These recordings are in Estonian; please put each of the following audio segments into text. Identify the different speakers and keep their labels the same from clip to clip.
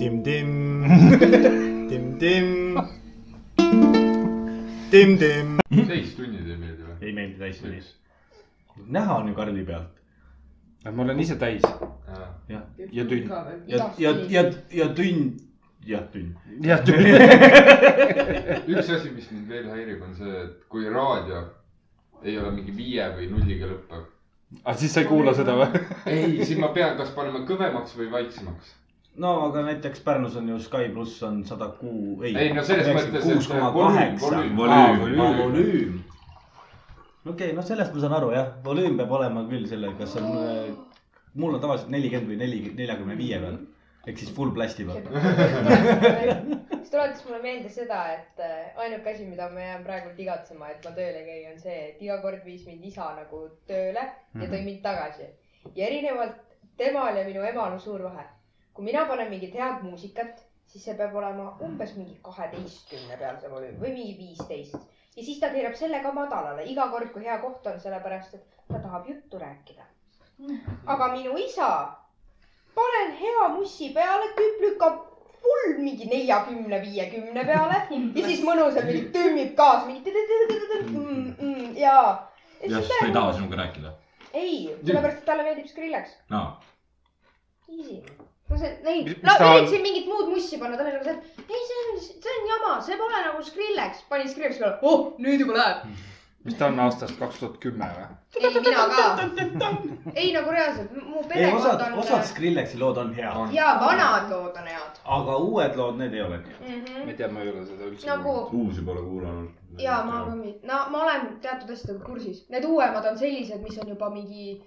Speaker 1: dim dim dim dim dim dim .
Speaker 2: täistunnid ei meeldi või ?
Speaker 3: ei meeldi täis või nii
Speaker 2: üks .
Speaker 1: näha on ju Karli pealt .
Speaker 3: ma olen ise täis
Speaker 2: Jaa.
Speaker 3: ja tünn .
Speaker 1: ja ,
Speaker 4: Noh,
Speaker 1: ja , ja , ja tünn , jah tünn .
Speaker 3: jah , tünn .
Speaker 2: üks asi , mis mind veel häirib , on see , et kui raadio ei ole mingi viie või nulliga lõppev .
Speaker 3: aga Ah, siis sa ei kuula seda või ?
Speaker 2: ei , siis ma pean kas panema kõvemaks või vaiksemaks .
Speaker 1: no aga näiteks Pärnus on ju Sky pluss on sada kuu , ei .
Speaker 2: ei no selles mõttes ,
Speaker 1: kuus
Speaker 2: et
Speaker 1: koma
Speaker 2: volüüm ,
Speaker 1: kaheksa .
Speaker 2: volüüm ,
Speaker 3: Volüüm.
Speaker 2: volüüm .
Speaker 1: volüüm . okei , noh , sellest ma saan aru jah , volüüm peab olema küll selle , kas on , mul on tavaliselt nelikümmend või neli , neljakümne viie peal ehk siis full plasti peal .
Speaker 5: siis tuletas mulle meelde seda , et äh, ainuke asi , mida ma jään praegult igatsema , et ma tööle ei käi , on see , et iga kord viis mind isa nagu tööle ja tõi mind tagasi . ja erinevalt temal ja minu emal on suur vahe . kui mina panen mingit head muusikat , siis see peab olema umbes mingi kaheteistkümne peal see volüüm või mingi viisteist ja siis ta keerab selle ka madalale iga kord , kui hea koht on , sellepärast et ta tahab juttu rääkida . aga minu isa , panen hea mussi peale , tüüp lükkab full mingi neljakümne , viiekümne peale ja siis mõnusalt mingi tümmib kaasa mingi tõ-tõ-tõ-tõ-tõ-tõ, mm, mm, ja .
Speaker 4: ja siis ta ei taha sinuga rääkida .
Speaker 5: ei , sellepärast et talle meeldib Skrillex .
Speaker 4: aa ,
Speaker 5: Easy . no see , ei
Speaker 3: Mis- , mis
Speaker 5: no
Speaker 3: ta
Speaker 5: ta
Speaker 3: on?
Speaker 5: võiks siin mingit muud mussi panna , ta oli nagu see , et ei , see on , see on jama , see pole nagu Skrillex . panin Skrillex peale , oh , nüüd juba läheb .
Speaker 3: mis ta on aastast kaks tuhat kümme või ?
Speaker 5: ei , mina ka . ei , nagu reaalselt , mu
Speaker 1: ei , osad
Speaker 5: perekond ,
Speaker 1: osad
Speaker 5: on .
Speaker 1: Skrillexi lood on head ,
Speaker 5: ja vanad lood on head
Speaker 1: aga uued lood , need ei ole nii head .
Speaker 5: mm . -hmm.
Speaker 3: ma ei tea , ma ei ole seda üldse
Speaker 5: Nagu-
Speaker 4: uusi pole kuulanud .
Speaker 5: ja ma ka mitte , no ma olen teatud asjadega kursis , need uuemad on sellised , mis on juba mingi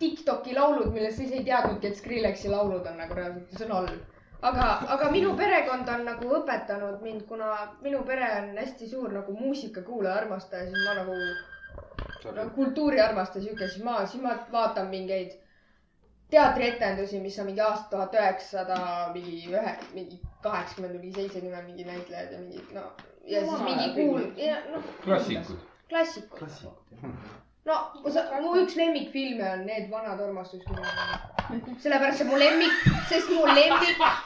Speaker 5: Tiktoki laulud , millest siis ei teadnudki , et Skrillexi laulud on nagu reaalselt , see on halb . aga , aga minu perekond on nagu õpetanud mind , kuna minu pere on hästi suur nagu muusikakuulaja armastaja , siis ma nagu
Speaker 3: kuulnud .
Speaker 5: no, kultuuriarmastaja sihuke , siis ma , siis ma vaatan mingeid teatrietendusi , mis on mingi aasta tuhat üheksasada mingi ühe , mingi kaheksakümmend või mingi seitsekümmend mingi näitlejad ja mingid no ja siis mingi kuul- ja noh .
Speaker 2: klassikud ..
Speaker 5: klassikud . no kui sa , mu üks lemmikfilme on Need vanad armastuskirjad . sellepärast see on mu lemmik , sest mu lemmik ,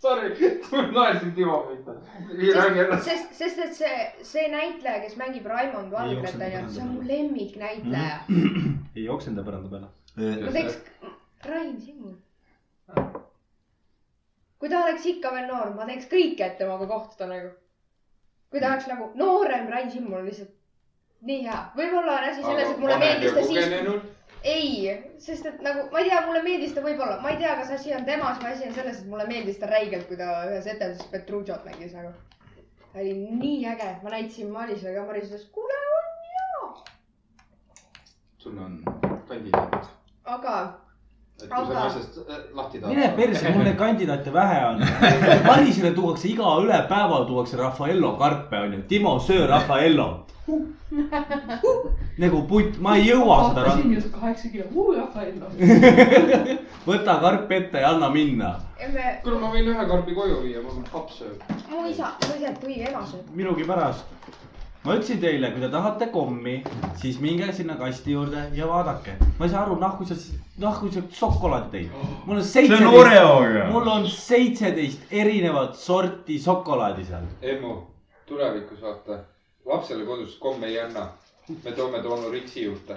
Speaker 2: Sorry , ma naersin Timo pihta . ei räägi
Speaker 5: sest ,
Speaker 2: ennast .
Speaker 5: sest , sest et see , see näitleja , kes mängib Raimond Valgret
Speaker 1: jookse
Speaker 5: onju ,
Speaker 1: põranda
Speaker 5: see on mu
Speaker 1: peale.
Speaker 5: lemmiknäitleja .
Speaker 1: ei joksenda põranda peale .
Speaker 5: ma teeks , Rain Simmul . kui ta oleks ikka veel noor , ma teeks kõike , et temaga kohtuda nagu . kui ta oleks nagu noorem Rain Simmul lihtsalt nii hea , võib-olla on asi selles , et mulle meeldis ta siis ,. ei , sest et nagu ma ei tea , mulle meeldis ta võib-olla , ma ei tea , kas asi on temas või asi on selles , et mulle meeldis ta räigelt , kui ta ühes etenduses Petrugiot mängis nagu . ta oli nii äge , ma näitasin Marisele ka , Maris ütles , kuule , on hea ,
Speaker 3: sul on kandidaat .
Speaker 5: aga
Speaker 6: et kui sa
Speaker 5: Aga-
Speaker 6: naisest äh, lahti tahad .
Speaker 1: mine perse , mul neid kandidaate vähe on . Marisele tuuakse iga üle päeva tuuakse Raffaello karpe onju , Timo söö Raffaello . nagu putt , ma ei jõua seda ra- ,
Speaker 7: hakkasin just kaheksa kilo , uu Rafael .
Speaker 1: võta karp ette ja anna minna
Speaker 5: me ,
Speaker 6: kuule , ma võin ühe karbi koju viia , mul on paps sööb .
Speaker 5: mu isa , mu isa tuli ema sööma .
Speaker 1: minugi pärast . ma ütlesin teile , kui te tahate kommi , siis minge sinna kasti juurde ja vaadake . ma ei saa aru , nahku sa , nahku sa šokolaadi tõid . mul on
Speaker 4: see on
Speaker 1: seitseteist , mul
Speaker 4: Oreoga .
Speaker 1: on seitseteist erinevat sorti šokolaadi seal .
Speaker 2: Emmu , tulevikus vaata , lapsele kodus komme ei anna . me toome ta onu Ritsi juurde .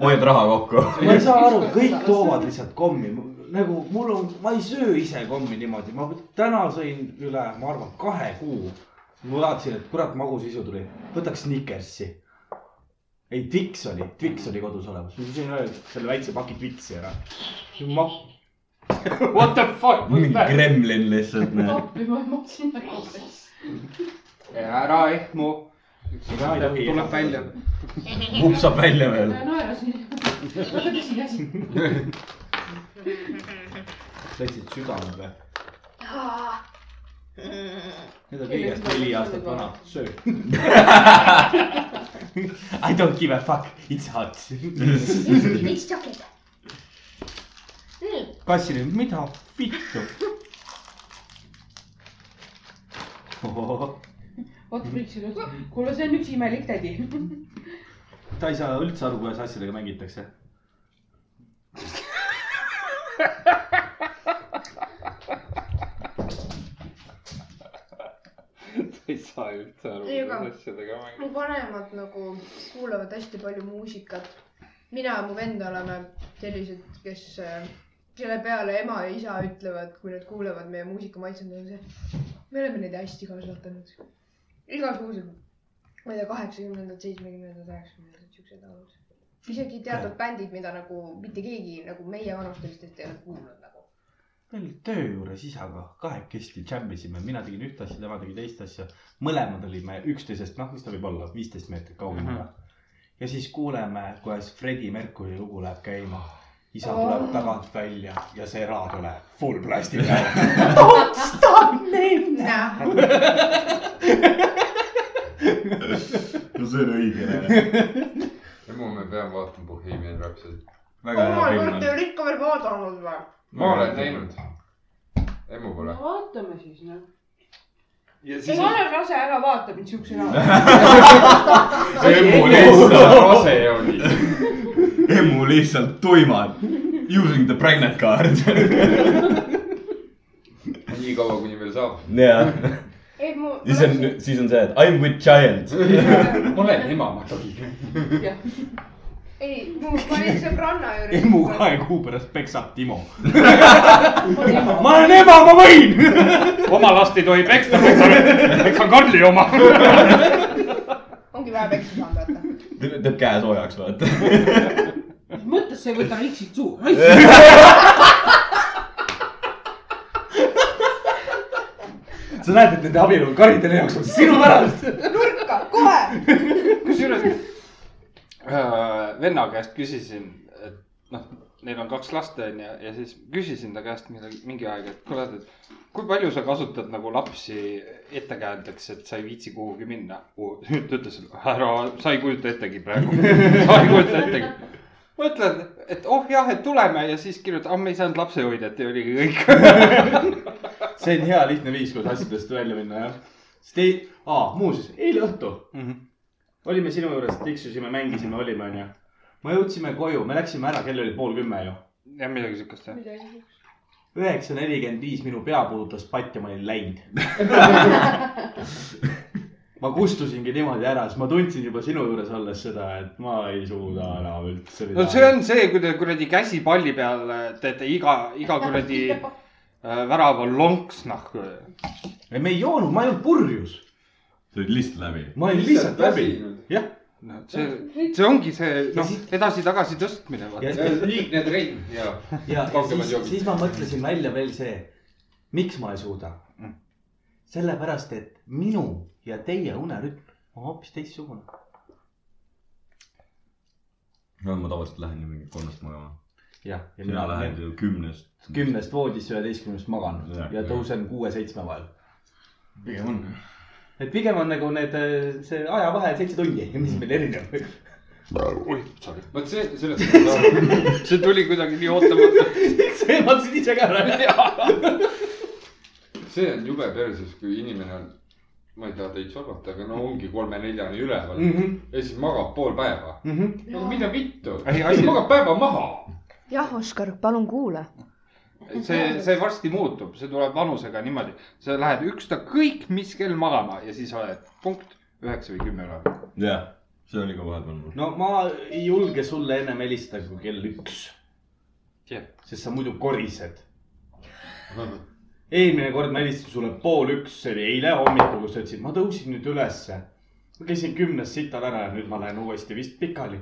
Speaker 4: hoiad raha kokku .
Speaker 1: ma ei saa aru , kõik toovad lihtsalt kommi , nagu mul on , ma ei söö ise kommi niimoodi , ma täna sõin üle , ma arvan , kahe kuu . ma vaatasin , et kurat , magus isu tuli , võtaks Snickersi . ei , Twix oli , Twix oli kodus olemas , ma sõin ühe selle väikse paki Twixi ära . ma ,
Speaker 3: What the fuck was
Speaker 4: mingi
Speaker 3: that ?
Speaker 4: Kremlin lihtsalt näed .
Speaker 7: appi ma maksin väga siis .
Speaker 3: ära ehmu .
Speaker 1: Seda ei tohi.
Speaker 3: tuleb välja .
Speaker 4: vupsab välja veel .
Speaker 7: naerasin . väga tõsine asi .
Speaker 1: läksid südamed või ? Need on
Speaker 7: Ei,
Speaker 1: kõigest
Speaker 7: ma-
Speaker 1: neli aastat vanad , söö . I don't give a fuck , it's hot .
Speaker 5: miks tšokid ?
Speaker 1: kassi nüüd , mida vittu ?
Speaker 7: vot võiksin öelda , kuule , see on üks imelik tädi .
Speaker 1: ta ei saa üldse aru , kuidas asjadega mängitakse .
Speaker 3: ei saa üldse aru ,
Speaker 5: Ei, aga-
Speaker 3: kuidas asjadega mängida .
Speaker 5: mu vanemad nagu kuulavad hästi palju muusikat . mina ja mu vend oleme sellised , kes , kelle peale ema ja isa ütlevad , kui nad kuulevad meie muusika maitsenud , on see , me oleme neid hästi kasvatanud . igasugused , ma ei tea , kaheksakümnendad , seitsmekümnendad , üheksakümnendad , siuksed laulud . isegi teatud bändid , mida nagu mitte keegi nagu meie vanustelistest ei ole kuulnud nagu .
Speaker 1: meil oli töö juures isaga kahekesti džämmisime , mina tegin ühte asja , tema tegi teist asja . mõlemad olime üksteisest , noh , mis ta võib olla , viisteist meetrit kaugemal mm . -hmm. ja siis kuuleme , kuidas Freddie Mercury lugu läheb käima . isa
Speaker 5: Oh.
Speaker 1: tuleb tagant välja ja see raad tuleb full plasti peal .
Speaker 5: näe ,
Speaker 4: no see on õige .
Speaker 2: emu , me peame vaatama Bohemian Rhapsody .
Speaker 4: väga hea
Speaker 5: omal
Speaker 4: film
Speaker 5: kord
Speaker 4: on
Speaker 5: ei . ole ikka veel vaadanud või ?
Speaker 2: ma olen näinud . emu pole .
Speaker 7: vaatame siis noh .
Speaker 3: ja
Speaker 7: ei ,
Speaker 3: siis
Speaker 7: ma
Speaker 3: on ,
Speaker 7: olen rase , ära vaata mind siukse näoga .
Speaker 2: emu lihtsalt rase oli .
Speaker 4: emu lihtsalt tuimad . Using the pregnant card .
Speaker 2: nii kaua , kuni veel saab .
Speaker 4: jah ,
Speaker 5: ei , mu .
Speaker 4: siis on , siis on see , et I m with giant .
Speaker 3: olen ema , ma tohin .
Speaker 5: ei , mu , ma olin sõbranna juures .
Speaker 1: emu kahe kuu pärast peksab Timo . ma olen ema , ma võin .
Speaker 3: oma last ei tohi peksta , peksan , peksan Karli oma .
Speaker 5: ongi vaja peksa saanud , vaata .
Speaker 4: teeb käe soojaks , vaata .
Speaker 7: mõttes sa ei võta riksid suhu .
Speaker 1: sa näed , et nende abielu on karidele jaoks on sinu pärast .
Speaker 5: nurka , kohe .
Speaker 3: kusjuures äh, venna käest küsisin , et noh , neil on kaks last onju ja siis küsisin ta käest midagi mingi aeg , et kuule , et kui palju sa kasutad nagu lapsi ettekäändeks , et sa ei viitsi kuhugi minna . ta ütles , ära , sa ei kujuta ettegi praegu , sa ei kujuta ettegi . mõtled , et oh jah , et tuleme ja siis kirjutad , ah me ei saanud lapsehoidjat ja oligi kõik .
Speaker 1: see on hea lihtne viis , kuidas asjadest välja minna , jah . sest ei , aa , muuseas , eile õhtul olime sinu juures , tiksusime , mängisime , olime , onju . me jõudsime koju , me läksime ära , kell oli pool kümme ju .
Speaker 3: jah , midagi siukest jah .
Speaker 1: üheksa nelikümmend viis minu pea puudutas patt ja ma olin läinud . ma kustusingi niimoodi ära , siis ma tundsin juba sinu juures olles seda , et ma ei suuda enam üldse .
Speaker 3: no see . on see , kui te kuradi käsi palli peal äh, teete iga , iga kuradi äh, värava äh. lonks nahku .
Speaker 1: me ei joonud , ma ei olnud purjus ,
Speaker 4: sa olid lihtsalt läbi .
Speaker 1: ma olin lihtsalt läbi . jah ,
Speaker 3: no see , see ongi see , noh , edasi-tagasi tõstmine .
Speaker 1: ja
Speaker 2: liigne trenn ja .
Speaker 1: ja , ja
Speaker 2: Kaugemad
Speaker 1: siis ,
Speaker 2: joogid.
Speaker 1: siis ma mõtlesin välja veel see , miks ma ei suuda . sellepärast , et minu ja teie unerütm on hoopis teistsugune .
Speaker 4: no ma tavaliselt lähen ju mingi kolmest magama .
Speaker 1: jah , ja
Speaker 4: sina lähed . ju kümnest .
Speaker 1: kümnest voodisse üheteistkümnest magan ja,
Speaker 4: Jah,
Speaker 1: ja
Speaker 4: jah.
Speaker 1: tõusen kuue-seitsme vahel .
Speaker 4: pigem on .
Speaker 1: et pigem on nagu need , see ajavahe seitse tundi ,
Speaker 4: Mm.
Speaker 1: mis meil erineb .
Speaker 3: oih , sorry ,
Speaker 2: vot see , sellest ma saan aru .
Speaker 3: see tuli kuidagi nii ootamatult .
Speaker 1: see vaatasid ise ka ära .
Speaker 2: see on jube perses , kui inimene on , ma ei taha teid solvata , aga no ongi kolme-neljani üleval mm.
Speaker 1: Mhm.
Speaker 2: ja siis magab pool päeva . no mida vittu ,
Speaker 3: Ei, asi-
Speaker 2: magab päeva maha .
Speaker 5: jah , Oskar , palun kuula .
Speaker 3: see , see varsti muutub , see tuleb vanusega niimoodi , sa lähed ükskõik mis kell magama ja siis oled punkt üheksa või kümme üleval .
Speaker 4: jah , see oli ka vahepeal mul .
Speaker 1: no ma ei julge sulle ennem helistada kui kell üks .
Speaker 3: Jah.
Speaker 1: sest sa muidu korised . eelmine kord ma helistasin sulle pool üks , see oli eile hommikul , kus sa ütlesid , ma tõusin nüüd ülesse . ma käisin kümnest sital ära ja nüüd ma lähen uuesti vist pikali .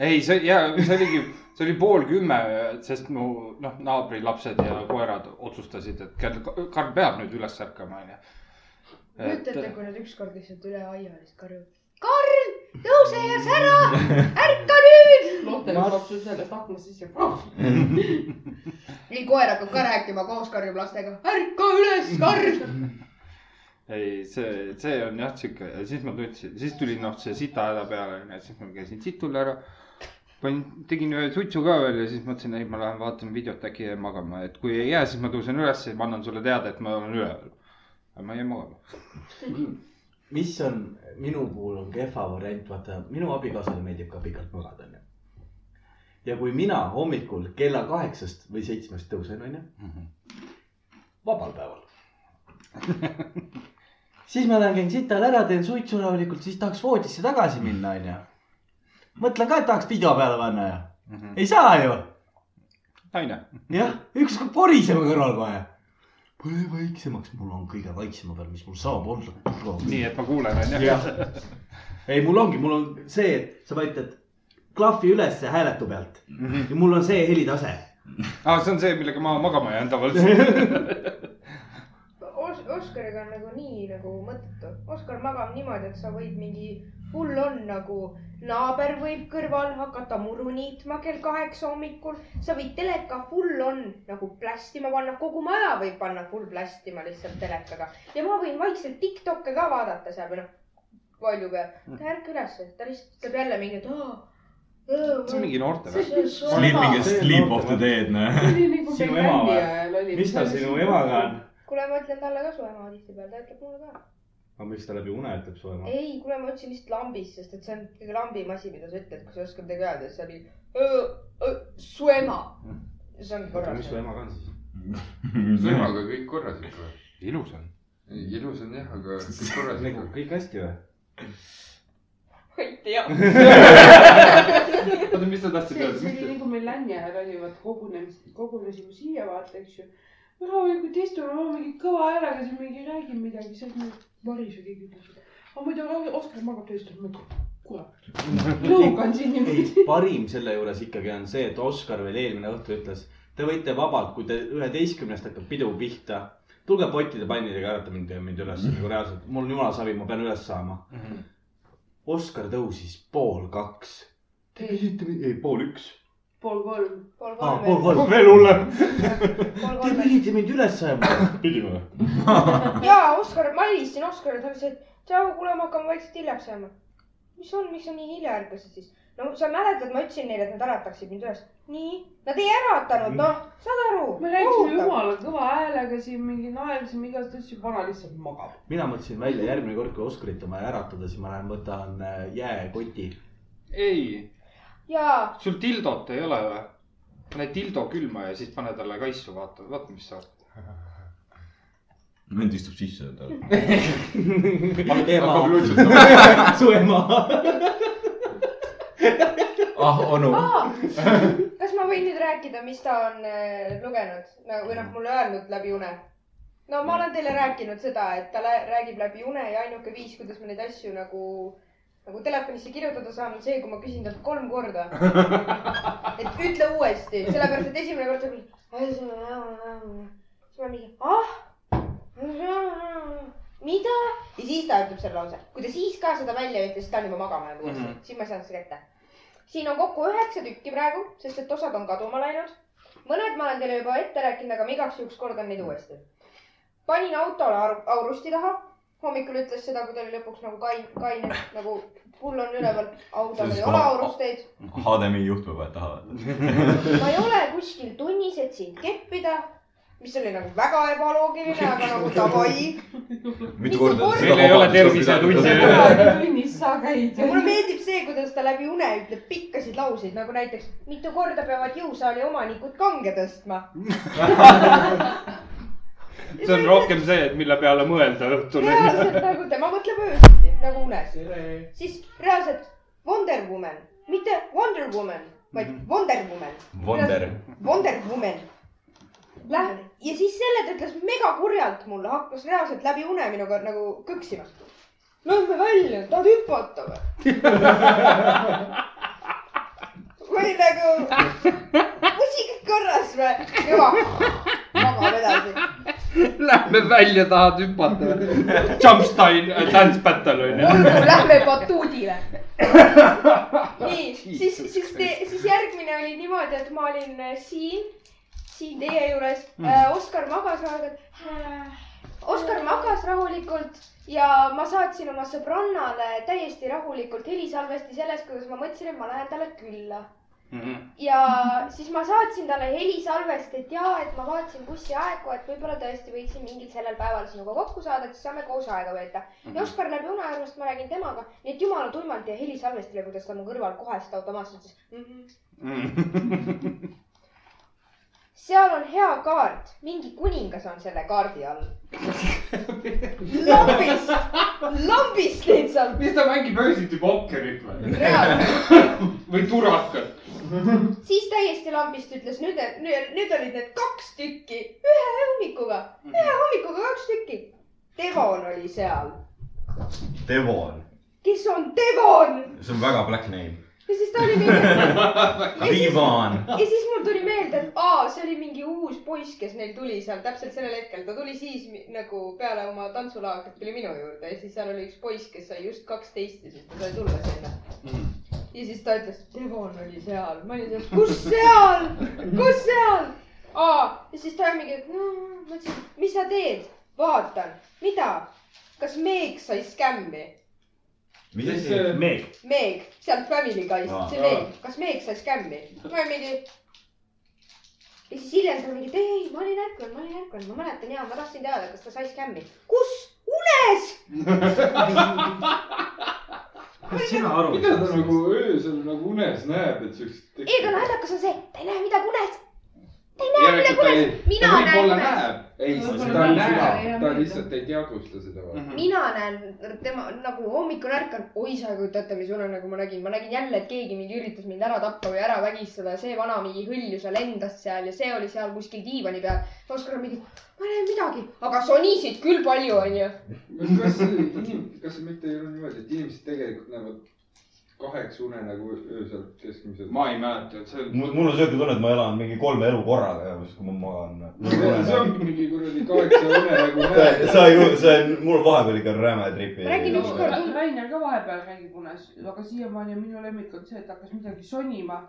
Speaker 3: ei , see ja see oligi , see oli pool kümme , sest mu noh , naabri lapsed ja koerad otsustasid , et kell , Karl peab nüüd üles ärkama , onju .
Speaker 5: kujuta ette , kui nad ükskord lihtsalt üle aia lihtsalt karjuvad . Karl , tõuse ja sära , ärka nüüd .
Speaker 7: Lotte lapsus sellest aknast sisse .
Speaker 5: ei , koer hakkab ka rääkima , koos karjub lastega . ärka üles , Karl .
Speaker 3: ei , see , see on jah sihuke , siis ma tundsin , siis tuli noh , see sita häda peale , onju , siis ma käisin situl ära . panin , tegin ühe suitsu ka veel ja siis mõtlesin , ei , ma lähen vaatan videot , äkki jään magama , et kui ei jää , siis ma tõusen üles ja ma annan sulle teada , et ma olen üleval . aga ma jäin magama .
Speaker 1: mis on minu puhul on kehva variant , vaata minu abikaasale meeldib ka pikalt magada , onju . ja kui mina hommikul kella kaheksast või seitsmest tõusen , onju , vabal päeval . siis ma lähen käin sital ära , teen suitsu rahulikult , siis tahaks voodisse tagasi minna , onju . mõtlen ka , et tahaks pido peale panna ja
Speaker 3: Mhm.
Speaker 1: ei saa ju ,
Speaker 3: naine .
Speaker 1: jah , ükskord korisema kõrval kohe . pane vaiksemaks , mul on kõige vaiksema peal , mis mul saab olla .
Speaker 3: nii , et ma kuulen ,
Speaker 1: Jah.
Speaker 3: onju .
Speaker 1: ei , mul ongi , mul on see , et sa vajutad klahvi ülesse hääletu pealt ja mul on see helitase .
Speaker 3: aa , Ah, see on see , millega ma magama jään tavaliselt .
Speaker 5: Os- , Oskariga on nagu nii nagu mõttetu . Oskar magab niimoodi , et sa võid mingi , hull on nagu naaber võib kõrval hakata muru niitma kell kaheksa hommikul , sa võid teleka full on nagu plästima panna , kogu maja võib panna full plästima lihtsalt telekaga ja ma võin vaikselt Tiktok'e ka vaadata seal või noh , valju peal . ta ei ärka ülesse , ta lihtsalt ütleb jälle mingi , et aa .
Speaker 3: see on mingi noorte või ?
Speaker 4: Sleeping
Speaker 5: mingi
Speaker 4: is sleep of the dead , noh .
Speaker 7: see oli nagu
Speaker 1: Sinu
Speaker 7: meil
Speaker 1: ema
Speaker 7: bändi
Speaker 1: või?
Speaker 7: ajal oli .
Speaker 1: mis tal sinu emaga on ?
Speaker 5: kuule , ma ütlen talle ka su ema tihtipeale , ta ütleb mulle ka .
Speaker 1: aga miks ta läbi une ütleb su ema ?
Speaker 5: ei , kuule , ma ütlesin lihtsalt lambist , sest et see on kõige lambim asi , mida sa ütled , kui sa oskad midagi öelda , see oli öö, öö, su ema . see ongi
Speaker 1: mis
Speaker 5: korras
Speaker 1: su . emaga on siis ?
Speaker 2: sõrmaga kõik korras ikka .
Speaker 3: ilus on .
Speaker 2: ei , ilus on jah , aga kõik korras
Speaker 1: nagu
Speaker 2: ikka .
Speaker 1: kõik hästi või ?
Speaker 5: ma ei tea .
Speaker 6: oota , mis sa tahtsid
Speaker 7: see , see
Speaker 6: öelda
Speaker 7: oli ? nagu meil länni ajal oli , vaat kogunemised , kogunesime siia vaata , eks ju . me rahulikult istume , ma mingi kõva häälega siin mingi räägin midagi , siis mingi Maris või keegi ütles , et aga muidu Ra- Oskar magab tööst , ma ütlen , kurat , lõug on siin
Speaker 1: ei
Speaker 7: niimoodi .,
Speaker 1: parim selle juures ikkagi on see , et Oskar veel eelmine õhtu ütles , te võite vabalt , kui te üheteistkümnest hakkab pidu pihta , tulge pottide pannidega , ärata mind , mind üles nagu reaalselt , mul on jumala savi , ma pean üles saama .
Speaker 3: Mhm.
Speaker 1: Oskar tõusis pool kaks . Te küsite , ei pool üks .
Speaker 7: pool kolm .
Speaker 5: pool
Speaker 1: aa ,
Speaker 7: Ah,
Speaker 1: pool kolm .
Speaker 3: veel hullem .
Speaker 5: pool
Speaker 1: Te
Speaker 5: kolm .
Speaker 1: pidite mind üles ajama . pidime või ?
Speaker 5: jaa , Oskar , ma helistasin Oskarile , ta ütles , et tšau , kuule , me hakkame vaikselt hiljaks jääma . mis on , miks sa nii hilja ärkasid siis ? no sa mäletad , ma ütlesin neile , et nad ärataksid mind üles . nii , nad ei äratanud , noh , saad aru .
Speaker 7: me rääkisime . jumala kõva häälega siin mingi naersime igast asju , vana lihtsalt magab .
Speaker 1: mina mõtlesin välja , järgmine kord , kui Oskarit on vaja äratada , siis ma lähen võtan äh, jääkoti .
Speaker 3: ei ,
Speaker 5: jaa ,
Speaker 3: sul tildot ei ole või ? pane tildo külma ja siis pane talle kaisu , vaata , vaata , mis saab .
Speaker 4: vend istub sisse tal .
Speaker 1: ema ,
Speaker 2: lutsutama .
Speaker 1: su ema .
Speaker 4: ah , onu .
Speaker 5: Aa, kas ma võin nüüd rääkida , mis ta on äh, lugenud no, või noh , mulle öelnud läbi une ? no ma olen teile rääkinud seda , et ta lä- räägib läbi une ja ainuke viis , kuidas ma neid asju nagu , nagu telefonisse kirjutada saan , on see , kui ma küsin talt kolm korda . et ütle uuesti , sellepärast et esimene kord ta küll . siis ma mingi , ah , mida ? ja siis ta ütleb selle lause , kui ta siis ka seda välja ei ütle , siis ta on juba magama jäänud uuesti
Speaker 3: Mhm.
Speaker 5: -hmm. , siis ma ei saanud seda kätte . siin on kokku üheksa tükki praegu , sest et osad on kaduma läinud . mõned ma olen teile juba ette rääkinud , aga ma igaks juhuks kordan neid uuesti . panin autole aru- aurusti taha , hommikul ütles seda , kui ta oli lõpuks nagu kain , kaine , nagu mul on üleval autol ei ole aurusteid .
Speaker 4: HDMI juhtme paned taha .
Speaker 5: ma ei ole kuskil tunnis , et sind keppida , mis oli nagu väga ebaloogiline , aga nagu davai
Speaker 4: mitu korda .
Speaker 5: Meil
Speaker 3: ei ole tervisetundi.
Speaker 7: tunnis sa käid
Speaker 5: ja . mulle meeldib see , kuidas ta läbi une ütleb pikkasid lauseid nagu näiteks , mitu korda peavad jõusaali omanikud kange tõstma .
Speaker 3: see on rohkem see , et mille peale mõelda õhtul .
Speaker 5: reaalselt nagu tema mõtleb öösiti nagu unes , siis reaalselt Wonder Woman , mitte Wonder Woman , vaid Wonder Woman ,
Speaker 4: Wonder .
Speaker 5: Wonder Woman . Läh- ja siis selle ta ütles mega kurjalt mulle , hakkas reaalselt läbi une minuga nagu kõksima . Lähme välja , tahad hüpata või ? või nagu , musikad korras või ? hüva , magab edasi .
Speaker 3: Lähme välja , tahad hüpata või ? Jumpstein , dance battle on ju .
Speaker 5: olgu , lähme batuudile . nii , siis , siis , siis järgmine oli niimoodi , et ma olin äh, siin , siin teie juures mm. . Oskar magas rahulikult . Oskar magas rahulikult ja ma saatsin oma sõbrannale täiesti rahulikult helisalvesti sellest , kuidas ma mõtlesin , et ma lähen talle külla
Speaker 3: Mhm.
Speaker 5: ja siis ma saatsin talle helisalvest , et jaa , et ma vaatasin bussiaegu , et võib-olla tõesti võiksin mingil sellel päeval sinuga kokku saada , et siis saame koos aega veeta mm .
Speaker 3: Mhm.
Speaker 5: -hmm. ja Oskar läbi unearvust ma räägin temaga , nii et jumala tuimalt ja helisalvestile , kuidas
Speaker 3: Mhm.
Speaker 5: ta mu kõrval kohest automaatselt ütles mm . -hmm. seal on hea kaart , mingi kuningas on selle kaardi all . lambist , lambist lihtsalt ,
Speaker 2: mis ta mängib öösiti pokkerit või ?
Speaker 5: reaalselt .
Speaker 2: või turakat ?
Speaker 5: siis täiesti lambist ütles nüüd , nüüd, nüüd olid need kaks tükki ühe hommikuga , ühe hommikuga kaks tükki . Devon oli seal ,
Speaker 4: Devon ,
Speaker 5: kes on Devon
Speaker 4: see on väga black name .
Speaker 5: ja siis ta oli mingi ja siis ,
Speaker 4: Devon ,
Speaker 5: ja siis mul tuli meelde , et aa , see oli mingi uus poiss , kes neil tuli seal täpselt sellel hetkel , ta tuli siis mi- nagu peale oma tantsulaagrit tuli minu juurde ja siis seal oli üks poiss , kes sai just kaksteist ja siis ta sai tulla sinna . ja siis ta ütles , Devon oli seal , ma olin seal , kus seal , kus seal ? aa , ja siis ta oli mingi , et no , ma ütlesin , mis sa teed , vaatan , mida , kas Meeg sai skämmi ?
Speaker 4: mis
Speaker 6: Siis,
Speaker 4: asi ?
Speaker 6: äh,
Speaker 1: Meeg .
Speaker 5: Meeg , sealt Family Guy'st
Speaker 4: Aa. ,
Speaker 5: see Meeg , kas Meeg sai skämmi ? ma olin mingi . ja siis hiljem ta mingi , et ei , ma olin ärkvel , ma olin ärkvel , ma mäletan ja ma tahtsin teada , kas ta sai skämmi . kus ? unes .
Speaker 1: kas sina aru
Speaker 2: mida ta nagu ? öösel nagu unes näeb , et siukest .
Speaker 5: ei , aga naljakas on see , ta ei näe midagi unes .
Speaker 2: järelikult ta ei ,
Speaker 5: mina
Speaker 2: ta
Speaker 5: näen
Speaker 2: võib-olla
Speaker 5: unes .
Speaker 2: näeb . ei , ta
Speaker 7: Võib-olla näeb,
Speaker 2: näeb
Speaker 7: ei ,
Speaker 2: ta
Speaker 7: meeldi.
Speaker 2: lihtsalt ei teadvusta seda või ?
Speaker 3: Mhm.
Speaker 5: mina näen tema nagu hommikul ärkan , oi sa ei kujuta ette , mis unenägu ma nägin , ma nägin jälle , et keegi mingi üritas mind ära tappa või ära vägistada , see vana mingi hõljus ja lendas seal ja see oli seal kuskil diivani peal . Oskar on mingi , ma ei näe midagi , aga sonisid küll palju onju .
Speaker 2: kas , kas see mitte ei ole niimoodi , et inimesed tegelikult näevad kaheksa unenägu öösel keskmiselt ?
Speaker 6: ma ei mäleta , et see on .
Speaker 4: mul , mul on siuke tunne , et ma elan mingi kolme elu korraga , kui ma
Speaker 2: see
Speaker 4: magan .
Speaker 2: ongi mingi kuradi kaheksa unenägu näeb .
Speaker 4: sa ei , see on , mul vahepeal ikka räme tripi .
Speaker 5: Ma räägin ükskord-
Speaker 7: Rainer ka vahepeal räägib unes , aga siiamaani on minu lemmik on see , et hakkas midagi sonima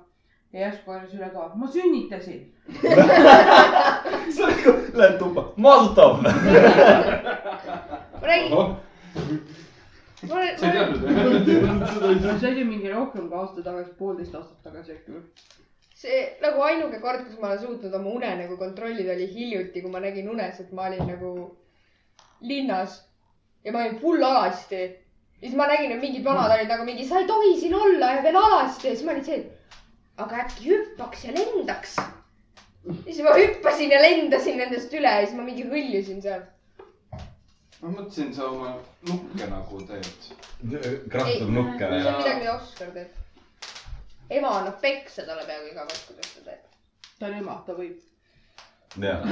Speaker 7: ja järsku harjus üle toa , ma sünnitasin .
Speaker 4: sa nagu lähed tuppa , maasutav .
Speaker 5: ma räägin , ma
Speaker 6: sa ei
Speaker 5: olen ,
Speaker 6: teadnud või ?
Speaker 7: see oli mingi rohkem kui aasta tagasi , poolteist aastat tagasi äkki või ?
Speaker 5: see nagu ainuke kord , kus ma olen suutnud oma unenägu kontrollida , oli hiljuti , kui ma nägin unes , et ma olin nagu linnas ja ma olin full alasti . ja siis ma nägin , et mingid vanad olid nagu mingi , sa ei tohi siin olla ja veel alasti ja siis ma olin see , et aga äkki hüppaks ja lendaks . ja siis ma hüppasin ja lendasin nendest üle ja siis ma mingi hõljusin seal .
Speaker 6: ma mõtlesin , sa oma nukke nagu teed .
Speaker 4: krahvatab nukke
Speaker 5: see
Speaker 4: või ?
Speaker 5: on midagi , mida Oskar teeb . ema annab peksa talle peaaegu iga kord , kuidas ta teeb .
Speaker 7: ta on ema , ta võib .
Speaker 4: jah ,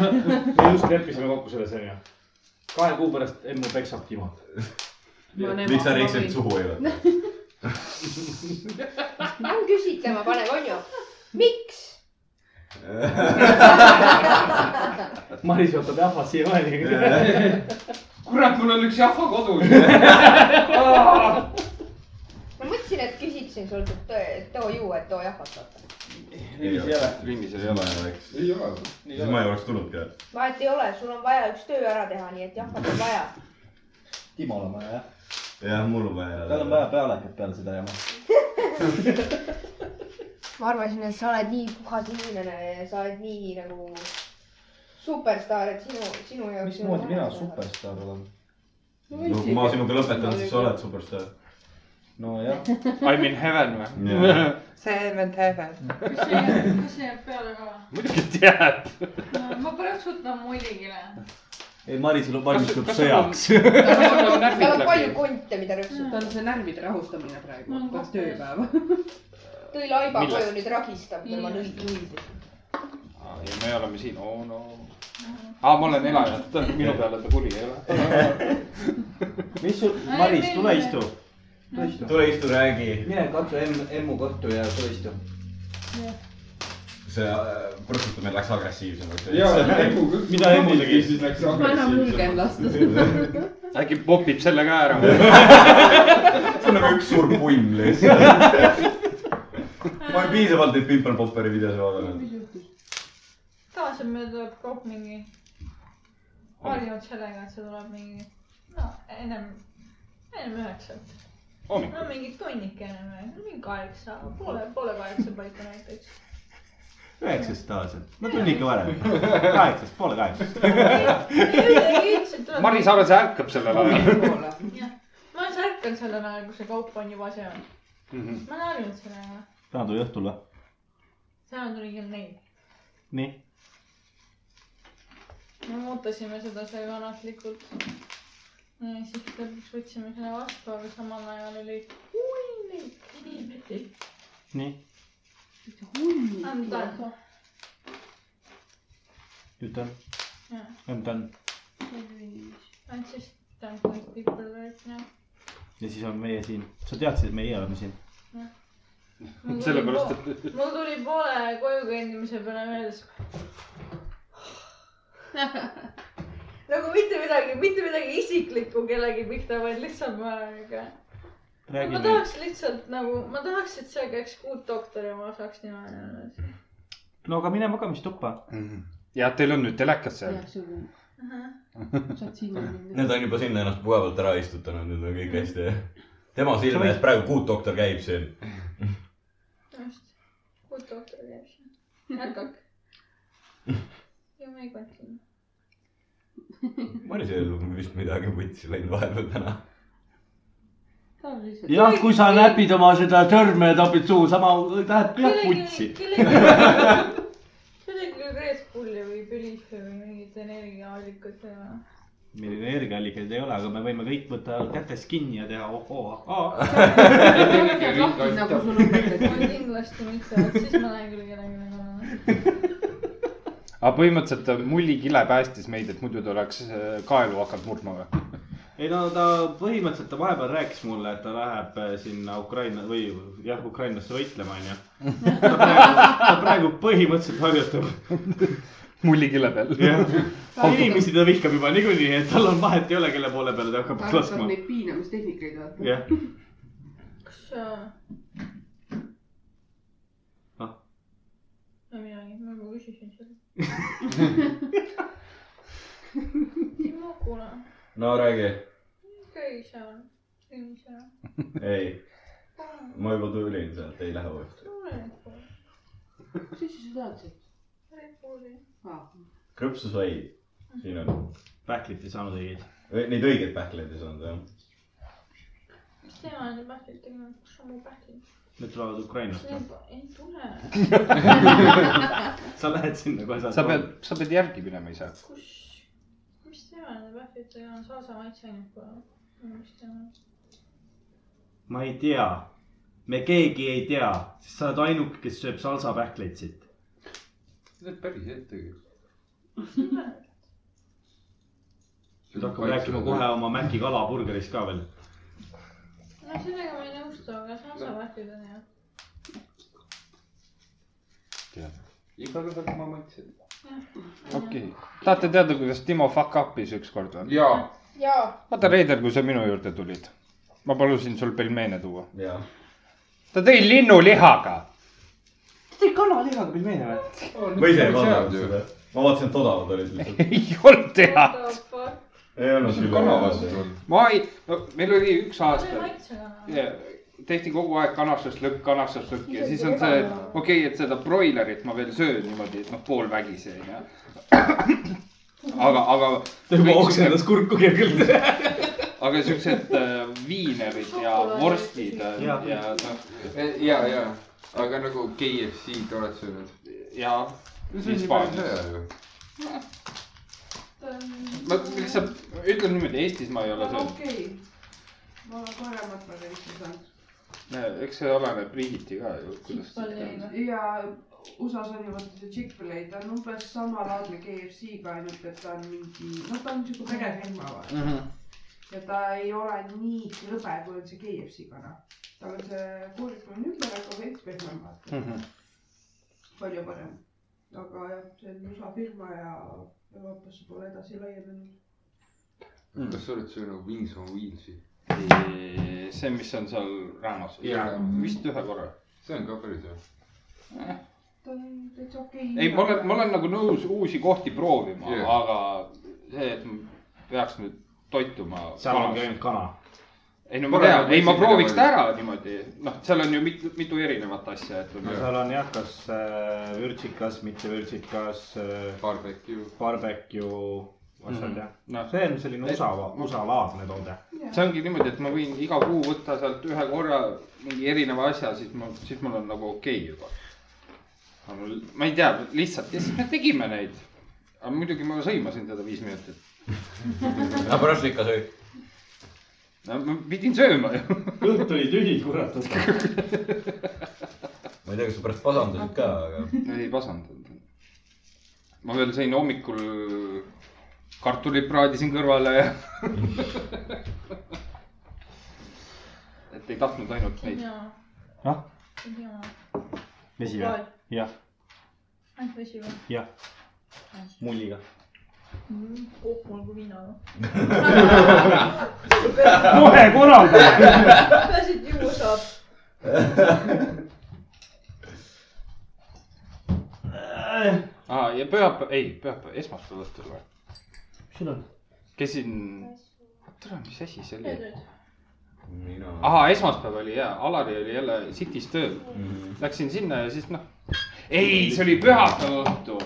Speaker 1: me just leppisime kokku selles onju . kahe kuu pärast Emmu peksab Timot .
Speaker 4: miks sa rikselt ? suhu ei võta ?
Speaker 5: on küsitlema panev , onju . miks ?
Speaker 1: Maris võtab jahva silmaga .
Speaker 6: kurat , mul on üks jahva kodus .
Speaker 5: ma mõtlesin , et küsiksin sult , et too- too ju , et too jahvatab .
Speaker 1: ei ole .
Speaker 3: ringis
Speaker 4: ei ole ju , eks .
Speaker 2: ei ole .
Speaker 4: siis ma ei oleks tulnudki .
Speaker 5: vahet ei ole , sul on vaja üks töö ära teha , nii et jahvat on vaja .
Speaker 8: Timol on vaja jah ,
Speaker 4: jah , mul on vaja .
Speaker 8: tal on vaja . pealekat peale seda jama .
Speaker 5: ma arvasin , et sa oled nii puhas inimene ja sa oled nii nagu superstaar , et sinu , sinu jaoks .
Speaker 8: mismoodi mina ? superstaar olen ?
Speaker 4: no kui ma sinuga lõpetan , siis sa oled superstaar .
Speaker 8: nojah ,
Speaker 3: I m in heaven või
Speaker 4: Jah. ?
Speaker 3: Seven heaven .
Speaker 9: kas see jääb , kas see jääb peale ka või ?
Speaker 3: muidugi tead .
Speaker 9: ma poleks võtnud muidugi .
Speaker 8: ei Marisel on valmistunud
Speaker 3: Kas- kas
Speaker 8: sõjaks .
Speaker 5: tal on palju konte , mida rõõmsad .
Speaker 7: tal on see närvide rahustamine praegu
Speaker 9: Mul on ,
Speaker 7: pärast
Speaker 9: kohv ees.
Speaker 7: tööpäeva .
Speaker 5: tõi laiba
Speaker 3: Millest?
Speaker 5: koju , nüüd ragistab tema
Speaker 9: Nii.
Speaker 5: nõid , nõid .
Speaker 3: ja me oleme siin , oo no . aa , ma olen elajata , minu peale ta kuri ei ole .
Speaker 8: mis sul ,
Speaker 9: Ei,
Speaker 8: Maris ,
Speaker 9: meil-
Speaker 8: tule istu .
Speaker 4: tule istu , räägi .
Speaker 8: mine katsu emm , emmu kottu ja tule istu .
Speaker 4: see äh, põrkutamine läks agressiivsemaks .
Speaker 2: ja , emu küll .
Speaker 8: Mida Emu tegi?
Speaker 2: siis läks
Speaker 7: ma enam julgen
Speaker 2: agressiivseks .
Speaker 7: lasta seda .
Speaker 4: see
Speaker 3: äkki popib selle ka ära .
Speaker 4: on nagu üks suur pumm lihtsalt . ma olen piisavalt neid Pimple Popperi videosid vaadanud .
Speaker 7: mis juhtus ?
Speaker 9: tavaliselt meil tuleb kogu mingi , harjunud sellega , et see tuleb mingi , no ennem , ennem üheksat . no
Speaker 3: hommikul .
Speaker 9: mingi tunnik ennem üheksat , mingi kaheksa , poole , poole kaheksa paiku näiteks .
Speaker 8: üheksast tavaliselt , no tund ikka varem . kaheksast , poole kaheksast .
Speaker 9: üldiselt tuleb .
Speaker 3: Maris alles ärkab sellel ajal .
Speaker 9: ma olen särkanud sellel ajal , kui see kaup on juba seal .
Speaker 3: Mhm.
Speaker 9: ma olen harjunud sellega .
Speaker 8: täna tuli õhtul või ?
Speaker 9: täna tuli kell neli .
Speaker 8: nii ,
Speaker 9: me muutasime seda seal kannatlikult . siis lõpuks võtsime selle vastu , aga samal ajal oli hunnik inimesi .
Speaker 1: nii ,
Speaker 9: I m done .
Speaker 1: nüüd on ,
Speaker 9: Yeah,
Speaker 1: nüüd on
Speaker 9: I just don't like people right now .
Speaker 1: ja siis on meie siin , sa teadsid , et meie oleme siin .
Speaker 3: sellepärast , et
Speaker 9: mul tuli poole koju kõndimise peale meeles . nagu mitte midagi , mitte midagi isiklikku kellegi pihta , vaid lihtsalt ma , ma
Speaker 1: räägime ,
Speaker 9: tahaks lihtsalt nagu , ma tahaks , et seal käiks kuut doktori ja ma saaks niimoodi olla .
Speaker 1: no aga mine magamistuppa .
Speaker 3: ja Mhm. teil on nüüd telekas seal
Speaker 10: jah , sul on , sa oled siin .
Speaker 4: Need on juba sinna ennast mugavalt ära istutanud , nüüd on kõik hästi . tema silme ees praegu kuutdoktor käib siin .
Speaker 9: just , kuut doktori käib seal . jätkake . ja me ei kontsime .
Speaker 4: Marisel on vist midagi vutsi läinud vahepeal täna .
Speaker 10: ta on lihtsalt .
Speaker 11: jah , kui sa näpid oma seda sõrme ja tapid suhu , sama läheb ka jah
Speaker 9: kuidagi
Speaker 11: putsi .,
Speaker 9: kuidagi Red Bulli või Põlisse või mingit energiaallikat ja .
Speaker 1: meil energiaallikaid ei ole , aga me võime kõik võtta kätest kinni ja teha ohoo .
Speaker 10: nagu sul on
Speaker 9: ma
Speaker 10: mõtted .
Speaker 9: kindlasti mitte , et siis ma lähen küll kedagi nagu .
Speaker 3: aga põhimõtteliselt äh, mullikile päästis meid , et muidu ta oleks äh, kaelu hakanud murdma või ?
Speaker 1: ei no ta põhimõtteliselt ta vahepeal rääkis mulle , et ta läheb eh, sinna Ukraina või jah , Ukrainasse võitlema onju . ta praegu põhimõtteliselt harjutab .
Speaker 3: mullikile peal .
Speaker 1: inimesi ta vihkab juba niikuinii , et tal on vahet ei ole , kelle poole peale ta hakkab
Speaker 10: arvestab
Speaker 1: laskma .
Speaker 10: neid piinamistehnikaid vaata .
Speaker 1: jah ,
Speaker 9: kas sa
Speaker 1: Ah. ?
Speaker 9: no midagi , ma juba küsisin seda . Timo , kuule ,
Speaker 4: no räägi .
Speaker 9: käi seal , käi seal .
Speaker 4: ei , ma juba tulin sealt , ei lähe uuesti .
Speaker 9: Red Bulli ,
Speaker 10: mis asja sa tahad sealt ?
Speaker 9: Red Bulli .
Speaker 4: krõpsu sai , siin on ,
Speaker 1: pähklit ei saanud õieti .
Speaker 4: neid õigeid pähkleid ei saanud jah .
Speaker 9: mis tema nende pähklitega on , kus on mu pähklid ?
Speaker 1: Need tulevad Ukrainast .
Speaker 9: Need ei tule .
Speaker 1: sa lähed sinna kohe saad .
Speaker 3: sa pead , sa pead järgi minema ise .
Speaker 9: kus , mis tema nende pähklitega on , salsa maitseainet pole . mis tema ,
Speaker 1: ma ei tea , me keegi ei tea , sest sa oled ainuke , kes sööb salsapähkleid siit .
Speaker 2: Need päris ettegi .
Speaker 1: nüüd hakkame rääkima kohe . oma Maci kalaburgerist ka veel .
Speaker 9: no sellega ma ei nõustu , aga salsa pähklid on hea .
Speaker 2: igaühel oma maitsed .
Speaker 3: okei okay. , tahate teada , kuidas Timo fuck up'is ükskord või ?
Speaker 2: jaa ,
Speaker 5: jaa ,
Speaker 3: vaata , Reider , kui sa minu juurde tulid , ma palusin sul pelmeene tuua .
Speaker 4: jah .
Speaker 3: ta tõi linnulihaga .
Speaker 11: tee kanalihaga pilmeene või ?
Speaker 4: ma ise ei vaadanud seda . ma vaatasin , et odavad olid lihtsalt .
Speaker 3: ei olnud teha .
Speaker 4: ei olnud küll .
Speaker 2: kana vastu . on .
Speaker 3: ma ei , no meil oli üks
Speaker 9: see
Speaker 3: aasta
Speaker 9: maitsega on .
Speaker 3: ja tehti kogu aeg kanastast lõkk , kanastast lõkk ja siis on see , et okei okay, , et seda broilerit ma veel söön niimoodi , et noh , poolvägisi onju . aga , aga .
Speaker 1: ta juba oksendas kurku kergelt .
Speaker 3: aga siuksed äh, viinerid ja vorstid äh, ja
Speaker 1: Jah. ,
Speaker 3: ja noh ,
Speaker 2: ja , ja , E, aga nagu KFC-d oled söönud .
Speaker 3: ja Hispaanias . ma lihtsalt ütlen niimoodi , Eestis ma ei ole söönud ,
Speaker 7: okei , ma olen paremat varianti saanud
Speaker 3: eks see oleneb riigiti ka ju , kuidas .
Speaker 7: ja USA-s on ju vaata see Chick-fil-A , ta on umbes samalaadne KFC-ga , ainult et ta on mingi , noh , ta on siuke perefirma vaata
Speaker 2: Mhm,
Speaker 7: ja ta ei ole nii krõbe , kui on see KFC kana . noh. tal on see kooliku on ümber , aga veits pehmem vaata ,
Speaker 2: mhm.
Speaker 3: Mhm.
Speaker 7: palju parem . aga jah , see on USA firma ja Euroopasse pole edasi laienenud .
Speaker 2: kas sa oled söönud nagu Wings on Wheels'i ?
Speaker 3: see , mis on seal rannas
Speaker 2: Jaa. ,
Speaker 3: vist ühe korra .
Speaker 2: see on ka päris hea .
Speaker 7: ta on täitsa okei .
Speaker 3: ei , ma olen , ma olen nagu nõus uusi kohti proovima
Speaker 2: Jaa. ,
Speaker 3: aga see , et ma peaks nüüd toituma .
Speaker 1: seal ongi ainult kana .
Speaker 3: ei no
Speaker 2: Ma
Speaker 3: ma tean ,
Speaker 2: olen-
Speaker 3: ei ma prooviks ta
Speaker 2: esimene
Speaker 3: ära niimoodi , noh , seal on ju mitu , mitu erinevat asja , et
Speaker 1: no
Speaker 3: on
Speaker 1: seal on jah , kas äh, vürtsikas , mitte vürtsikas äh, ,
Speaker 2: Barbecue .
Speaker 1: barbecue , asjad
Speaker 3: Mhm.
Speaker 1: jah .
Speaker 3: noh ,
Speaker 1: see on selline USA , USA laadne toode .
Speaker 3: see ongi niimoodi , et ma võin iga kuu võtta sealt ühe korra mingi erineva asja , siis ma , siis mul on nagu okei okay juba . aga mul , ma ei tea , lihtsalt ja siis me tegime neid aga muidugi ma sõimasin teda viis minutit .
Speaker 4: aga pärast ikka sõi .
Speaker 3: no ma pidin sööma ju .
Speaker 8: kõht oli tühi , kurat .
Speaker 4: ma ei tea , kas sa pärast pasandasid ka , aga .
Speaker 3: ei pasandanud . ma veel sõin hommikul , kartulit praadisin kõrvale ja . et ei tahtnud ainult neid .
Speaker 9: jaa .
Speaker 8: Ah? ?
Speaker 9: jaa .
Speaker 8: vesi või ? jah ,
Speaker 9: ainult vesi või ?
Speaker 8: jah . mulliga .
Speaker 9: kohv olgu viinaga .
Speaker 8: kohe korraldame .
Speaker 9: kuidas siit juua saab ?
Speaker 3: aa , ja pühapäev , ei , pühapäev , esmaspäev õhtul või ?
Speaker 8: sul on ?
Speaker 3: käisin , tere , mis asi see oli ?
Speaker 4: mina .
Speaker 3: ahaa , esmaspäev oli jaa , Alari oli jälle City's tööl .
Speaker 1: Mhm.
Speaker 3: Läksin sinna ja siis noh , ei , see oli pühapäeva õhtu .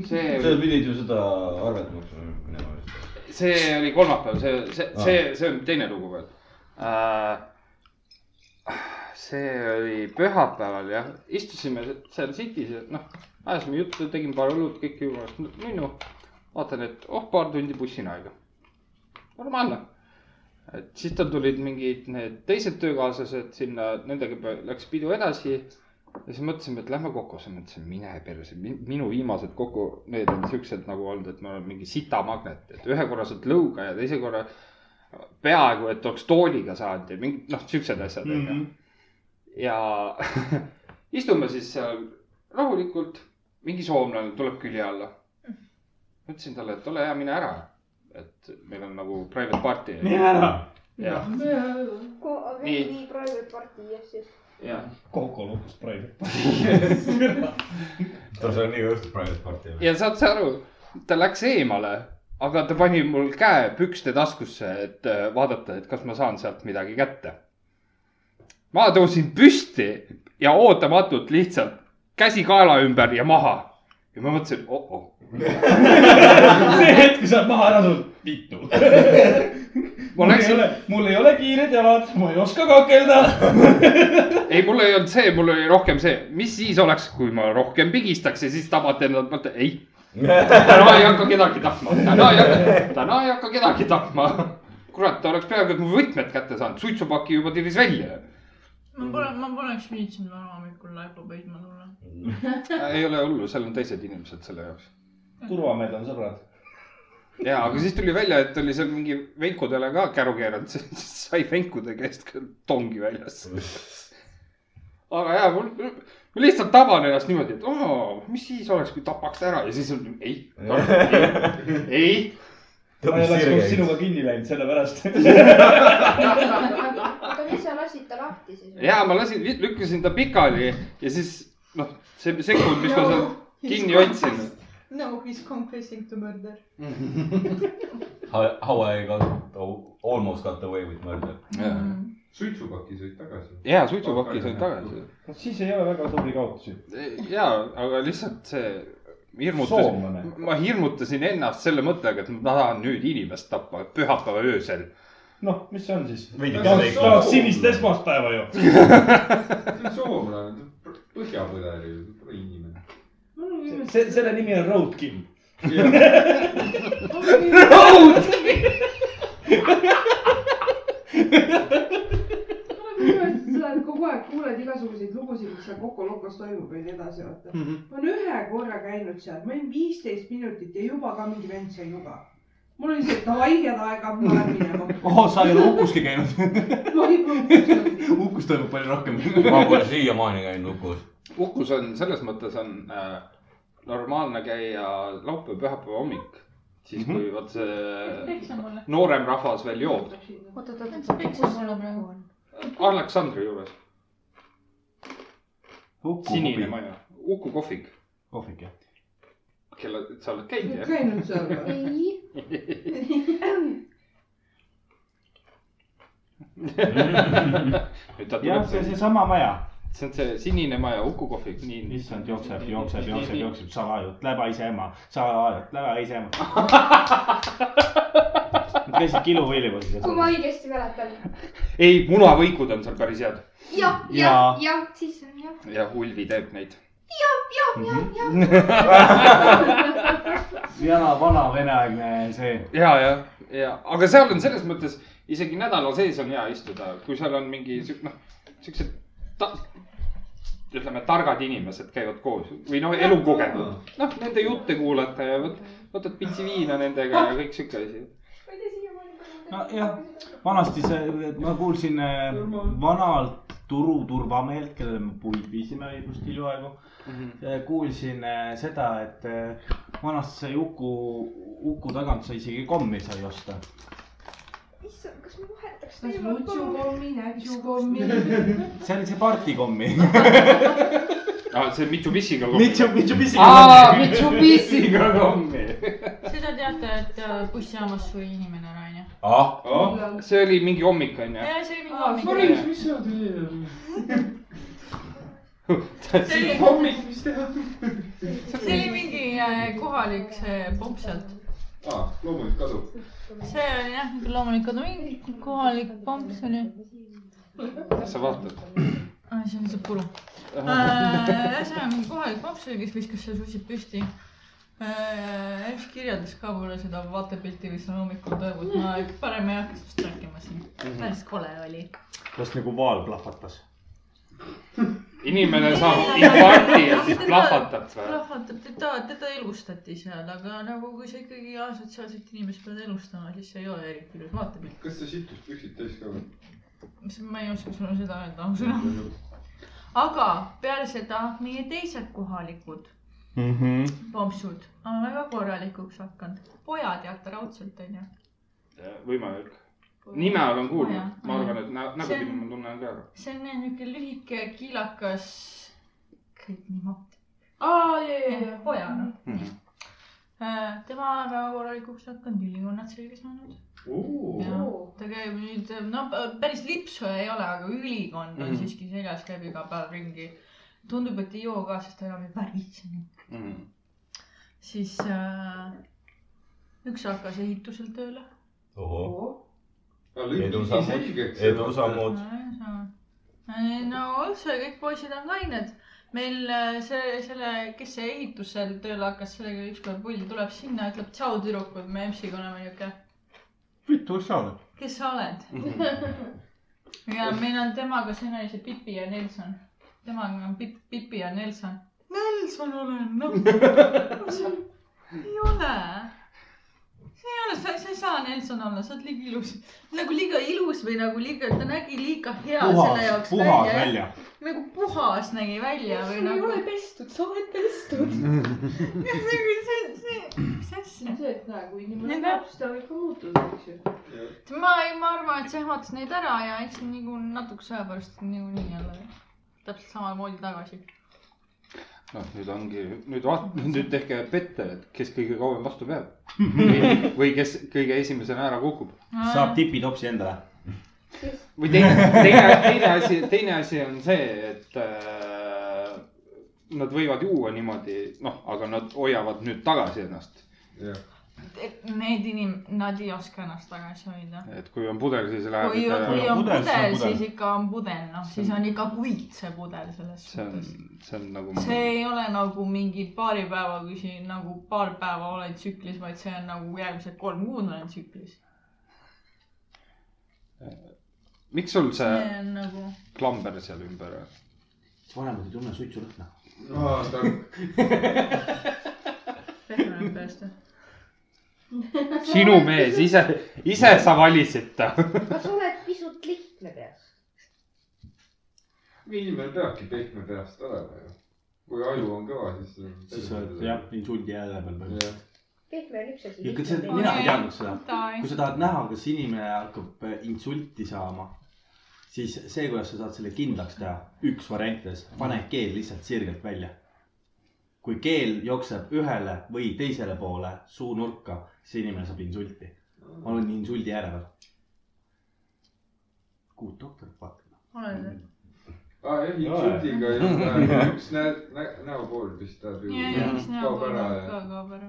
Speaker 4: sa
Speaker 3: see ,
Speaker 4: pidid ju seda arvet maksma minema vist .
Speaker 3: see oli kolmapäev , see , see , see , see on teine lugu veel uh, . see oli pühapäeval jah , istusime seal City's ja noh , ajasime juttu , tegin paar õlut , kõik jõuavad nunnu . vaatan , et oh , paar tundi bussina aega . normaalne et siis tal tulid mingid need teised töökaaslased sinna , nendega pe- läks pidu edasi . ja siis mõtlesime , et lähme kokkusse , mõtlesin mine perse , minu viimased kokku , need on siuksed nagu olnud , et ma olen mingi sitamagnet , et ühe korra saad lõuga ja teise korra peaaegu , et oleks tooliga saanud ja mingi noh , siuksed asjad
Speaker 1: Mhm.
Speaker 3: onju mm -hmm. . ja istume siis seal rahulikult , mingi soomlane tuleb külje alla . ütlesin talle , et ole hea , mine ära , et meil on nagu private party .
Speaker 8: mine ära .
Speaker 3: ja , Nii.
Speaker 5: nii private party , jah , siis .
Speaker 3: ja ,
Speaker 8: Coco lukus praegu .
Speaker 4: tal seal on nii õhtul private party .
Speaker 3: ja saad sa aru , ta läks eemale , aga ta pani mul käe pükste taskusse , et äh, vaadata , et kas ma saan sealt midagi kätte . ma tõusin püsti ja ootamatult lihtsalt käsi kaela ümber ja maha ja ma mõtlesin , oh-oh ,
Speaker 8: see hetk , kui sa oled maha ära tulnud , mitu .
Speaker 3: ma
Speaker 8: mul ei
Speaker 3: läksin ,
Speaker 8: ole , mul ei ole kiired jalad , ma ei oska kakelda .
Speaker 3: ei , mul ei olnud see , mul oli rohkem see , mis siis oleks , kui ma rohkem pigistaks ja siis tabate endalt , mõtle , ei , täna ei hakka kedagi tapma , täna ei hakka , täna ei hakka kedagi tapma . kurat , ta oleks peaaegu et mu võtmed kätte saanud , suitsupaki juba tiris välja .
Speaker 9: ma pole , ma poleks viitsinud täna hommikul laipu peitma tulla .
Speaker 3: ei ole hullu , seal on teised inimesed selle jaoks .
Speaker 8: turvamehed Mm. on sõbrad .
Speaker 3: ja , aga siis tuli välja , et oli seal mingi venkudele ka käru keeranud , siis sai venkude käest ka tongi väljas . aga ja , mul , ma lihtsalt taban ennast niimoodi , et oo , mis siis oleks , kui tapaks ära ja siis on ei , ei , ei
Speaker 8: ma ei oleks koos sinuga kinni läinud , sellepärast .
Speaker 5: aga mis sa lasid ta lahti siis ?
Speaker 3: ja ma lasin , lükkasin ta pikali ja siis noh , see sekund , mis ma seal kinni hoidsin .
Speaker 9: no he is confessing to murder .
Speaker 4: How I got , almost got away with murder .
Speaker 2: suitsupaki said tagasi .
Speaker 3: ja suitsupaki sain tagasi .
Speaker 8: no siis ei ole väga tubli kaotus ju .
Speaker 3: ja , aga lihtsalt see
Speaker 8: Soomlane.
Speaker 3: hirmutasin , ma hirmutasin ennast selle mõttega , et ma tahan nüüd inimest tappa pühapäeva öösel .
Speaker 8: noh , mis see on siis ?
Speaker 4: veidi
Speaker 8: tahad sinist esmaspäeva ju ?
Speaker 2: see on soomlane , põhjapõdeli inimene .
Speaker 8: see , selle nimi on Roadkill .
Speaker 7: minu meelest sa oled kogu aeg , kuuled igasuguseid lugusid , mis seal Coco Locos toimub ja nii edasi , vaata mm . -hmm. ma olen ühe korra käinud seal , ma olin viisteist minutit ja juba ka mingi vend sai juba . mul oli see , et davai , head aega , ma lähen minema .
Speaker 1: oh , sa ei ole Ukuski käinud .
Speaker 7: ma olin kohutav .
Speaker 1: Ukus toimub palju rohkem .
Speaker 4: ma pole siiamaani käinud Ukus .
Speaker 3: uhkus on selles mõttes on äh, normaalne käia laupäev , pühapäeva hommik , siis
Speaker 8: Mhm.
Speaker 3: kui vot see
Speaker 9: peksa mulle .
Speaker 3: noorem rahvas veel joob .
Speaker 12: oot , oot , oot ,
Speaker 9: Miks
Speaker 12: kus sul on praegu ?
Speaker 3: Aleksandri juures ,
Speaker 1: Uku
Speaker 3: sinine . maja , Uku kohvik
Speaker 1: kohvik jah .
Speaker 3: kelle , sa oled käinud jah ?
Speaker 7: käinud seal või ?
Speaker 12: ei .
Speaker 3: nüüd ta
Speaker 8: jah ,
Speaker 3: tuleb
Speaker 8: see on
Speaker 3: see ,
Speaker 8: seesama maja .
Speaker 3: see on see sinine maja , Uku kohvik , nii , nii .
Speaker 8: issand , jookseb , jookseb , jookseb , jookseb , salajutt , läbaise ema , salajutt , läbaise ema . Nad käisid kiluvõileibuses ja
Speaker 5: kui ma . õigesti mäletan .
Speaker 3: ei , munavõikud on seal päris head
Speaker 5: jah ,
Speaker 8: Jaa.
Speaker 5: jah , jah , siis on jah ,
Speaker 3: ja Ulvi teeb neid .
Speaker 5: jah , jah , jah .
Speaker 1: jana vana veneaegne see .
Speaker 3: ja , ja , ja , aga seal on selles mõttes isegi nädala sees on hea istuda , kui seal on mingi siuk- , noh , siuksed ta, ütleme , targad inimesed käivad koos või noh , elukogenud . noh , nende jutte kuulata ja võt, võtad pitsi viina nendega ja kõik siuke asi .
Speaker 1: nojah , vanasti see , ma kuulsin äh, vanalt Turu turvamehelt , kellele me puid viisime just hiljaaegu mm . -hmm. kuulsin äh, seda , et äh, vanasti sai Uku , Uku tagant sai isegi kommi sai osta .
Speaker 9: issand , kas me vahetaks
Speaker 12: kas nutsukommi , nätsukommi ?
Speaker 1: see oli see partikommi .
Speaker 3: aa , Ah, see Mitsubishiga .
Speaker 1: Mitsu- Mitsubishiga
Speaker 3: aa ,
Speaker 1: kommi.
Speaker 3: Mitsubishiga kommi .
Speaker 9: seda teate , et äh, bussijaamas suri inimene ära , onju .
Speaker 4: ah
Speaker 3: oh, , see oli mingi hommik , onju .
Speaker 9: ja see oli mingi
Speaker 7: sorry ,
Speaker 9: hommik .
Speaker 7: mis seal tuli ?
Speaker 9: see oli
Speaker 7: hommik , mis teha ?
Speaker 9: see oli mingi äh, kohalik see popp sealt .
Speaker 2: aa , loomulik kasu .
Speaker 9: see oli jah , mingi loomulik kodu , mingi kohalik pomp , see oli .
Speaker 3: kas sa vaatad ?
Speaker 9: Ah, see on lihtsalt puru . ühesõnaga mingi kohalik pomp , see oli , kes viskas seal sussid püsti . üks kirjeldas ka mulle seda vaatepilti , mis on hommikul toimunud , ma parem ei hakka sellest rääkima siin . Mhm.
Speaker 3: Mhm.
Speaker 9: päris kole oli .
Speaker 8: las nagu vaal plahvatas .
Speaker 3: inimene saab infarkti ja siis plahvatab või ?
Speaker 9: plahvatab , teda , teda elustati seal , aga nagu kui sa ikkagi asotsiaalset inimest pead elustama , siis see ei ole eriti ilus vaatepilt .
Speaker 2: kas sa situspüksid täis ka või ?
Speaker 9: mis , ma ei oska sulle seda öelda ausõna . aga peale seda meie teised kohalikud
Speaker 1: Mhm.
Speaker 9: pomsud on väga korralikuks hakanud . poja teate raudselt onju .
Speaker 3: võimalik . nime olen kuulnud , ma arvan , et nä- ,
Speaker 9: See
Speaker 3: nägupidi
Speaker 9: on-
Speaker 3: ma tunnen ka ära .
Speaker 9: see on niuke lühike kiilakas , kõik niimoodi .
Speaker 7: aa , ja , ja , ja .
Speaker 9: poja noh .
Speaker 3: Mhm.
Speaker 9: tema on väga korralikuks hakanud , ülikonnad selga saanud . ta käib nüüd , no p- päris lipsu ei ole , aga ülikond on
Speaker 3: Mhm.
Speaker 9: siiski seljas , käib iga päev ringi . tundub , et ei joo ka , sest ta enam ei päritse nii .
Speaker 3: Mhm.
Speaker 9: siis äh, üks hakkas ehitusel tööle .
Speaker 4: ohoh , edusammud ,
Speaker 2: edusammud .
Speaker 4: edusammud .
Speaker 9: no üldse kõik poisid on kained . meil äh, see , selle , kes see ehitusel tööle hakkas , sellega ükskord pulli tuleb sinna , ütleb tšau tüdrukud , me EMS-iga oleme niuke ,
Speaker 8: mitu sa oled ?
Speaker 9: kes sa oled ? ja meil on temaga , siin oli see Pipi ja Nelson , temaga on Pip- , Pipi ja Nelson . Nelson olen , noh . ei ole . see ei ole , sa , sa ei saa Nelson olla , sa oled liiga ilus . nagu liiga ilus või nagu liiga , ta nägi liiga hea selle
Speaker 8: puhas ,
Speaker 9: jaoks
Speaker 8: puhas
Speaker 9: välja .
Speaker 8: välja .
Speaker 9: nagu puhas nägi välja
Speaker 7: sul
Speaker 9: või
Speaker 7: ei
Speaker 9: nagu
Speaker 7: ole . pestud , sa oled pestud .
Speaker 9: see , see , see , mis
Speaker 12: see on
Speaker 9: asja .
Speaker 12: see , et näe , kui inimene
Speaker 9: Nende-
Speaker 12: läheb , siis ta võib ka muutuda , eks ju .
Speaker 9: ma , ma arvan , et see ehmatas neid ära ja eks nagu natukese aja pärast niikuinii jälle täpselt samamoodi tagasi .
Speaker 3: noh , nüüd ongi , nüüd vaat- , nüüd tehke pette , et kes kõige kauem vastu peab või, või kes kõige esimesena ära kukub .
Speaker 8: saab tipitopsi endale .
Speaker 3: või teine , teine , teine asi , teine asi on see , et äh, nad võivad juua niimoodi , noh , aga nad hoiavad nüüd tagasi ennast .
Speaker 9: et need inim- , nad ei oska ennast tagasi hoida .
Speaker 3: et kui on pudel , siis
Speaker 9: kui , kui
Speaker 3: läheb .
Speaker 9: on
Speaker 8: pudel, siis on
Speaker 9: pudel ,
Speaker 8: pudel.
Speaker 9: siis ikka on pudel , noh , siis on ikka puit see pudel selles
Speaker 3: see on
Speaker 9: suhtes .,
Speaker 3: see on nagu .
Speaker 9: see ei ole nagu mingi paari päeva , kui siin nagu paar päeva oled tsüklis , vaid see on nagu järgmised kolm kuud olen tsüklis .
Speaker 3: miks sul see
Speaker 9: see on nagu ,
Speaker 3: klamber seal ümber on ?
Speaker 1: vanemad ei tunne suitsulõhna .
Speaker 2: aa , tark .
Speaker 9: pehme on pärast jah .
Speaker 3: sinu mees ise , ise sa valisid ta .
Speaker 5: kas oled pisut lihtne peas ?
Speaker 2: inimene peabki pehme peast olema ju . kui aju on kõva , siis .
Speaker 1: siis oled jah , insuldi hääle peal palju .
Speaker 2: jah .
Speaker 5: pehme on üks asi .
Speaker 1: ja kas see , mina ei teadnud seda . kui
Speaker 9: Davai ,
Speaker 1: sa tahad näha , kas inimene hakkab äh, insulti saama , siis see , kuidas sa saad selle kindlaks teha , üks variantides , pane keel lihtsalt sirgelt välja . kui keel jookseb ühele või teisele poole suu nurka , see inimene saab insulti . ma olen insuldi ääre peal . kuud doktorit vaatame .
Speaker 9: olen see .
Speaker 2: aa jah , insultiga ei ole , üks näe- , näe- , näopool pistab ju .
Speaker 9: ja , ja mis näo
Speaker 2: kaob
Speaker 9: pool
Speaker 2: ära
Speaker 9: on
Speaker 2: ja ,
Speaker 9: ka kaob ära .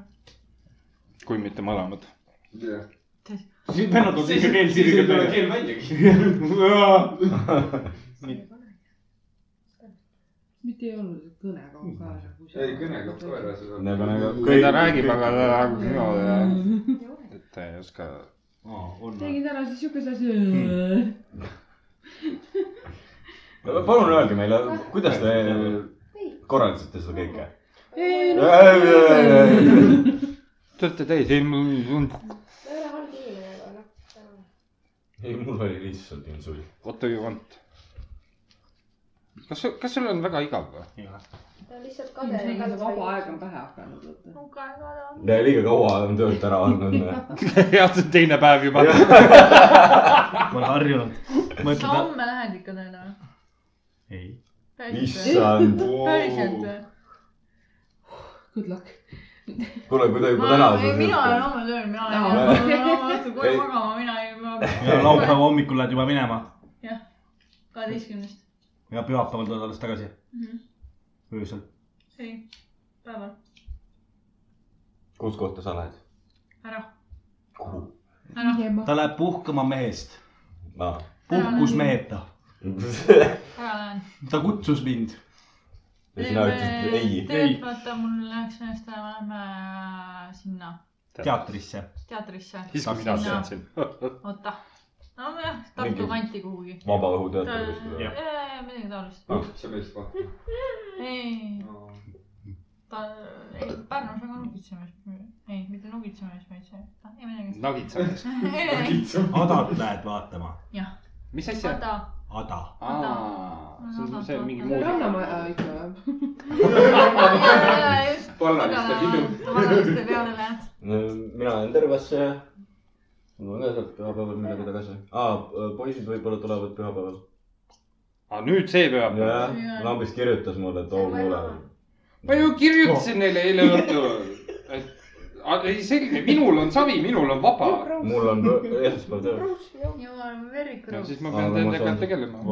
Speaker 3: kui mitte mõlemad .
Speaker 2: jah .
Speaker 1: siis vennad on ikka keel sirgelt välja .
Speaker 2: keel väljagi .
Speaker 7: mitte ei olnud kõnekaup kaasa .
Speaker 2: ei , kõnekõpp koeras .
Speaker 3: kui ta räägib , aga ta räägib niimoodi jah , et ta ei oska .
Speaker 7: tegin täna siis siukese asja .
Speaker 4: palun öelge meile , kuidas te korraldasite seda kõike ?
Speaker 7: ei
Speaker 4: Ei, ei, ei, ei.
Speaker 3: Te olete täis , ei mul on ,
Speaker 5: ma ei ole halb inimene , aga noh .
Speaker 4: ei , mul oli lihtsalt insult .
Speaker 3: what do you want ? kas , kas sul on väga igav või ?
Speaker 5: ta on lihtsalt kade .
Speaker 7: ilmselgelt vaba aega on vähe hakanud .
Speaker 4: ja liiga kaua on töölt ära andnud .
Speaker 3: jah , see on teine päev juba .
Speaker 1: ma olen harjunud .
Speaker 9: kas sa homme lähed ikka tööle või ?
Speaker 1: ei .
Speaker 4: Issand.
Speaker 9: päriselt või ?
Speaker 7: Good luck .
Speaker 4: kuule , kui ta juba
Speaker 9: ma
Speaker 4: täna
Speaker 9: ei , mina olen . homme tööl , mina lähen
Speaker 4: Aa.
Speaker 9: homme tööle , ma hakkan kohe
Speaker 4: Ei.
Speaker 9: magama , mina ei ,
Speaker 1: ja
Speaker 9: ma .
Speaker 1: laupäeva hommikul lähed juba minema
Speaker 9: jah , kaheteistkümnest .
Speaker 1: ja pühapäeval tuled alles tagasi öösel .
Speaker 9: ei , päeval ,
Speaker 4: kus kohta sa lähed ?
Speaker 9: ära ,
Speaker 4: kuhu ?
Speaker 9: ära .
Speaker 1: ta läheb puhkama mehest ,
Speaker 4: noh .
Speaker 1: puhkus meheta .
Speaker 9: ära lähen .
Speaker 1: ta kutsus mind .
Speaker 4: ja sina ütlesid ei .
Speaker 9: tegelikult vaata , mul läheks ühest ajal , me läheme sinna
Speaker 1: teatrisse .
Speaker 9: teatrisse .
Speaker 3: siis kui mina teadsin .
Speaker 9: oota , no me Tartu
Speaker 4: Mingi-
Speaker 9: kanti kuhugi .
Speaker 4: vabaõhuteater kuskil või ?
Speaker 9: midagi taolist .
Speaker 2: sa mees vaata .
Speaker 9: ei , ta , ei Pärnus on ka nugitsemas , ei mitte nugitsemas , vaid see , ei midagi .
Speaker 3: nagitsemas .
Speaker 1: Adat lähed vaatama ,
Speaker 9: jah ,
Speaker 3: mis asja ?
Speaker 9: oota ,
Speaker 1: Ada .
Speaker 3: see on see on mingi
Speaker 7: see on
Speaker 3: muu .
Speaker 7: rannamaja ikka või ?
Speaker 9: just ,
Speaker 2: vallaliste pidu .
Speaker 9: vanaliste peale lähed .
Speaker 4: mina lähen Tõrvasse . mul on ka sealt pühapäeval midagi tagasi . aa , poisid võib-olla tulevad pühapäeval .
Speaker 3: aga nüüd see peab .
Speaker 4: jah , lambist kirjutas mulle , et oo , kuule .
Speaker 3: ma ju kirjutasin neile eile õhtul , et a- ei selge , minul on savi , minul on vaba .
Speaker 4: mul on esmaspäev töö .
Speaker 9: jumal , Merrick
Speaker 3: no
Speaker 9: Roos .
Speaker 3: siis ma pean nendega tegelema .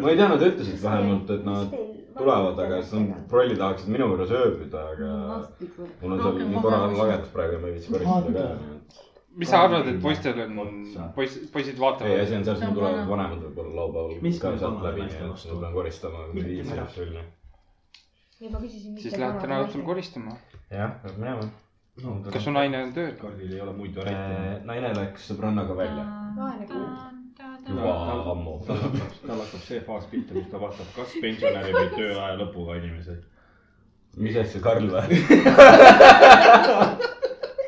Speaker 4: ma ei tea , nad ütlesid vähemalt , et nad tulevad , aga siis nad prolli tahaksid minu juures ööbida , aga mul on seal nii korra lagedus praegu ja ma ei viitsi koristada ka .
Speaker 3: mis sa arvad , et poistel on , poiss , poisid
Speaker 4: ei ,
Speaker 3: vaatavad ?
Speaker 4: asi on selles , et mul tulevad vanemad võib-olla laupäeval
Speaker 1: Mis
Speaker 4: ka
Speaker 1: need
Speaker 4: sealt
Speaker 1: vanad
Speaker 4: läbi ,
Speaker 1: naised
Speaker 4: nii et
Speaker 1: vastu
Speaker 4: ma pean koristama mingi viis ja küll .
Speaker 5: ei , ma küsisin .
Speaker 3: siis lähed täna õhtul . koristama .
Speaker 4: jah , peab minema .
Speaker 3: kas su naine on tööl ?
Speaker 1: kardil ei ole muid Äh.
Speaker 4: naine läks sõbrannaga välja .
Speaker 5: vaene kuulda .
Speaker 4: juba ammu .
Speaker 1: tal hakkab see faas pihta , kus ta vastab , kas pensionäri või tööaja lõpuga inimesed .
Speaker 4: mis asja , Karl või ?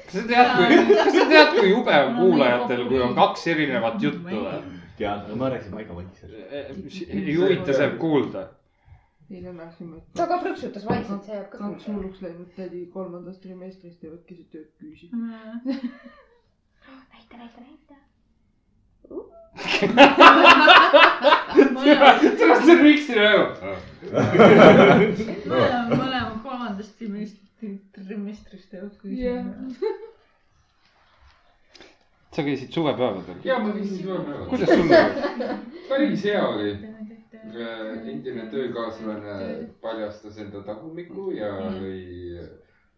Speaker 3: kas sa tead , kui , kas sa tead , kui jube on kuulajatel , kui on kaks erinevat juttu või ?
Speaker 1: tead , ma rääkisin Maiga vaikselt .
Speaker 3: ei huvita see kuulda .
Speaker 7: eile läksime .
Speaker 5: ta ka plõksutas vaikselt , see jääb ka
Speaker 7: kaks hulluks läinud tädi kolmandast trimestrist teevad keset ööd küüsi .
Speaker 5: näita , näita , näita .
Speaker 3: tead , see on riksin öö .
Speaker 9: mõlema kolmandast trimestri- trimestrist ei olnud küsimus .
Speaker 3: sa käisid suvepäevadel .
Speaker 2: ja ma käisin suvel
Speaker 3: kuidas sul oli ?
Speaker 2: päris hea oli . endine töökaaslane paljastas enda tagumikku ja
Speaker 9: Mhm.
Speaker 2: lõi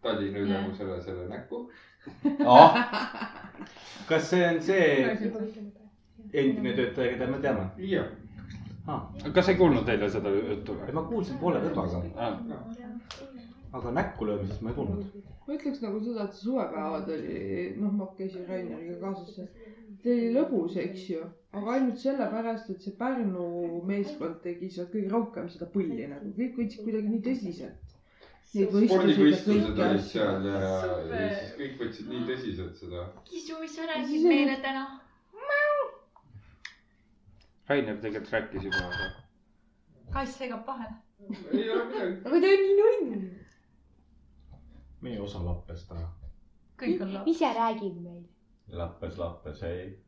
Speaker 2: Tallinna ülemusele selle näkku .
Speaker 1: Ah! kas see on see endine töötaja , keda me teame ?
Speaker 2: jah ,
Speaker 3: kas ei kuulnud eile seda juttu või ?
Speaker 1: ma kuulsin poole kõrvaga , aga näkku löömisest ma ei kuulnud .
Speaker 7: ma ütleks nagu seda , et see suvepäevad oli , noh , ma käisin Raineriga kaasas seal . see oli lõbus , eks ju , aga ainult sellepärast , et see Pärnu meeskond tegi seal kõige rohkem seda põlli nagu , kõik võtsid kuidagi nii tõsiselt . Neid
Speaker 2: spordivõistlused
Speaker 7: võistlusi ja
Speaker 2: olid
Speaker 7: kõike
Speaker 2: seal
Speaker 7: asju .
Speaker 2: ja , ja siis kõik võtsid nii tõsiselt seda .
Speaker 9: kisu , mis sa räägid meile täna ?
Speaker 3: Rainer tegelikult rääkis juba , aga
Speaker 9: kass segab vahele .
Speaker 2: ei ole midagi .
Speaker 5: aga ta on nii nunn .
Speaker 1: meie osa lappes täna .
Speaker 9: kõik on laps .
Speaker 5: ise räägib meil .
Speaker 4: lappes , lappes , ei .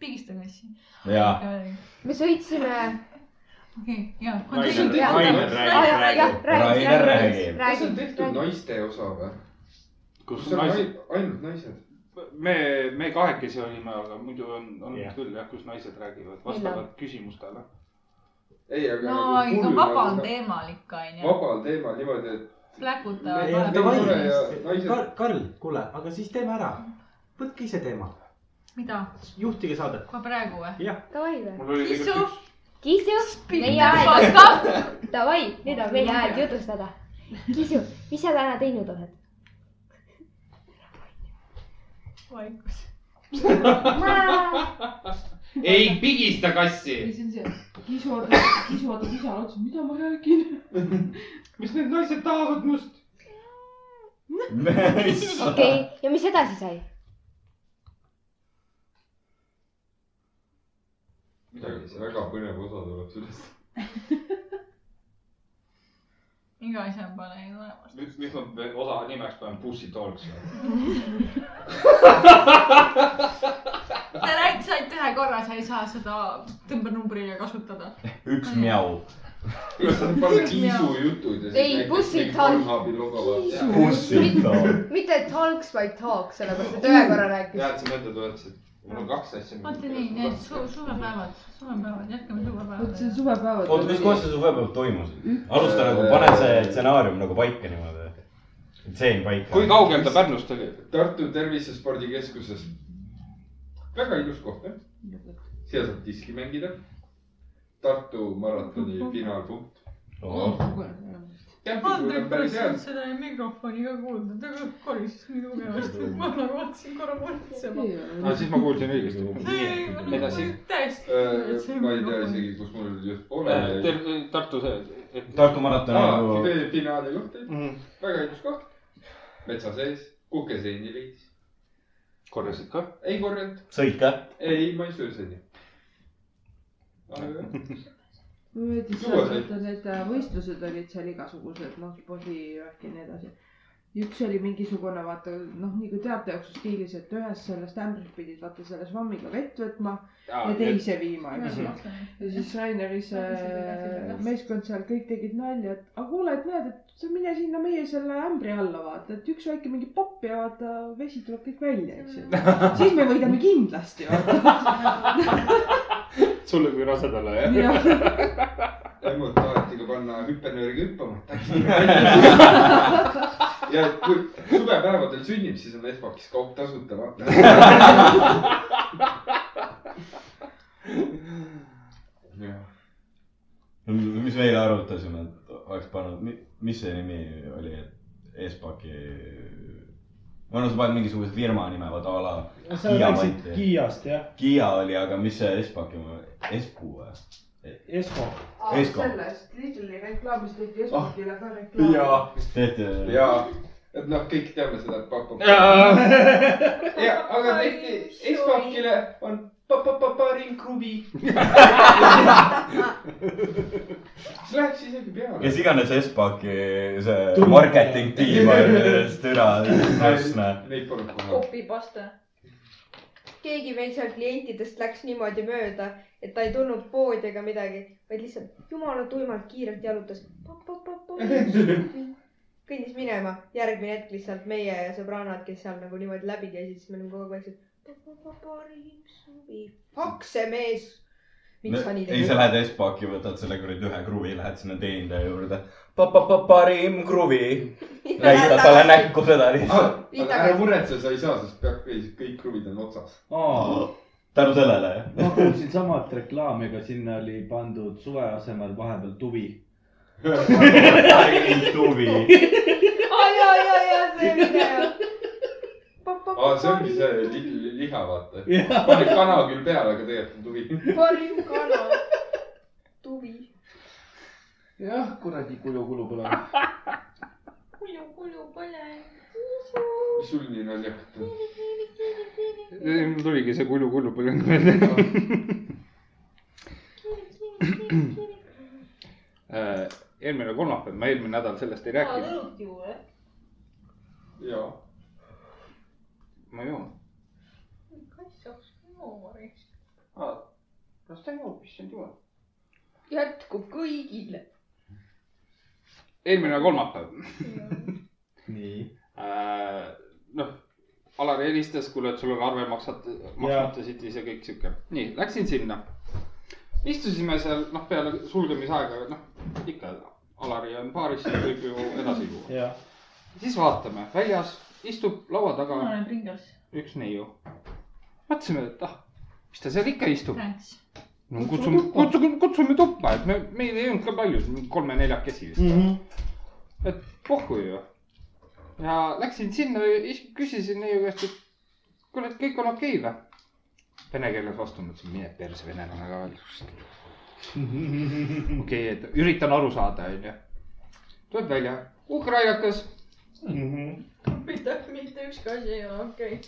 Speaker 9: pigista kassi .
Speaker 4: jaa .
Speaker 9: okei ,
Speaker 5: me sõitsime
Speaker 9: ja .
Speaker 1: Rainer ,
Speaker 2: Jaa.
Speaker 1: Rainer
Speaker 5: Ah, jah,
Speaker 1: räägib
Speaker 5: jah,
Speaker 1: praegu .
Speaker 5: räägib,
Speaker 4: Rainer
Speaker 5: jah,
Speaker 4: räägib.
Speaker 2: kas on
Speaker 5: räägib,
Speaker 2: tehtud
Speaker 5: räägib.
Speaker 2: naiste osa või ?
Speaker 3: kus
Speaker 2: kas on
Speaker 3: naised ,
Speaker 2: ai- ainult naised ?
Speaker 3: me , me kahekesi olime , aga muidu on , on
Speaker 1: Jah.
Speaker 3: yeah. küll jah , kus naised räägivad , vastavad küsimustele .
Speaker 2: ei , aga nagu
Speaker 9: no ikka vabal . teemal ikka onju .
Speaker 2: vabal teemal niimoodi , et .
Speaker 9: pläkutavad
Speaker 2: Ei,
Speaker 9: vahele .
Speaker 2: davai. naised-
Speaker 1: Karl , Karl , kuule , aga siis teeme ära . võtke ise teema ,
Speaker 9: mida ,
Speaker 1: juhtige saadet .
Speaker 9: kohe praegu või ?
Speaker 1: jah ,
Speaker 5: davai või ?
Speaker 3: mul oli
Speaker 9: kisu
Speaker 3: tegelikult ,
Speaker 13: kisu , meie aeg . Davai , nüüd on meie aeg jutustada . kisu , mis sa täna teinud oled ?
Speaker 9: vaikus .
Speaker 2: ei pigista kassi .
Speaker 14: see on see , kisu vaatab , kisu vaatab isale otsa , mida ma räägin . mis need naised tahavad must ?
Speaker 13: okei , ja mis edasi sai ?
Speaker 2: midagi , see väga põnev nagu osa tuleb sellest .
Speaker 9: iga asja peale ei tule vastu .
Speaker 3: nüüd , nüüd ma pe- osa nimeks panen Pussy Talks .
Speaker 9: sa rääkisid ainult ühe korra , sa ei saa seda tõmbenumbrile kasutada .
Speaker 4: üks mjau .
Speaker 2: paneme kiisu jutud ja siis
Speaker 5: Ei, bussid tal-
Speaker 2: Pornhubi logo vaata .
Speaker 5: mitte talks , vaid talks , sellepärast et ühe korra rääkis .
Speaker 2: tead , sa mõtled , et mul on kaks asja .
Speaker 9: vaata nii , need su- suvepäevad , suvepäevad , jätkame
Speaker 7: vot see
Speaker 9: suvepäevadega .
Speaker 7: suvepäevad .
Speaker 4: oota , mis kohas see suvepäev toimus ? alusta nagu , pane see stsenaarium nagu paika niimoodi . tseen paika .
Speaker 3: kui kaugel ta Pärnust oli ?
Speaker 2: Tartu Tervisespordikeskuses . väga ilus koht , jah . seal saab diski mängida . Tartu maratoni finaalpunkt . kämpingul on päris
Speaker 9: andeks ,
Speaker 2: hea
Speaker 9: et . seda ei mikrofoni ka kuulda , ta korises nii tugevasti , et ma nagu hakkasin korra muretsema .
Speaker 4: Ah,
Speaker 3: no Ah, siis ma kuulsin õigesti . edasi .
Speaker 9: täiesti .
Speaker 2: Äh, ma ei tea isegi , kus mul just pole .
Speaker 3: Äh, Tartu see , et .
Speaker 4: Tartu maratoni
Speaker 2: aa ,
Speaker 4: nagu
Speaker 2: finaali koht , väga ilus koht . metsa sees , kukeseeni leidis .
Speaker 3: korjasid ka ?
Speaker 2: ei korjanud ,
Speaker 4: sõid ka ?
Speaker 2: ei , ma ei söö seeni . aga
Speaker 7: mulle meeldis see ,
Speaker 2: Suva sai.
Speaker 7: et need äh, võistlused olid seal igasugused , noh , spordivärk ja nii edasi . üks oli mingisugune , vaata , noh , nagu teatejooksu stiilis , et ühes sellest ämbrist pidid , vaata , selle švammiga vett võtma
Speaker 4: Ah,
Speaker 7: ja teise viima , eks ju . ja siis Raineri see meeskond seal kõik tegid nalja , et aga kuule , et näed , et sa mine sinna meie selle ämbri alla , vaata , et üks väike mingi popp ja vaata , vesi tuleb kõik välja , eks ju . siis me võidame kindlasti , vaata .
Speaker 3: sulle kui rasedale , jah ?
Speaker 2: ämmud taheti ka panna hüppenööriga hüppama , et äkki tuleb välja . ja kui suvepäevadel sünnib , siis on Esmakis kaup tasuta , vaata .
Speaker 4: mis me eile arutasime , et oleks pannud , mis see nimi oli , et Espaki . ma arvan , sa paned mingisuguse firma nime , vaata a la .
Speaker 1: sa läksid . Kiiast jah ,
Speaker 4: Kiia oli , aga mis see Espaki , Espu või ?
Speaker 1: Esko .
Speaker 4: Esko.
Speaker 7: Ah, sellest Lidli reklaamis tehti Espakile ka reklaam .
Speaker 2: ja ,
Speaker 4: tehti .
Speaker 2: ja , et noh , kõik teame seda , et papp on . ja , aga tehti Esmakile on pa-pa-pa-parim kruvi . siis läheks isegi peale .
Speaker 4: kes iganes Espaki see
Speaker 2: Tundub.
Speaker 4: marketing tiim on , türa , täpne .
Speaker 2: Neid polnud kohe .
Speaker 9: kopipasta .
Speaker 5: keegi meil seal klientidest läks niimoodi mööda , et ta ei tulnud poodi ega midagi , vaid lihtsalt jumala tuimalt kiirelt jalutas . kõndis minema , järgmine hetk lihtsalt meie sõbrannad , kes seal nagu niimoodi läbi käisid , siis me olime kogu aeg vaikselt . parim suvi , haksemees . miks sa nii
Speaker 4: ei , sa lähed Espaki , võtad selle kuradi ühe kruvi , lähed sinna teenindaja juurde . parim kruvi . näitad talle näkku seda lihtsalt .
Speaker 2: aga ära muretse , sa ei saa , sest peab , kõik kruvid on otsas .
Speaker 4: tänu sellele , jah .
Speaker 15: ma kuulsin samat reklaami , aga sinna oli pandud suve asemel vahepeal tuvi .
Speaker 4: tuvi .
Speaker 5: aa ja , ja , ja see video .
Speaker 2: aa , see ongi see li, äh, li, liha , vaata
Speaker 15: Jah. .
Speaker 2: paned kana küll peale , aga tegelikult on tuvi .
Speaker 5: parim kana , tuvi .
Speaker 15: jah , kuradi kuju kulub üle .
Speaker 9: kulju , kulju , põlen .
Speaker 2: mis sul nii naljakat on ?
Speaker 3: tuligi see kulju , kulju põleng välja . Äh, eelmine kolmapäev , ma eelmine nädal sellest ei rääkinud .
Speaker 9: õlut juua .
Speaker 2: jaa .
Speaker 3: ma joon .
Speaker 9: kas saaks juua võiks ?
Speaker 3: las ta joob , issand jumal .
Speaker 5: jätkub kõigile .
Speaker 3: eelmine kolmapäev .
Speaker 15: nii .
Speaker 3: noh , Alar helistas , kuule , et sul on arve maksat- , maksmata siit ja kõik sihuke . nii , läksin sinna . istusime seal , noh , peale sulgemisaega , noh ikka Alari on baaris , siis võib ju edasi juua .
Speaker 1: jah .
Speaker 3: siis vaatame , väljas istub laua taga
Speaker 9: ma olen pringles .
Speaker 3: üks neiu . mõtlesime , et ah , mis ta seal ikka istub . no kutsume , kutsume , kutsume tuppa , et me , meil ei olnud ka palju , kolme-neljakesi vist mm . -hmm. et pohhu ju . ja läksin sinna , küsisin neiu käest , et kuule , et kõik on okei okay, või ? Vene keeles vastu , ma ütlesin , mine perse , venelane ka veel . okei , et üritan aru saada , onju . tuleb välja , ukrainakas
Speaker 9: mitte , mitte ükski asi ei ole okei .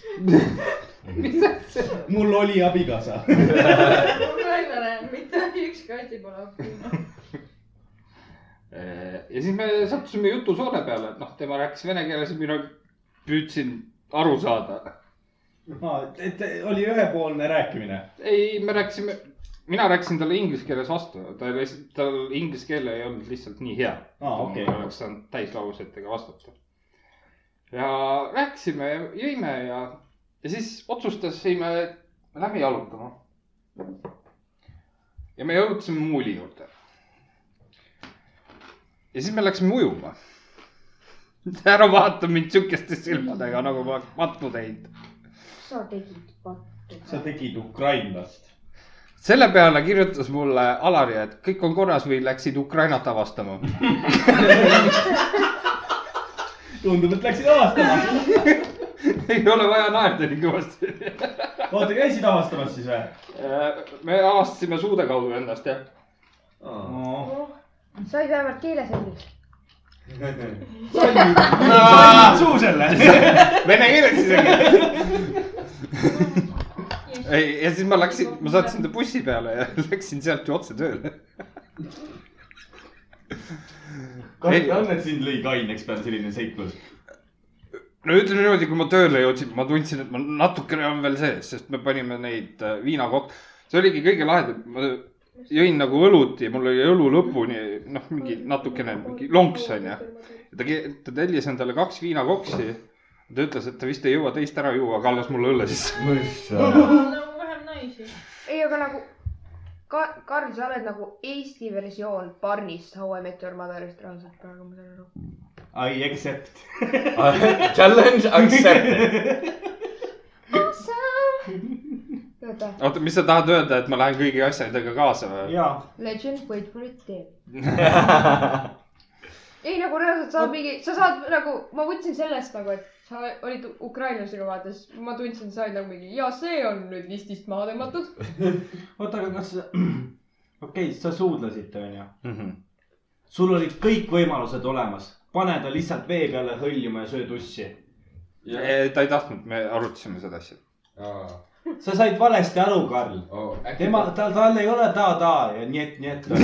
Speaker 3: mis asja ?
Speaker 1: mul oli abikaasa .
Speaker 9: ukrainlane , mitte ükski asi pole okei .
Speaker 3: Äh, ja siis me sattusime jutusoone peale , et noh , tema rääkis vene keeles ja mina püüdsin aru saada .
Speaker 1: et oli ühepoolne rääkimine .
Speaker 3: ei , me rääkisime , mina rääkisin talle inglise keeles vastu , ta lihtsalt , tal inglise keel ei olnud lihtsalt nii hea .
Speaker 1: Aa, okei.
Speaker 3: oleks saanud täislausetega vastata . ja rääkisime ja jõime ja , ja siis otsustasime , et me lähme jalutama . ja me jalutasime muuli juurde . ja siis me läksime ujuma . ära vaata mind sihukeste silmadega , nagu ma oleks pattu teinud .
Speaker 13: sa tegid pattu .
Speaker 1: sa tegid ukrainlast .
Speaker 3: selle peale kirjutas mulle Alari , et kõik on korras või läksid Ukrainat avastama .
Speaker 1: tundub , et läksid avastama .
Speaker 3: ei ole vaja naerda nii kõvasti .
Speaker 1: oota , käisid avastamas siis või ?
Speaker 3: Äh, me avastasime suude kaudu ennast jah .
Speaker 13: said vähemalt keele selgeks .
Speaker 1: suu selle .
Speaker 3: Vene keeles isegi . ei , ja siis ma läksin , ma saatsin ta bussi peale ja läksin sealt ju otse tööle .
Speaker 16: kahju on , et sind lõi kaineks peale selline seiklus .
Speaker 3: no ütleme niimoodi , kui ma tööle jõudsin , ma tundsin , et ma natukene on veel sees , sest me panime neid äh, viinakok- , see oligi kõige lahedam , ma jõin nagu õlut ja mul oli õlu lõpuni , noh , mingi natukene , mingi lonks onju . ta , ta tellis endale kaks viinakoksi . ta ütles , et ta vist ei jõua teist ära juua , aga alles mulle õlle sisse .
Speaker 9: nagu vähem naisi .
Speaker 13: ei , aga nagu Ka- , Karl , sa oled nagu Eesti versioon Barnist How I Met Your Motherist reaalselt praegu , ma saan aru .
Speaker 1: I accept .
Speaker 4: Challenge accepted .
Speaker 13: oota ,
Speaker 3: oota , mis sa tahad öelda , et ma lähen kõigi asjadega kaasa või ?
Speaker 1: jaa .
Speaker 13: legend wait for it dead . ei nagu reaalselt saab mingi , sa saad nagu , ma võtsin sellest nagu , et sa olid ukrainlasega vaadates , ma tundsin , sa olid nagu mingi ja see on nüüd listist maha tõmmatud .
Speaker 1: oota , aga kas , okei , sa suudlesite , onju
Speaker 3: Mhm. .
Speaker 1: sul olid kõik võimalused olemas , pane ta lihtsalt vee peale hõljuma ja söö tussi .
Speaker 3: ta ei tahtnud , me arutasime seda asja .
Speaker 1: sa said valesti aru , Karl
Speaker 2: oh, .
Speaker 1: tema , tal , tal ei ole ta-ta ja njet-njet .
Speaker 13: tal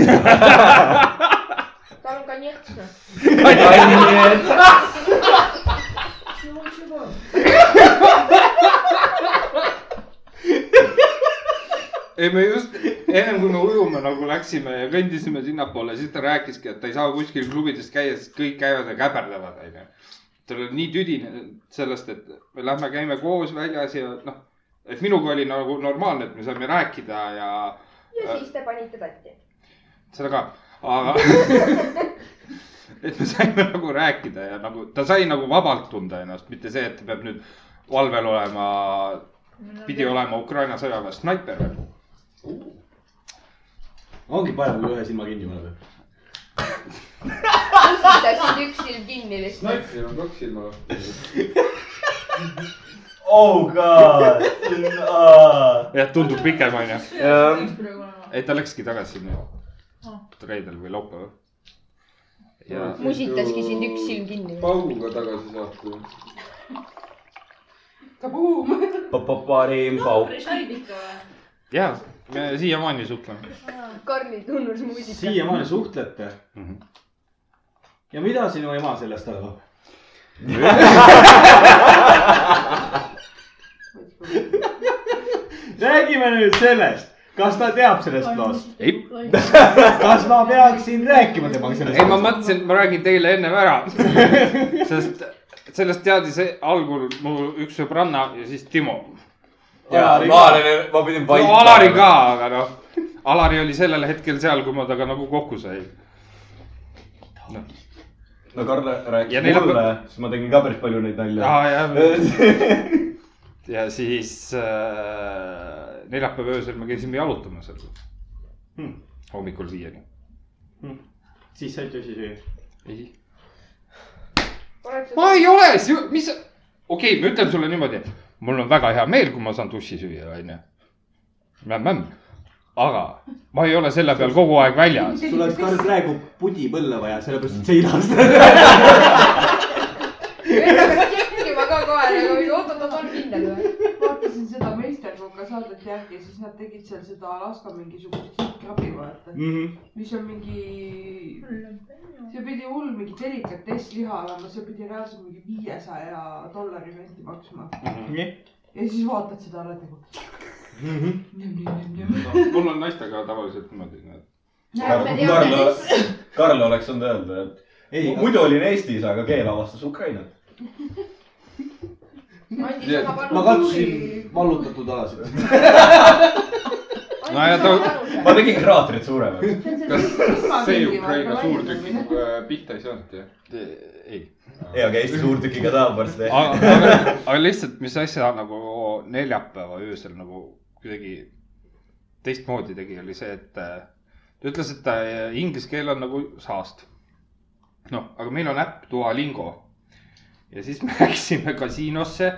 Speaker 13: on
Speaker 5: noh.
Speaker 13: konjektsne .
Speaker 3: ei , me just ennem kui me ujuma nagu läksime ja kõndisime sinnapoole , siis ta rääkiski , et ta ei saa kuskil klubides käia , sest kõik käivad ja käperlevad , onju . tal oli nii tüdine sellest , et me lähme , käime koos väljas ja noh , et minuga oli nagu normaalne , et me saime rääkida ja
Speaker 5: ja siis te panite tatti .
Speaker 3: seda ka , aga et me saime nagu rääkida ja nagu ta sai nagu vabalt tunda ennast , mitte see , et ta peab nüüd valvel olema , pidi olema Ukraina sõjaväes snaiper veel .
Speaker 7: ongi parem , kui ühe silma kinni paned .
Speaker 5: tõstsid hästi üks silm kinni lihtsalt .
Speaker 2: snaipril on kaks silma lahti .
Speaker 4: Oh god uh... .
Speaker 3: jah , tundub pikem onju .
Speaker 9: praegu olema .
Speaker 3: ei , ta läkski tagasi sinna
Speaker 9: Ah.
Speaker 3: reedel või laupäeval . ja
Speaker 13: musitaski sind üks silm kinni .
Speaker 2: pauguga tagasi saata .
Speaker 17: kabuum .
Speaker 4: parim pauk .
Speaker 9: said ikka või ?
Speaker 3: ja me siiamaani suhtleme .
Speaker 13: Karli tunnus muusika .
Speaker 7: siiamaani suhtlete
Speaker 3: mm . -hmm.
Speaker 7: ja mida sinu ema sellest arvab ? räägime nüüd sellest , kas ta teab sellest loost ?
Speaker 3: ei ,
Speaker 7: kas ma peaksin rääkima temaga
Speaker 3: ei ma
Speaker 7: sellest ?
Speaker 3: mõtlesin , et ma räägin teile ennem ära . sest sellest teadis algul mu üks sõbranna ja siis Timo .
Speaker 4: ja Maarjale ma pidin
Speaker 3: no Alari ka , aga noh , Alari oli sellel hetkel seal , kui ma temaga nagu kokku sain .
Speaker 4: no Karl
Speaker 3: Ja
Speaker 4: rääkis
Speaker 3: neil on-
Speaker 4: mulle , siis ma tegin ka päris palju neid
Speaker 3: Aa,
Speaker 4: nalju .
Speaker 3: ja siis äh, neljapäeva öösel me käisime jalutamas seal . hmm. . hommikul siiani
Speaker 8: hmm. . siis said tüsi süüa ?
Speaker 3: ei . ma ei ole , mis , okei okay, , ma ütlen sulle niimoodi , mul on väga hea meel , kui ma saan duši süüa , onju . mämm-mämm , aga ma ei ole selle peal kogu aeg väljas .
Speaker 18: sul oleks Karl praegu pudi põlle vaja , sellepärast et sa ei lasta .
Speaker 5: hakkas kehtima ka kohe nagu , oot-oot-oot , on kindel või ?
Speaker 7: vaatasin seda meisterkokka saadet järgi , siis nad tegid seal seda Alaska mingisugust krabi , vaata mm ,
Speaker 8: Mhm.
Speaker 7: -hmm. mis on mingi , see pidi hull mingi delikates liha olema , see pidi reaalselt mingi viiesaja dollari renti maksma mm .
Speaker 3: Mhm.
Speaker 7: ja siis vaatad seda , oled nagu .
Speaker 2: Mhm.
Speaker 3: mul on naistega tavaliselt niimoodi , et .
Speaker 4: Karl , Karl oleks saanud öelda , et ei, muidu olin Eestis , aga keel avastas Ukrainat .
Speaker 1: ma katsusin vallutatud alasid .
Speaker 3: no ja ta .
Speaker 4: ma tegin kraatrid suuremaks .
Speaker 2: kas see Ukraina suurtükk äh, pihta ei saanud ju ?
Speaker 3: ei .
Speaker 4: ei , aga Eesti suurtükiga tahab varsti
Speaker 3: aga , aga , aga lihtsalt , mis asja nagu neljapäeva öösel nagu kuidagi teistmoodi tegi , oli see , et äh, ta ütles , et äh, inglise keel on nagu saast . noh , aga meil on äpp Duolingo ja siis me läksime kasiinosse ,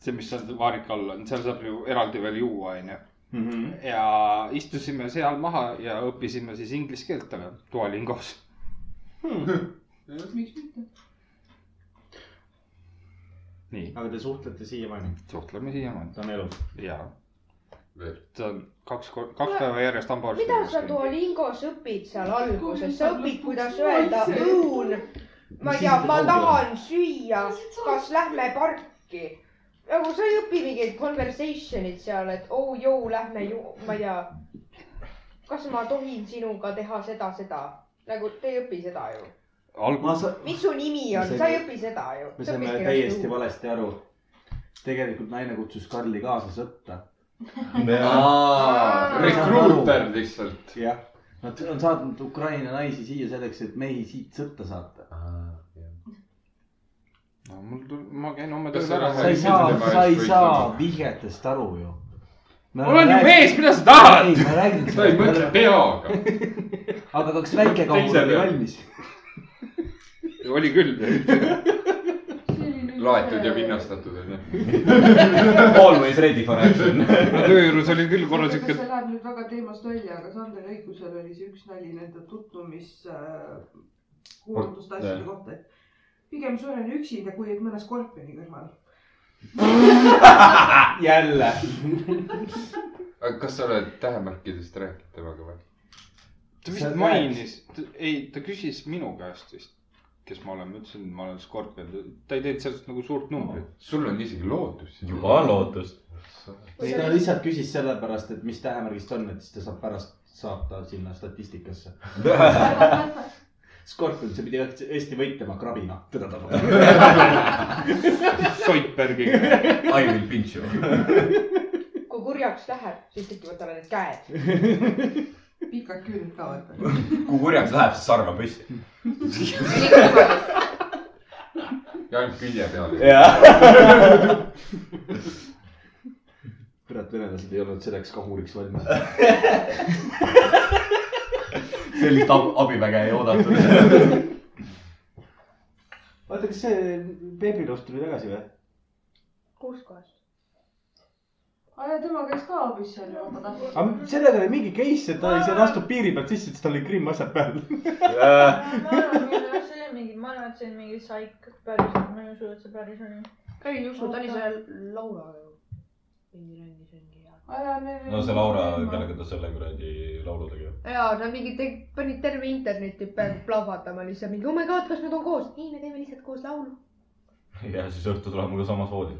Speaker 3: see , mis seal vaarika all on , seal saab ju eraldi veel juua , onju
Speaker 8: Mhm.
Speaker 3: ja istusime seal maha ja õppisime siis inglise keelt , aga Duolingos .
Speaker 7: miks mitte ?
Speaker 3: nii ,
Speaker 8: aga te suhtlete siiamaani ?
Speaker 3: suhtleme siiamaani .
Speaker 8: ta on elus .
Speaker 3: ja . ta on kaks , kaks päeva järjest hambaarsti
Speaker 5: mida sa . Duolingos õpid seal alguses , sa õpid , kuidas öelda õun . ma ei tea , ma tahan süüa , kas lähme parki ? nagu sa ei õpi mingeid conversation'id seal , et oo oh, joo , lähme ju , ma ei tea . kas ma tohin sinuga teha seda , seda ? nagu te ei õpi seda ju .
Speaker 1: ma sa- ,
Speaker 5: mis su nimi on , sa ei õpi seda ju .
Speaker 1: me saime täiesti . valesti aru . tegelikult naine kutsus Karli kaasa sõtta .
Speaker 2: rekruuter lihtsalt .
Speaker 1: jah , nad on saatnud Ukraina naisi siia selleks , et mehi siit sõtta saata .
Speaker 3: no mul , ma käin homme
Speaker 2: Kas
Speaker 3: tööl
Speaker 2: sa
Speaker 3: ära .
Speaker 1: sa ei saa , sa ei saa vihjetest aru ju .
Speaker 3: Mul on ju mees, mida sa tahad?
Speaker 1: ei , ma räägin .
Speaker 2: ta ei mõtle . peaga .
Speaker 1: aga kas väike kaur oli
Speaker 2: Teisele.
Speaker 1: valmis ?
Speaker 3: oli küll .
Speaker 2: laetud ja vinnastatud onju .
Speaker 4: Always ready for action .
Speaker 3: no töö juures oli küll korra
Speaker 7: see
Speaker 3: siuke ,
Speaker 7: läheb nüüd väga teemast välja , aga Sander Õigusel oli see üks nali nende tutvumiskuulutuste
Speaker 4: Jah.
Speaker 7: asjade kohta , et pigem suren üksinda , kui et mõne skorpioni kõrval .
Speaker 1: jälle .
Speaker 2: aga kas sa oled tähemärkidest rääkinud temaga või ?
Speaker 3: ta
Speaker 1: Sa
Speaker 3: vist
Speaker 1: rääkisid-
Speaker 3: mainis , ei , ta küsis minu käest vist , kes ma olen , ma ütlesin , et ma olen skorpion , ta ei teinud sellest nagu suurt numbrit .
Speaker 2: sul on isegi lootus .
Speaker 4: juba on lootust .
Speaker 1: ei , ta lihtsalt küsis sellepärast , et mis tähemärgist on , et siis ta saab pärast saata sinna statistikasse . Scorpion , see pidi Eesti võitlema krabina , teda tapab .
Speaker 3: Soitbergiga .
Speaker 4: I will pinch you .
Speaker 5: kui kurjaks läheb , siis äkki võtame need käed .
Speaker 7: pikad küüned ka vaata .
Speaker 4: kui kurjaks läheb , siis sarve püsti .
Speaker 2: ja ainult külje peal .
Speaker 1: kurat , venelased ei olnud selleks kahuriks valmis .
Speaker 4: sellist ab- abiväge ei oodatud .
Speaker 1: oota , kas see beebiloht tuli tagasi või ?
Speaker 5: kus kohas ?
Speaker 7: aga tema käis ka abis seal ju , ma
Speaker 1: aga
Speaker 7: tahtsin .
Speaker 1: sellega oli mingi case , et ta oli seal , astub piiri pealt sisse , siis tal oli krimm asjad peal .
Speaker 9: ma arvan , et see oli mingi , ma arvan , et see oli mingi saik päriselt , ma ei usu , et see päris on .
Speaker 19: ka ei usu , ta oli seal Lauraga ju . mingi rändis mingi ja .
Speaker 4: no see Laura , kellega ta selle kuradi laulu tegi .
Speaker 19: ja nad mingi te- , panid terve interneti peal plahvatama lihtsalt mingi oh my god , kas nad on koos ? ei , me teeme lihtsalt koos laulu .
Speaker 4: ja siis õhtul tuleb mul ka samas voodis .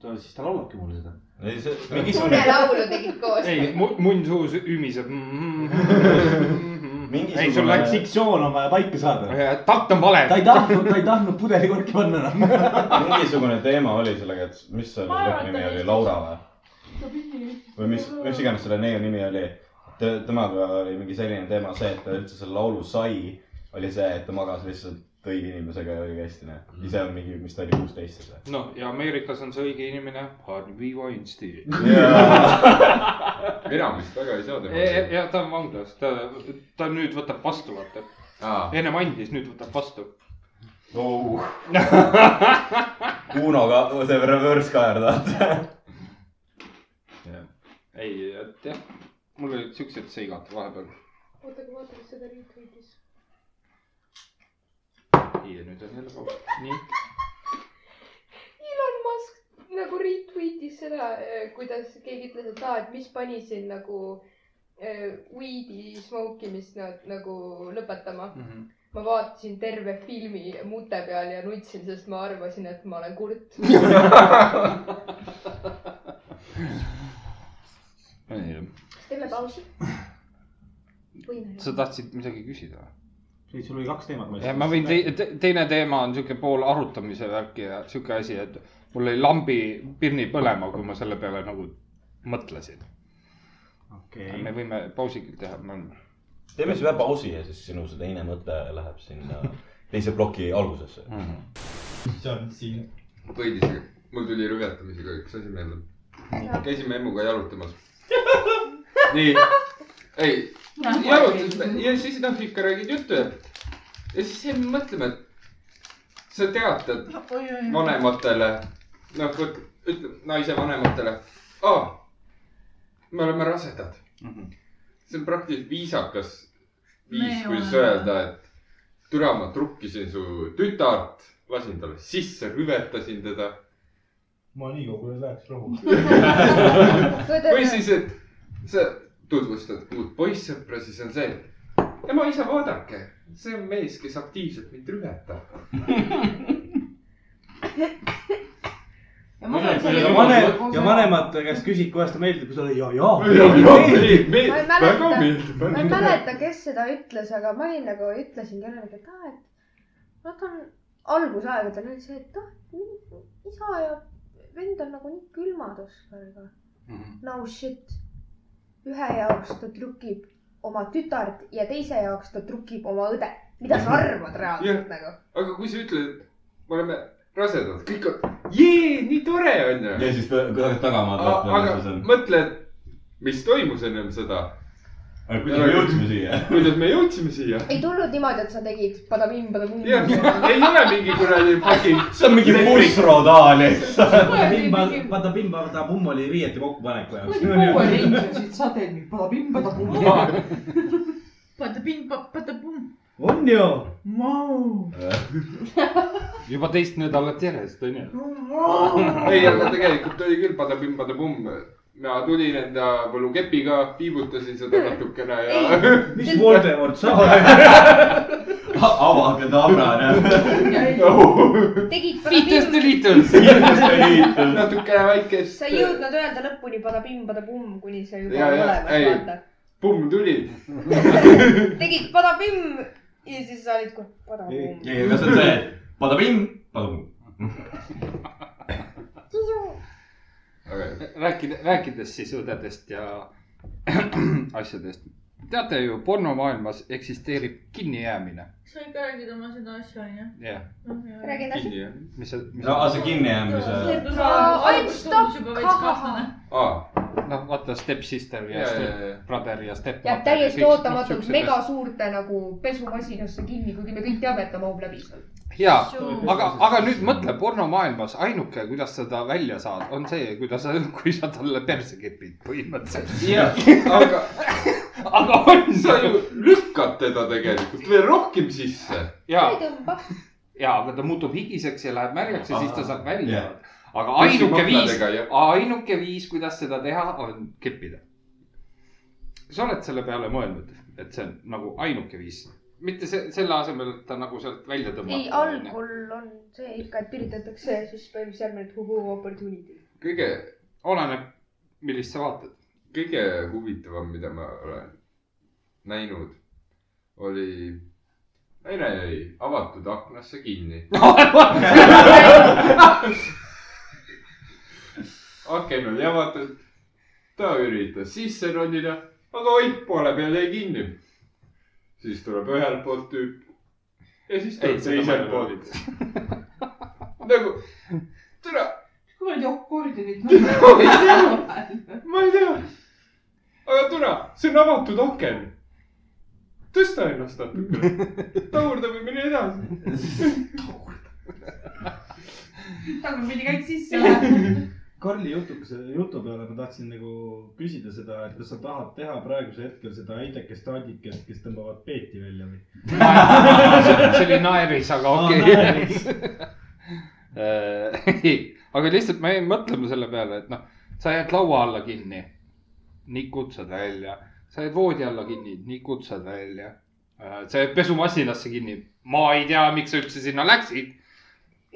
Speaker 1: ta siis ta laulabki mulle seda .
Speaker 4: ei , see
Speaker 5: une
Speaker 4: mingisugune ,
Speaker 5: laulu tegid koos .
Speaker 3: ei , munn suus ümiseb .
Speaker 4: Mingisugune-
Speaker 3: ei , sul läks ikka ,
Speaker 1: diktsioon on vaja paika saada .
Speaker 3: takt on vale .
Speaker 1: ta ei tahtnud , ta ei tahtnud pudelikorki panna noh. enam .
Speaker 4: mingisugune teema oli sellega , et mis selle
Speaker 9: Ma
Speaker 4: lõppnimi
Speaker 9: arvan, et ta
Speaker 4: oli ,
Speaker 9: lihtsalt-
Speaker 4: Laura või ? või mis , mis iganes selle neiu nimi oli . temaga oli mingi selline teema , see , et ta üldse selle laulu sai , oli see , et ta magas lihtsalt õige inimesega ja õige hästi , noh . ise on mingi , mis ta oli , kuusteist siis või ?
Speaker 3: noh , ja Ameerikas on see õige inimene Harvey Weinstein .
Speaker 2: enam vist väga ei saa tema
Speaker 3: ja, . ja ta on vanglas , ta , ta nüüd võtab vastu , vaata .
Speaker 2: Aa.
Speaker 3: ennem andis , nüüd võtab vastu .
Speaker 4: Vau. Uno ka , see reverse kaer tahad .
Speaker 3: ei , et jah , mul olid siuksed seigad vahepeal .
Speaker 7: oota , aga vaata , kas seda retweetis .
Speaker 3: ja nüüd on jälle kaua . nii ,
Speaker 5: Elon Musk nagu retweetis seda , kuidas keegi ütles , et aa , et mis pani siin nagu eh, weed'i smokimist na- nagu lõpetama mm .
Speaker 3: Mhm.
Speaker 5: -hmm. ma vaatasin terve filmi mute peal ja nutsin , sest ma arvasin , et ma olen kurt . teeme pausi . võime .
Speaker 3: sa tahtsid midagi küsida või ?
Speaker 18: ei , sul oli kaks teemat .
Speaker 3: Ja ma võin tei- , te, , teine teema on sihuke pool arutamise värki ja sihuke asi , et mul lõi lambi pirni põlema , kui ma selle peale nagu mõtlesin .
Speaker 18: okei
Speaker 3: me võime pausi küll teha , ma olen .
Speaker 4: teeme siis ühe pausi ja siis sinu see teine mõte läheb sinna teise ploki algusesse mm .
Speaker 3: -hmm.
Speaker 2: see on siin . kõigis , mul tuli rüvetamisega üks asi meelde . käisime emmuga jalutamas . nii , Ah, ei , jalutasime ja siis noh , ikka räägid juttu ja , ja siis jäime mõtlema , et sa teatad vanematele , noh , ütleme naise vanematele , aa , me oleme rasedad . see on praktiliselt viisakas
Speaker 9: Me
Speaker 2: viis
Speaker 9: ei ,
Speaker 2: kuidas
Speaker 9: ole.
Speaker 2: öelda , et türa , ma trukkisin su tütart , lasin talle sisse , rüvetasin teda .
Speaker 20: ma nii kaugele ei läheks rahu .
Speaker 2: või siis , et sa tutvustad uut poissõpra , siis on see , tema isa , vaadake , see on mees , kes aktiivselt mind rüvetab .
Speaker 1: ja vanem , ja vanemate käest küsid , kuidas ta meeldib , siis öeldakse ja ,
Speaker 2: Ja, ja,
Speaker 1: ja .
Speaker 2: meeldib.
Speaker 1: meeldib .
Speaker 2: Väga meeldib.
Speaker 13: ma ei mäleta , kes seda ütles , aga ma olin nagu , ütlesin kellelegi , et aa , et nad on algusaegadel oli see , et noh , isa ja vend on nagu nii külmad Oskariga .
Speaker 3: Mhm.
Speaker 13: no shit , ühe jaoks ta trükib oma tütart ja teise jaoks ta trükib oma õde . mida sa arvad reaalselt nagu ?
Speaker 2: aga kui sa ütled , et me oleme rasedad , kõik on , jee , nii tore on ju .
Speaker 4: ja siis ta ta hakkab tagama .
Speaker 2: aga mõtle , mis toimus ennem seda .
Speaker 4: Aga kuidas me jõudsime siia?
Speaker 2: kuidas me jõudsime siia ?
Speaker 13: ei tulnud niimoodi , et sa tegid padavim , padavim .
Speaker 2: jah , ei ole mingi kuradi fucking .
Speaker 4: see on mingi bussrodaal ja siis sa .
Speaker 18: Pimba , vaata Pimba , ta mumm oli riiete kokkupaneku
Speaker 9: Power
Speaker 18: jaoks .
Speaker 9: Rangersid sa teed nüüd padabim-padabum . padabim-padabum .
Speaker 18: on ju ?
Speaker 9: Vau .
Speaker 3: juba teist nädalat järjest , onju .
Speaker 2: ei , aga tegelikult oli küll padabim-padabumm . mina tulin enda võlukepiga , piibutasin seda natukene ja .
Speaker 1: mis Voldemort sa oled ?
Speaker 4: avage tabra ,
Speaker 13: tegid
Speaker 3: Fittest
Speaker 13: padabim ,
Speaker 3: Liitles .
Speaker 2: natukene väikest .
Speaker 13: sa ei jõudnud öelda lõpuni padabim , padabum , kuni sa juba
Speaker 2: ja , ja ,
Speaker 13: olemas
Speaker 2: ei
Speaker 13: vaata .,
Speaker 2: pumm tuli .
Speaker 13: tegid padabim ja siis sa olid kohe padabum .
Speaker 4: ei , aga see on see , padabim , padabum .
Speaker 3: rääkida , rääkides siis õdedest ja asjadest . teate ju , pornomaailmas eksisteerib kinnijäämine .
Speaker 9: sa ikka räägid oma seda asja , onju ? Noh,
Speaker 3: jah .
Speaker 13: Räägin asja.
Speaker 3: mis see , mis
Speaker 4: No, aa, see kinnijäämise-
Speaker 13: ainult stopp.
Speaker 3: noh , vaata Stepsister ja,
Speaker 2: Ja,
Speaker 3: ja
Speaker 2: ja,
Speaker 3: Stepbrother ja Step .
Speaker 13: jääb täiesti ootamatult mega . suurte nagu pesumasinasse kinni , kuigi me kõik teame , et ta mahub läbi .
Speaker 3: ja , aga , aga nüüd mõtle , pornomaailmas ainuke , kuidas seda välja saad , on see , kuidas sa , kui sa talle perse kipid põhimõtteliselt .
Speaker 2: aga ,
Speaker 3: aga on
Speaker 2: sa ju lükkad teda tegelikult veel rohkem sisse .
Speaker 3: ja ,
Speaker 13: tõmbab .
Speaker 3: ja , aga ta muutub higiseks ja läheb märjaks ja siis ta saab välja
Speaker 2: Jah. .
Speaker 3: aga
Speaker 2: Püssi
Speaker 3: ainuke viis
Speaker 2: kokladega, jah. ,
Speaker 3: ainuke viis , kuidas seda teha , on keppida . sa oled selle peale mõelnud , et see on nagu ainuke viis , mitte se- selle asemel , et ta nagu sealt välja tõmmata .
Speaker 13: ei , algul on see ikka , et piritatakse ja siis põhimõtteliselt järgmine , et huhu opportunity .
Speaker 2: kõige .
Speaker 3: oleneb , millist sa vaatad .
Speaker 2: kõige huvitavam , mida ma olen näinud , oli , naine jäi avatud aknasse kinni . aken oli avatud , ta üritas sisse ronida , aga oip poole peal jäi kinni . siis tuleb ühelt poolt tüüp , ja siis tuleb teiselt poolt . nagu , türa ,
Speaker 7: kuradi akordionit ma ei tea .
Speaker 2: ma ei tea . aga türa , see on avatud aken . tõsta ennast natuke . taurdame , mine edasi .
Speaker 9: tagurpidi käid sisse .
Speaker 18: Karli jutuks , jutu peale ma tahtsin nagu küsida seda , et kas sa tahad teha praegusel hetkel seda heidekest , taadikest , kes tõmbavad peeti välja või ?
Speaker 3: see oli naeris , aga okei . ei , aga lihtsalt ma jäin mõtlema selle peale , et noh , sa jääd laua alla kinni , nikud saad välja , sa jääd voodi alla kinni , nikud saad välja . sa jääd pesumasinasse kinni , ma ei tea , miks sa üldse sinna läksid .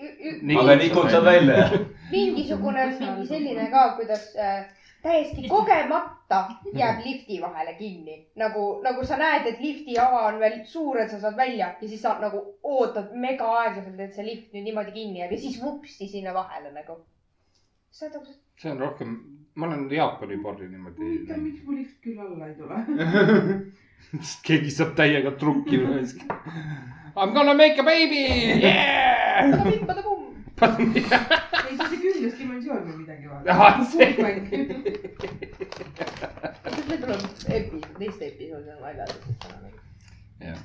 Speaker 4: Aga nikud saad välja.
Speaker 13: mingisugune , mingi selline ka , kuidas äh, täiesti kogemata
Speaker 5: Mhm.
Speaker 13: jääb lifti vahele kinni , nagu , nagu sa näed , et lifti ava on veel suur , et sa saad välja ja siis sa nagu ootad mega aeglaselt , et see lift nüüd niimoodi kinni jääb ja siis vupsti sinna vahele nagu . saad nagu ,
Speaker 3: see on rohkem , ma olen Jaapani barri niimoodi
Speaker 7: huvitav ,
Speaker 3: näinud ,
Speaker 7: miks mu lift küll alla ei tule ?
Speaker 3: sest keegi saab täiega trukki üles . I m gonna make a baby yeah! .
Speaker 7: ei , see on see kümnes dimensioon või midagi
Speaker 3: Ahah, see-
Speaker 5: see tuleb epi- , teiste episoodi naljad .
Speaker 3: jah ,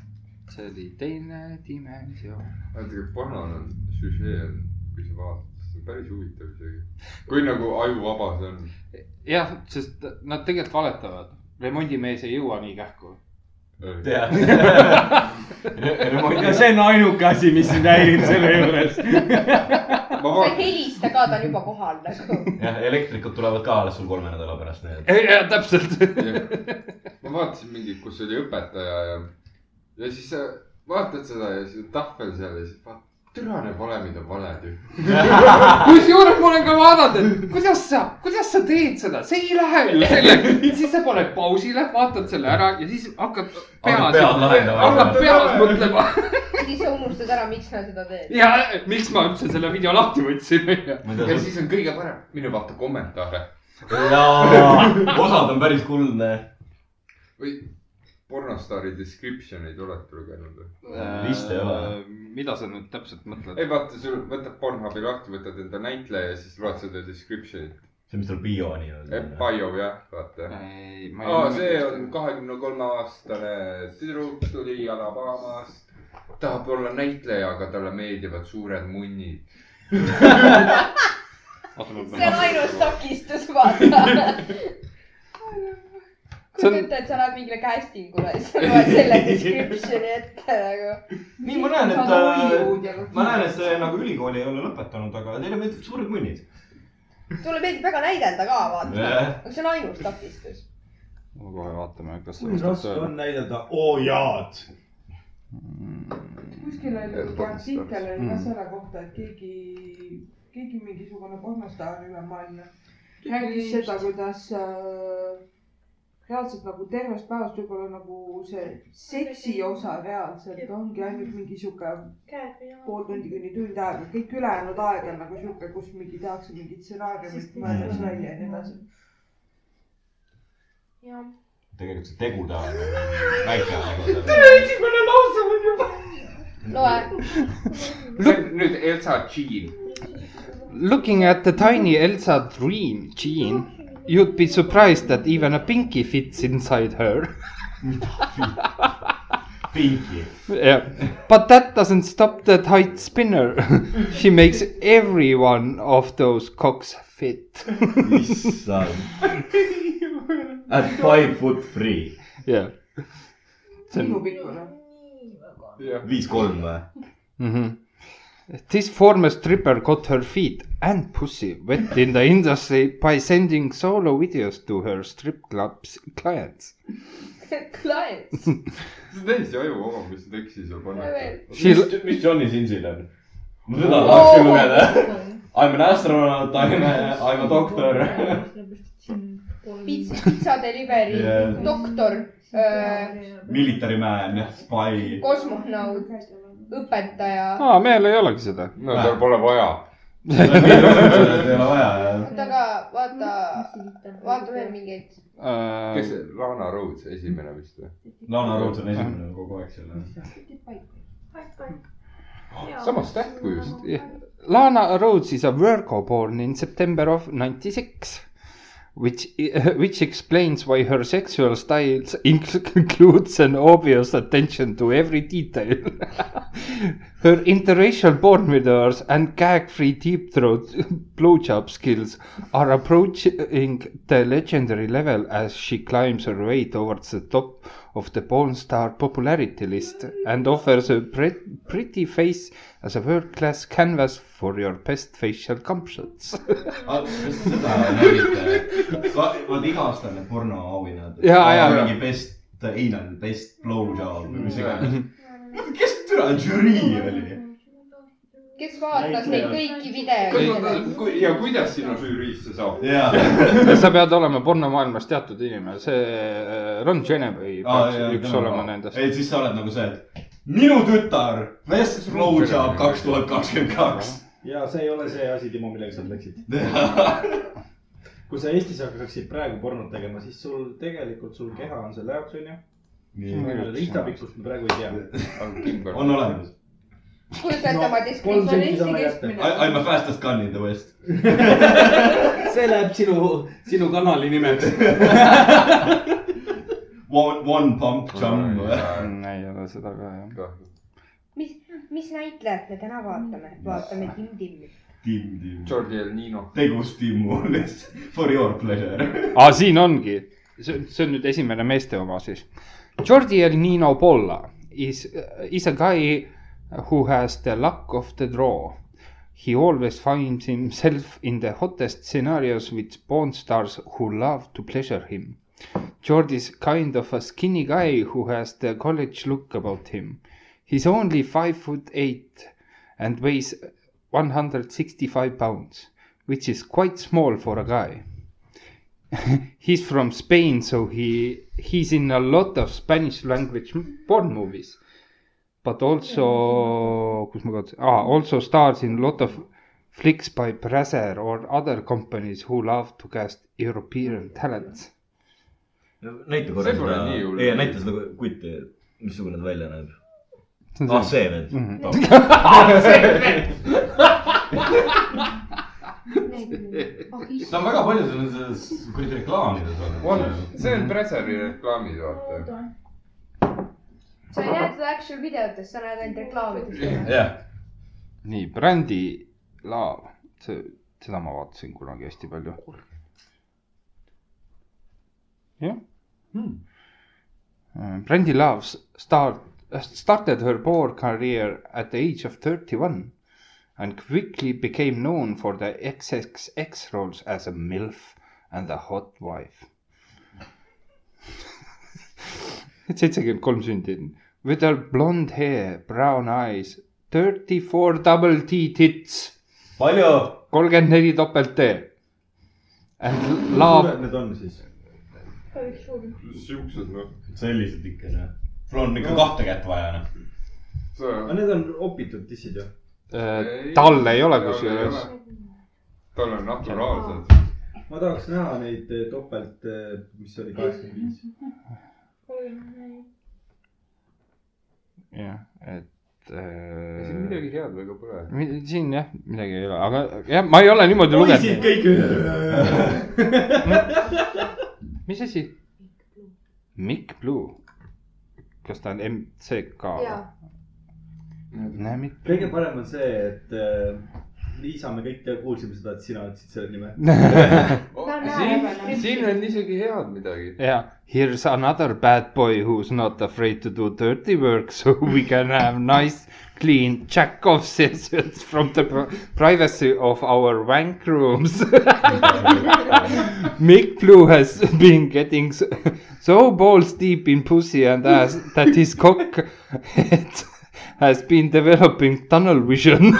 Speaker 3: see oli teine dimensioon .
Speaker 2: vaata kui banal on süžee on , kui sa vaatad , see on päris huvitav isegi . kui nagu ajuvaba see on .
Speaker 3: jah , sest nad tegelikult valetavad . remondimees ei jõua nii kähku .
Speaker 4: Jah.
Speaker 1: ja see on ainuke asi , mis sind häirib selle juures .
Speaker 13: sa ei helista ka , ta on juba kohal nagu .
Speaker 4: jah , elektrikud tulevad ka alles sul kolme nädala pärast , nii et .
Speaker 3: jah , täpselt .
Speaker 2: ma vaatasin mingit , kus oli õpetaja ja , ja siis sa vaatad seda ja siis on tahvel seal ja siis vaatad , türa need valemid on valed ju .
Speaker 3: kusjuures ma olen ka vaadanud , et kuidas sa , kuidas sa teed seda , see ei lähe ju selle , siis sa paned pausile , vaatad selle ära ja siis hakkad
Speaker 4: Hakkad
Speaker 3: peas
Speaker 4: pead , lahendama.
Speaker 3: hakkad peas mõtlema
Speaker 5: siis sa unustad ära , miks sa seda teed .
Speaker 3: ja miks ma üldse selle video lahti võtsin .
Speaker 2: ja siis on kõige parem , mine vaata kommentaare
Speaker 4: jaa , osad on päris kuldne .
Speaker 2: või pornostaari description eid olete lugenud või ?
Speaker 5: Äh,
Speaker 4: Vist ei ole. .
Speaker 3: mida sa nüüd täpselt mõtled ?
Speaker 2: ei vaata , sul võtad Pornhubi lahti , võtad enda näitleja ja siis loed seda description'it .
Speaker 4: see , mis tal bio nii-öelda on .
Speaker 2: Bio jah , vaata .
Speaker 3: ei , ma ei
Speaker 2: aa , see on kahekümne kolme aastane tüdruk tuli Alabamast , tahab olla näitleja , aga talle meeldivad suured munnid .
Speaker 5: see on ainus takistus , vaata .
Speaker 3: See
Speaker 5: kui
Speaker 3: on-
Speaker 5: ütled , sa lähed mingile casting ule , siis sa loed selle description'i ette nagu .
Speaker 4: nii , ma näen , et äh, , ma näen , et äh, nagu ülikooli ei ole lõpetanud , aga teile meeldivad suured munnid .
Speaker 5: sulle meeldib väga näidelda ka , vaata
Speaker 4: Jah. .
Speaker 5: aga see on ainus takistus .
Speaker 3: ma kohe vaatame , kas
Speaker 18: kui raske on näidata oo jaad .
Speaker 7: kuskil oli mingi
Speaker 18: Pornostars.
Speaker 7: artikkel oli ka
Speaker 18: Mm.
Speaker 7: selle kohta , et keegi , keegi mingisugune pornostaar üle maailma rääkis seda , kuidas äh, reaalselt nagu tervest päevast võib-olla nagu see seksi osa reaalselt ongi ainult mingi sihuke pool tundi kuni tund aega , kõik ülejäänud aeg on nagu sihuke , kus mingi tehakse mingid stsenaariumid , mõeldakse välja ja nii edasi .
Speaker 13: jah .
Speaker 4: tegelikult see tegude aeg on väike
Speaker 7: tere ,
Speaker 4: aeg .
Speaker 7: esimene lause on juba .
Speaker 5: loe .
Speaker 2: nüüd Elsa Jean .
Speaker 3: Looking at the tiny Elsa dream jean , you'd be surprised that even a pinky fits inside her .
Speaker 4: pinky .
Speaker 3: Yeah. But that doesn't stop the tight spinner . She makes every one of those cocks fit .
Speaker 4: issand . At five foot three .
Speaker 3: jah .
Speaker 7: minu pikkune .
Speaker 4: viis kolm või ?
Speaker 3: Mhm. This former stripper got her feet and pussy wet in the industry by sending solo videos to her strip clubs clients.
Speaker 5: klient .
Speaker 2: see on täiesti ajuvaba , mis ta tekstis on pannud .
Speaker 3: She-
Speaker 4: mis , mis Johnny Sinsil on ? ma seda tahaks küll lugeda . I m an astronaut , I m a , I m a doctor .
Speaker 5: pitsa , pitsa delivery
Speaker 4: Jah.
Speaker 5: yeah. , doktor ,
Speaker 13: äh,
Speaker 4: Military man , spy .
Speaker 5: kosmonaut , õpetaja .
Speaker 3: aa , meil Ah, ei olegi seda .
Speaker 2: no tal pole vaja .
Speaker 4: ei ole vaja , jah .
Speaker 5: oota , aga vaata , vaata veel mingeid .
Speaker 3: Äh,
Speaker 2: kes see , Lana Rhodes esimene vist või ?
Speaker 4: Lana Rhodes on esimene kogu aeg seal , jah .
Speaker 3: Samas tähtkujust. Lana Rhodes is a Virgo born in September of 96, which, which explains why her sexual styles includes an obvious attention to every detail. her interracial porn mirrors and gag-free deep throat blowjob skills are approaching the legendary level as she climbs her way towards the top of the porn star popularity list and offers a pre- pretty face as a world-class canvas for your best facial composites .
Speaker 4: Ah, seda nägite , vaata iga aasta on need pornoauhinnad .
Speaker 3: Jaa, jaa, jaa.
Speaker 4: mingi best anal , best blowjob või mis
Speaker 1: Mhm.
Speaker 4: iganes . kes türa žürii oli ?
Speaker 5: kes vaatas neid kõiki videoid ?
Speaker 2: kui ja kuidas sinu žüriisse saab ?
Speaker 3: sa pead olema pornomaailmas teatud inimene , see äh, Ron Genevieve peaks üks olema nendest .
Speaker 4: ei , siis sa oled nagu see , et minu tütar , best blowjob kaks tuhat kakskümmend kaks .
Speaker 18: ja see ei ole see asi , Timo , millega sa
Speaker 4: läksid .
Speaker 18: kui sa Eestis hakkaksid praegu pornot tegema , siis sul tegelikult sul keha on selle jaoks , onju .
Speaker 4: Nii.
Speaker 18: ristapikkust me praegu ei tea .
Speaker 4: on olemas .
Speaker 5: kujutate oma
Speaker 18: kolm senti
Speaker 5: diskrimineerimist
Speaker 18: sama
Speaker 4: I , I m a fastest gun in the west .
Speaker 1: see läheb sinu , sinu kanali nimeks .
Speaker 4: One , one pump jump .
Speaker 3: ei ole seda ka jah .
Speaker 5: mis , mis näitlejat me täna vaatame ? vaatame Tim Timmi .
Speaker 4: Tim , Tim .
Speaker 2: Jordi El Nino .
Speaker 4: tegus Timmu , for your pleasure .
Speaker 3: aa , siin ongi , see , see on nüüd esimene meeste oma siis . Jordi El Nino Polla is , is a guy who has the luck of the draw . He always finds himself in the hottest scenarios with porn stars who love to pleasure him . Jordi's kind of a skinny guy who has the college look about him . He's only five foot eight and weighs one hundred sixty five pounds , which is quite small for a guy . he's from Spain, so he he's in a lot of Spanish language m- porn movies, but also kus ma kaotasin ah, , also stars in a lot of flicks by Brazer or other companies who love to cast European talents .
Speaker 4: näita korra
Speaker 3: See pole
Speaker 4: seda
Speaker 3: nii hull. ,
Speaker 4: ei näita seda kutti , missugune ta välja näeb .
Speaker 3: See on
Speaker 4: ah ,
Speaker 3: see.
Speaker 4: see vend
Speaker 3: Mhm. .
Speaker 4: ta on väga palju selles kuradi reklaamides
Speaker 2: on , see on Brezeri reklaamid , vaata .
Speaker 5: sa ei näe seda actual videotest , sa näed ainult reklaamidest .
Speaker 4: jah .
Speaker 3: nii , Brändi Laav , see , seda ma vaatasin kunagi hästi palju . jah . Äh, Brandy Love start, äh, started her porn career at the age of 31 and quickly became known for the XXX roles as a MILF and a hot wife. seitsekümmend kolm sündinud . With her blonde hair , brown eyes , thirty four double T tits .
Speaker 4: palju ?
Speaker 3: kolmkümmend neli topelt T . And
Speaker 18: suured
Speaker 3: love ,
Speaker 18: need on siis ?
Speaker 2: siuksed noh .
Speaker 4: sellised ikka noh . sul on ikka kahte kätt vaja noh .
Speaker 18: aga need on opitud dissid ju .
Speaker 3: tal äh, ei ole kusjuures .
Speaker 2: tal on naturaalsed .
Speaker 18: ma tahaks näha neid eh, topelt , mis see oli kaheksakümmend viis .
Speaker 3: jah , et äh,
Speaker 2: siin midagi head väga pole .
Speaker 3: Mi- siin jah , midagi ei ole , aga jah , ma ei ole niimoodi
Speaker 18: poisid kõik
Speaker 3: lugenud . mis asi ? Mikk Blue . kas ta on MCK ? näe , Mikk .
Speaker 18: kõige parem on see , et äh, Liisa , me kõik te- kuulsime seda , et sina ütlesid selle nime
Speaker 2: Oh. siin , siin on isegi head midagi .
Speaker 3: jah , here's another bad boy who is not afraid to do dirty work so we can have nice clean jack off sessions from the pri- privacy of our wank rooms . Mick Blue has been getting so, so balls deep in pussy and ass that his cock head has been developing tunnel vision .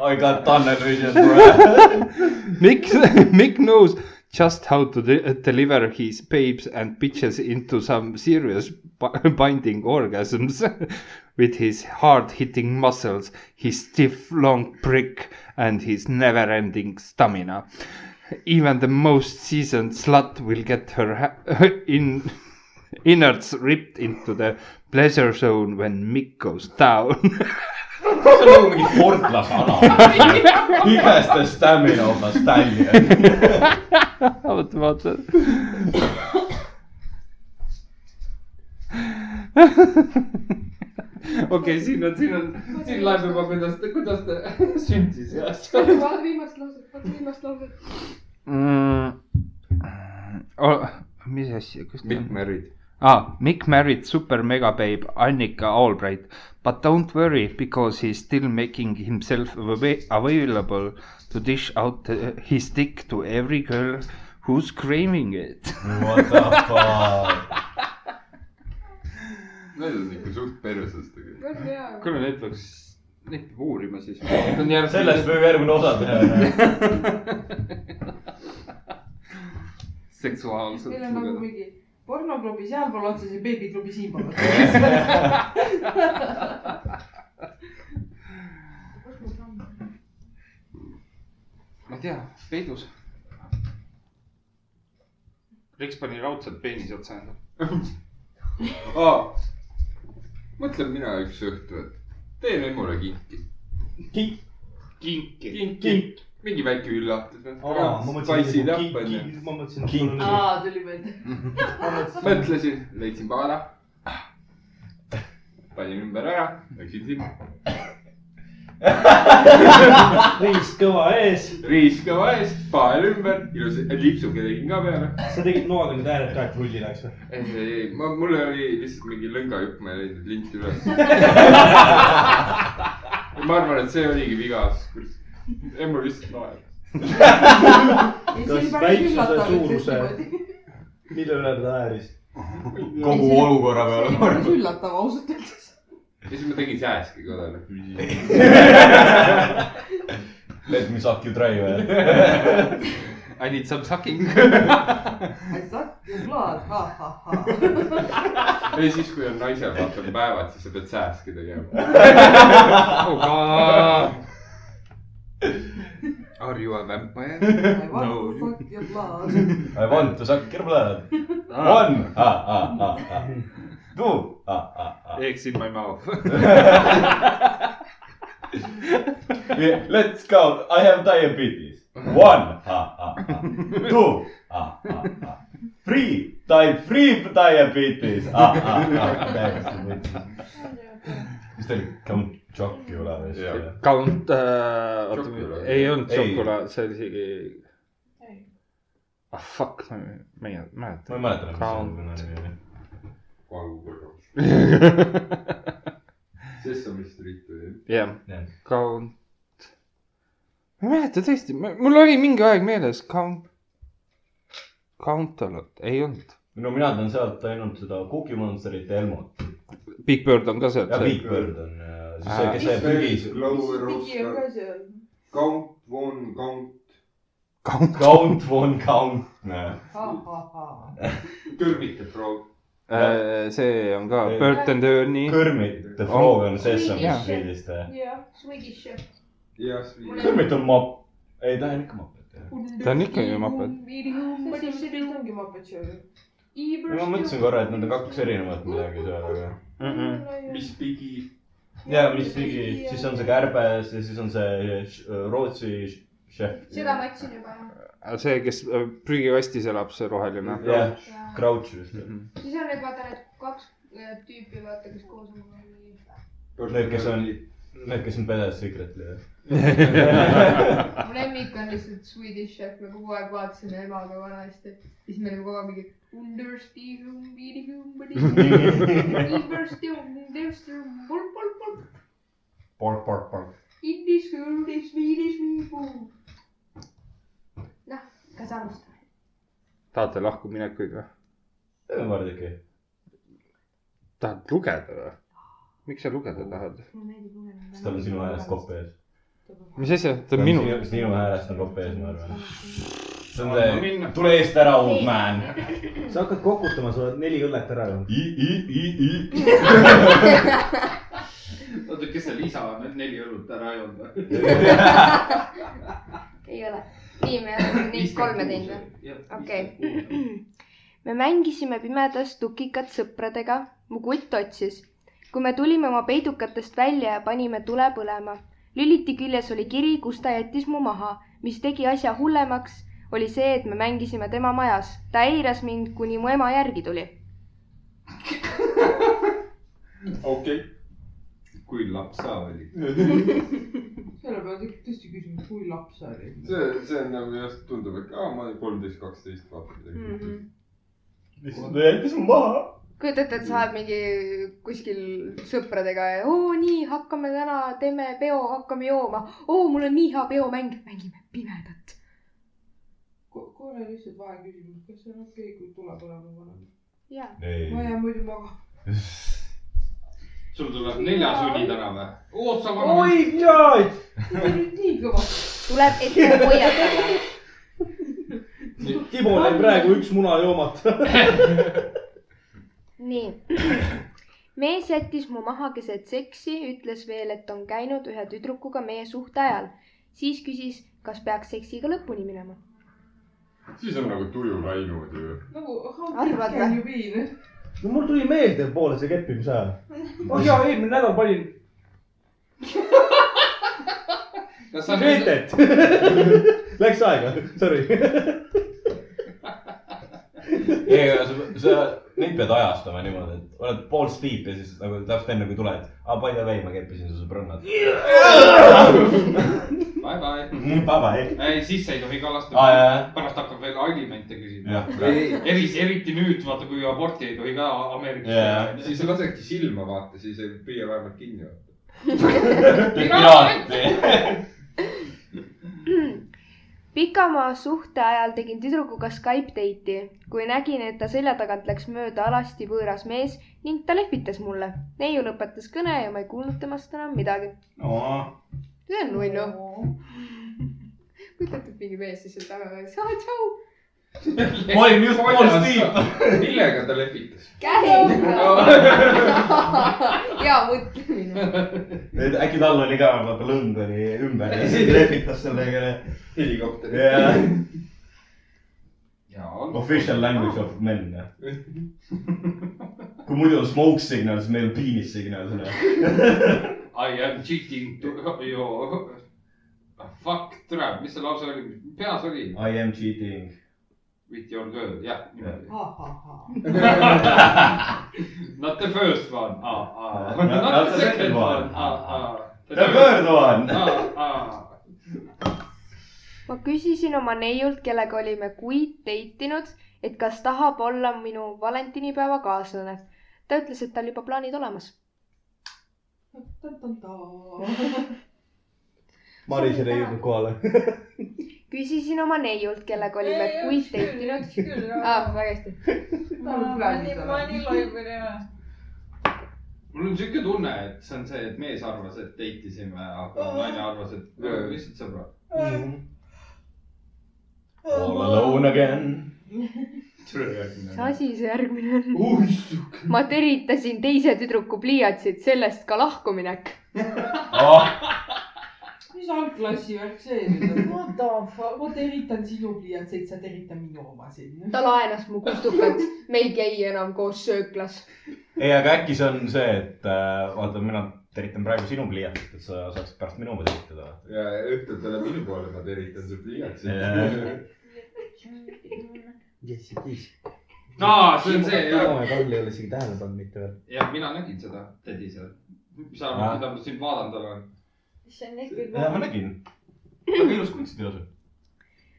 Speaker 4: I got tunnel vision bro .
Speaker 3: Mick, Mick knows just how to de- uh, deliver his babes and bitches into some serious b- binding orgasms with his hard hitting muscles, his stiff long prick, and his never ending stamina. Even the most seasoned slut will get her ha- in innards ripped into the pleasure zone when Mikk goes down .
Speaker 4: see on nagu mingi portlase ana . igeste stamina osas tälje .
Speaker 3: oota , vaata . okei , siin on , siin on , siin läheb juba , kuidas , kuidas ta sündis ja asju .
Speaker 7: vaata viimast lauset , vaata viimast lauset .
Speaker 3: Mm. Oh, mis asja , kus ta
Speaker 2: Mikk
Speaker 3: on ?
Speaker 2: Merrid .
Speaker 3: Ah, Mick married super mega babe Annika Albright, but don't worry because he's still making himself ava- available to dish out uh, his dick to every girl who's craving it .
Speaker 4: What the fuck ?
Speaker 2: Need on ikka suht perses tegelikult .
Speaker 3: kuule , neid peaks , neid peab uurima siis .
Speaker 4: sellest võib järgmine osa teha .
Speaker 3: seksuaalselt
Speaker 7: Teil on nagu . mingi pornoklubi sealpool otsas ja beebiklubi siinpool otsas .
Speaker 3: ma ei tea , peidus . Riks pani raudselt peenise otsa enda .
Speaker 2: aa , mõtlen mina üks õhtu , et teen emule kinki .
Speaker 3: kink , kinki .
Speaker 2: kink , kink , mingi väike üllatus . noh.
Speaker 20: Aa, ma mõtlesin,
Speaker 2: spice'id
Speaker 20: et
Speaker 2: up
Speaker 20: kink-
Speaker 2: onju .
Speaker 20: kink- ma mõtlesin, et
Speaker 2: Kink.
Speaker 20: sul oli-
Speaker 7: tuli meelde .
Speaker 2: mõtlesin , leidsin paara . panin ümber ära , läksin sinna .
Speaker 20: riis kõva ees .
Speaker 2: riis kõva ees , pael ümber , ilusa lipsuga tegin ka peale .
Speaker 20: sa tegid noaga need hääled ka , et rulli läks või ?
Speaker 2: ei , ei , ei , ma , mul oli lihtsalt mingi lõngajupp , ma ei leidnud linti üles . ma arvan , et see oligi viga . emu lihtsalt naerab .
Speaker 20: kas väiksuse suuruse , mille üle ta naeris ?
Speaker 4: kogu olukorra peale .
Speaker 7: päris üllatav ausalt öeldes .
Speaker 2: ja siis ma tegin sääski kodale .
Speaker 4: Let me suck you dry või ?
Speaker 3: I need some sucking .
Speaker 7: I suck your blood , ha-ha-ha .
Speaker 2: ei , siis kui on naisel vaatad päevad , siis sa pead sääski tegema .
Speaker 7: Oh
Speaker 2: Are you a vampire ?
Speaker 7: I want
Speaker 2: No.
Speaker 7: to fuck your blood .
Speaker 4: I want to suck your blood . One , ah , ah , ah , ah . Two , ah , ah , ah .
Speaker 3: Eggs in my mouth .
Speaker 4: Let's go , I have diabetes . One , ah , ah , ah . Two , ah , ah , ah . Three , die , three diabetes , ah , ah , ah . täiesti mõtlesin . mis ta oli , Count Chocula vist ?
Speaker 3: Count äh, , oota
Speaker 4: Chocula. ,
Speaker 3: ei olnud
Speaker 4: Ei.
Speaker 3: Chocula , see oli isegi . ah fuck , ma ma ei
Speaker 4: ma
Speaker 3: mäleta .
Speaker 4: ei mäleta , mis see
Speaker 3: Count ,
Speaker 4: nimi oli .
Speaker 2: Sesame Street või ?
Speaker 3: jah , Count . ma ei mäleta tõesti , mul oli mingi aeg meeles Count , Count olnud , ei olnud .
Speaker 4: no mina tean sealt ainult seda Cookie Monsterit ja Elmot .
Speaker 3: Big Bird on ka seal .
Speaker 4: ja Big Bird on ja siis see ,
Speaker 2: Ah.
Speaker 4: kes see pügis .
Speaker 3: Nagu
Speaker 2: Lower
Speaker 7: pigi
Speaker 2: Oscar ,
Speaker 7: on ka seal .
Speaker 2: Count Von Count ,
Speaker 4: Count von Count , äh, näe .
Speaker 7: ha-ha-ha .
Speaker 2: Kermit the Frog .
Speaker 3: Äh, see on ka Bert and Ernie .
Speaker 4: Kermit the Frog on Sesame
Speaker 3: Jaa.
Speaker 4: Streetist .
Speaker 7: jah , Swedish Chef .
Speaker 2: jah ,
Speaker 4: äh. Kermit on mop , ei ta on ikka mop .
Speaker 3: ta on ikkagi mapet .
Speaker 7: Sesame Street ongi Muppet Show ju .
Speaker 4: ma mõtlesin korra , et need on kaks erinevat midagi seal , aga .
Speaker 2: mis pigi ?
Speaker 4: ja mis pigi , siis on see kärbes ja siis on see š-
Speaker 1: äh,
Speaker 4: Rootsi š- šef .
Speaker 13: seda ma eksin juba .
Speaker 3: see , kes äh, prügikastis elab , see roheline .
Speaker 4: jah , Crouch vist .
Speaker 13: siis on need , vaata need kaks äh, tüüpi , vaata , kes koos on .
Speaker 4: Need , kes on , need , kes on Pedas Secretly jah .
Speaker 13: mu lemmik on lihtsalt Swedish Chef , me kogu aeg vaatasime emaga vanasti . siis meil oli kogu aeg mingi . Understium , medium , Understium , Understium , pulp , pulp , pulp .
Speaker 4: Pork , pork , pork .
Speaker 13: Indis , Üldis , Viidis , Viibu . noh , kas alustame ?
Speaker 3: tahate lahkuminekuid või ?
Speaker 4: teeme Vardiki .
Speaker 3: tahad lugeda või ? miks sa lugeda tahad ?
Speaker 4: siis tal on sinu häälest kopp ees .
Speaker 3: mis asja , ta on minu .
Speaker 4: sinu häälest on kopp ees , ma arvan . see on
Speaker 20: Anna
Speaker 4: see
Speaker 20: minna. ,
Speaker 4: tule eest ära , old man .
Speaker 20: sa hakkad kokutama , sa oled neli õllet ära joonud .
Speaker 6: oota , kes see Liisa on , need neli õlut ära joonud või ?
Speaker 13: ei ole .
Speaker 5: nii , me oleme neid kolme teinud või ? okei . me mängisime pimedas tukikat sõpradega , mu kutt otsis . kui me tulime oma peidukatest välja ja panime tule põlema , lüliti küljes oli kiri , kus ta jättis mu maha , mis tegi asja hullemaks , oli see , et me mängisime tema majas . ta eiras mind , kuni mu ema järgi tuli .
Speaker 21: okei . kui laps sa olid .
Speaker 7: selle peale tekib tõesti küsimus , kui laps sa olid .
Speaker 21: see , see on nagu just tundub , et aa , ma olin kolmteist , kaksteist , vaata midagi .
Speaker 5: Mhm.
Speaker 1: lihtsalt ta jättis mu maha .
Speaker 5: kujuta ette , et sa oled mingi kuskil sõpradega ja oo nii , hakkame täna , teeme peo , hakkame jooma . oo , mul on nii hea peomäng , mängime pimedat .
Speaker 7: korra lihtsalt vaheküsimus , kas see on okei , kui tuleb olema vanem ?
Speaker 5: jaa .
Speaker 1: Ei.
Speaker 7: ma jään muidu magama .
Speaker 2: sul tuleb neljas uni täna või ? oot , sa
Speaker 22: oi jaa ,
Speaker 7: nüüd nii kõvasti .
Speaker 5: tuleb ette hoiatada .
Speaker 22: Timol jäi praegu üks muna joomata .
Speaker 5: nii . mees jättis mu maha keset seksi , ütles veel , et on käinud ühe tüdrukuga meie suhte ajal . siis küsis , kas peaks seksiga lõpuni minema .
Speaker 21: siis on nagu tuju läinud ju .
Speaker 7: nagu
Speaker 5: Arvad
Speaker 7: hakkab ju piin .
Speaker 4: no mul tuli meelde poole see keppimise ajal .
Speaker 22: oh jaa , eelmine nädal panin
Speaker 4: Gretet . Läks aega , sorry .
Speaker 1: ei , aga sa , sa , neid pead ajastama niimoodi , et oled pool stiip ja siis nagu täpselt enne kui tuled . aa , by the way , ma keppisin su sõbrannat .
Speaker 2: bye bye .
Speaker 1: Bye-bye .
Speaker 2: ei , siis ei tohi
Speaker 1: Aa, Ah, jaa, jaa.
Speaker 2: kalastada . pärast hakkab veel alimente küsima
Speaker 1: Jah. .
Speaker 2: eriti , eriti nüüd , vaata , kui aborti ei tohi ka Ameerikas
Speaker 1: Jaa.
Speaker 2: teha .
Speaker 21: siis lasedki silma vaata , siis ei püüa vähemalt kinni vaata .
Speaker 5: pikamaa suhte ajal tegin tüdrukuga Skype date'i , kui nägin , et ta selja tagant läks mööda alasti võõras mees ning ta lehvitas mulle . neiu lõpetas kõne ja ma ei kuulnud temast enam midagi . see on nunnu . kujuta ette , et mingi mees lihtsalt ära läks , aa tšau .
Speaker 1: ma olin just pool stiip .
Speaker 21: millega ta lepitas ?
Speaker 5: käega . hea mõtlemine .
Speaker 1: äkki tal oli ka vaata lõng oli ümber ja siis lehvitas sellega .
Speaker 21: helikopter .
Speaker 1: jah ,
Speaker 2: jaa .
Speaker 1: official language of men . kui muidu on smoke signal , siis meil on penis signal .
Speaker 2: I am cheating to you . Fuck , tere , mis see lause oli , peas oli ?
Speaker 1: I am cheating .
Speaker 2: With your girl , jah , niimoodi .
Speaker 1: Not
Speaker 2: Not the first one , Ah, aa , aa .
Speaker 1: not the second one.
Speaker 2: aa , aa .
Speaker 1: The third one.
Speaker 2: aa , aa .
Speaker 5: ma küsisin oma neiult , kellega olime kuid teitinud , et kas tahab olla minu valentinipäeva kaaslane . ta ütles , et tal juba plaanid olemas .
Speaker 4: Marisel ei jõudnud kohale .
Speaker 5: küsisin oma neiult , kellega olime
Speaker 9: Ei,
Speaker 5: kuid
Speaker 9: üks küll,
Speaker 5: teitinud
Speaker 9: üks küll, . jaa.
Speaker 5: aa , väga hästi .
Speaker 9: ma nii loibun ja .
Speaker 2: mul on siuke tunne , et see on see , et mees arvas , et deitisime , aga naine arvas , et me oleme lihtsalt sõbrad .
Speaker 1: All alone again .
Speaker 5: mis asi see järgmine on ? ma teritasin teise tüdruku pliiatsit , sellest ka lahkuminek .
Speaker 7: mis algklassi värk see nüüd on ? What the fuck , ma teritan sinu pliiatseid , sa terita minu omasid .
Speaker 5: ta laenas mu kustukat , me ei käi enam koos sööklas .
Speaker 1: ei , aga äkki see on see , et äh, vaata , mina teritan praegu sinu pliiatsit , et sa saaksid pärast minu oma teritada .
Speaker 21: ja ütled talle minu poole , ma teritan su
Speaker 1: Jah.
Speaker 21: pliiatsit .
Speaker 4: jess , jess .
Speaker 2: aa , see on see ,
Speaker 4: Timo ja
Speaker 2: jah .
Speaker 4: Karl ei ole isegi tähele pannud mitte veel .
Speaker 2: jah , mina nägin seda tädi seal . mis sa arvad , mida ma siin vaadanud olen ?
Speaker 9: see on ehk
Speaker 1: ja ma
Speaker 9: küll .
Speaker 1: nägin . väga ilus kunstiteos .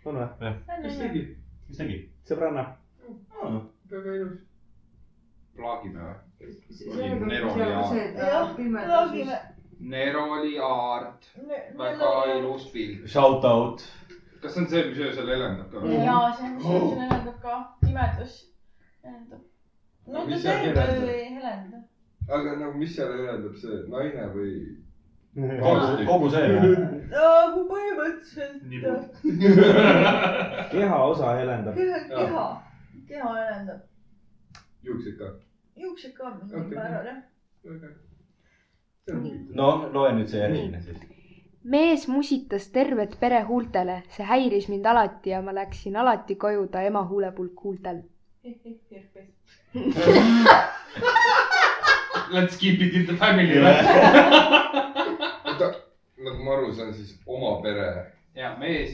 Speaker 4: on või ?
Speaker 1: jah ,
Speaker 4: kes tegi ?
Speaker 1: mis tegi ?
Speaker 4: sõbranna .
Speaker 21: väga ilus . plaagime või ? oli
Speaker 7: nagu
Speaker 21: Nero ja ,
Speaker 7: jah .
Speaker 2: Nero oli Aart . väga ilus pilt .
Speaker 1: Shout out .
Speaker 2: kas see on see , mis öösel helendab ka või ?
Speaker 9: ja see on ,
Speaker 21: Oh.
Speaker 9: see helendab ka , pimedus helendab . no ta äh,
Speaker 21: Mis seal
Speaker 9: terve öö
Speaker 21: helendab?
Speaker 9: ei helenda .
Speaker 21: aga nagu , mis seal helendab , see naine või ?
Speaker 1: kogu , kogu see või ?
Speaker 7: nagu
Speaker 9: äh,
Speaker 7: põhimõtteliselt .
Speaker 4: kehaosa helendab .
Speaker 9: keha , keha , keha helendab .
Speaker 21: juuksed ka ?
Speaker 9: juuksed ka
Speaker 21: Okei.
Speaker 9: mingil määral jah .
Speaker 21: see on
Speaker 1: noh , loe nüüd see järgmine siis .
Speaker 5: mees musitas tervet pere huultele , see häiris mind alati ja ma läksin alati koju ta ema huulepulk huultel .
Speaker 2: Let's keep it in the family
Speaker 3: Yeah.
Speaker 2: oota , nagu ma aru saan , siis oma pere .
Speaker 3: ja mees ,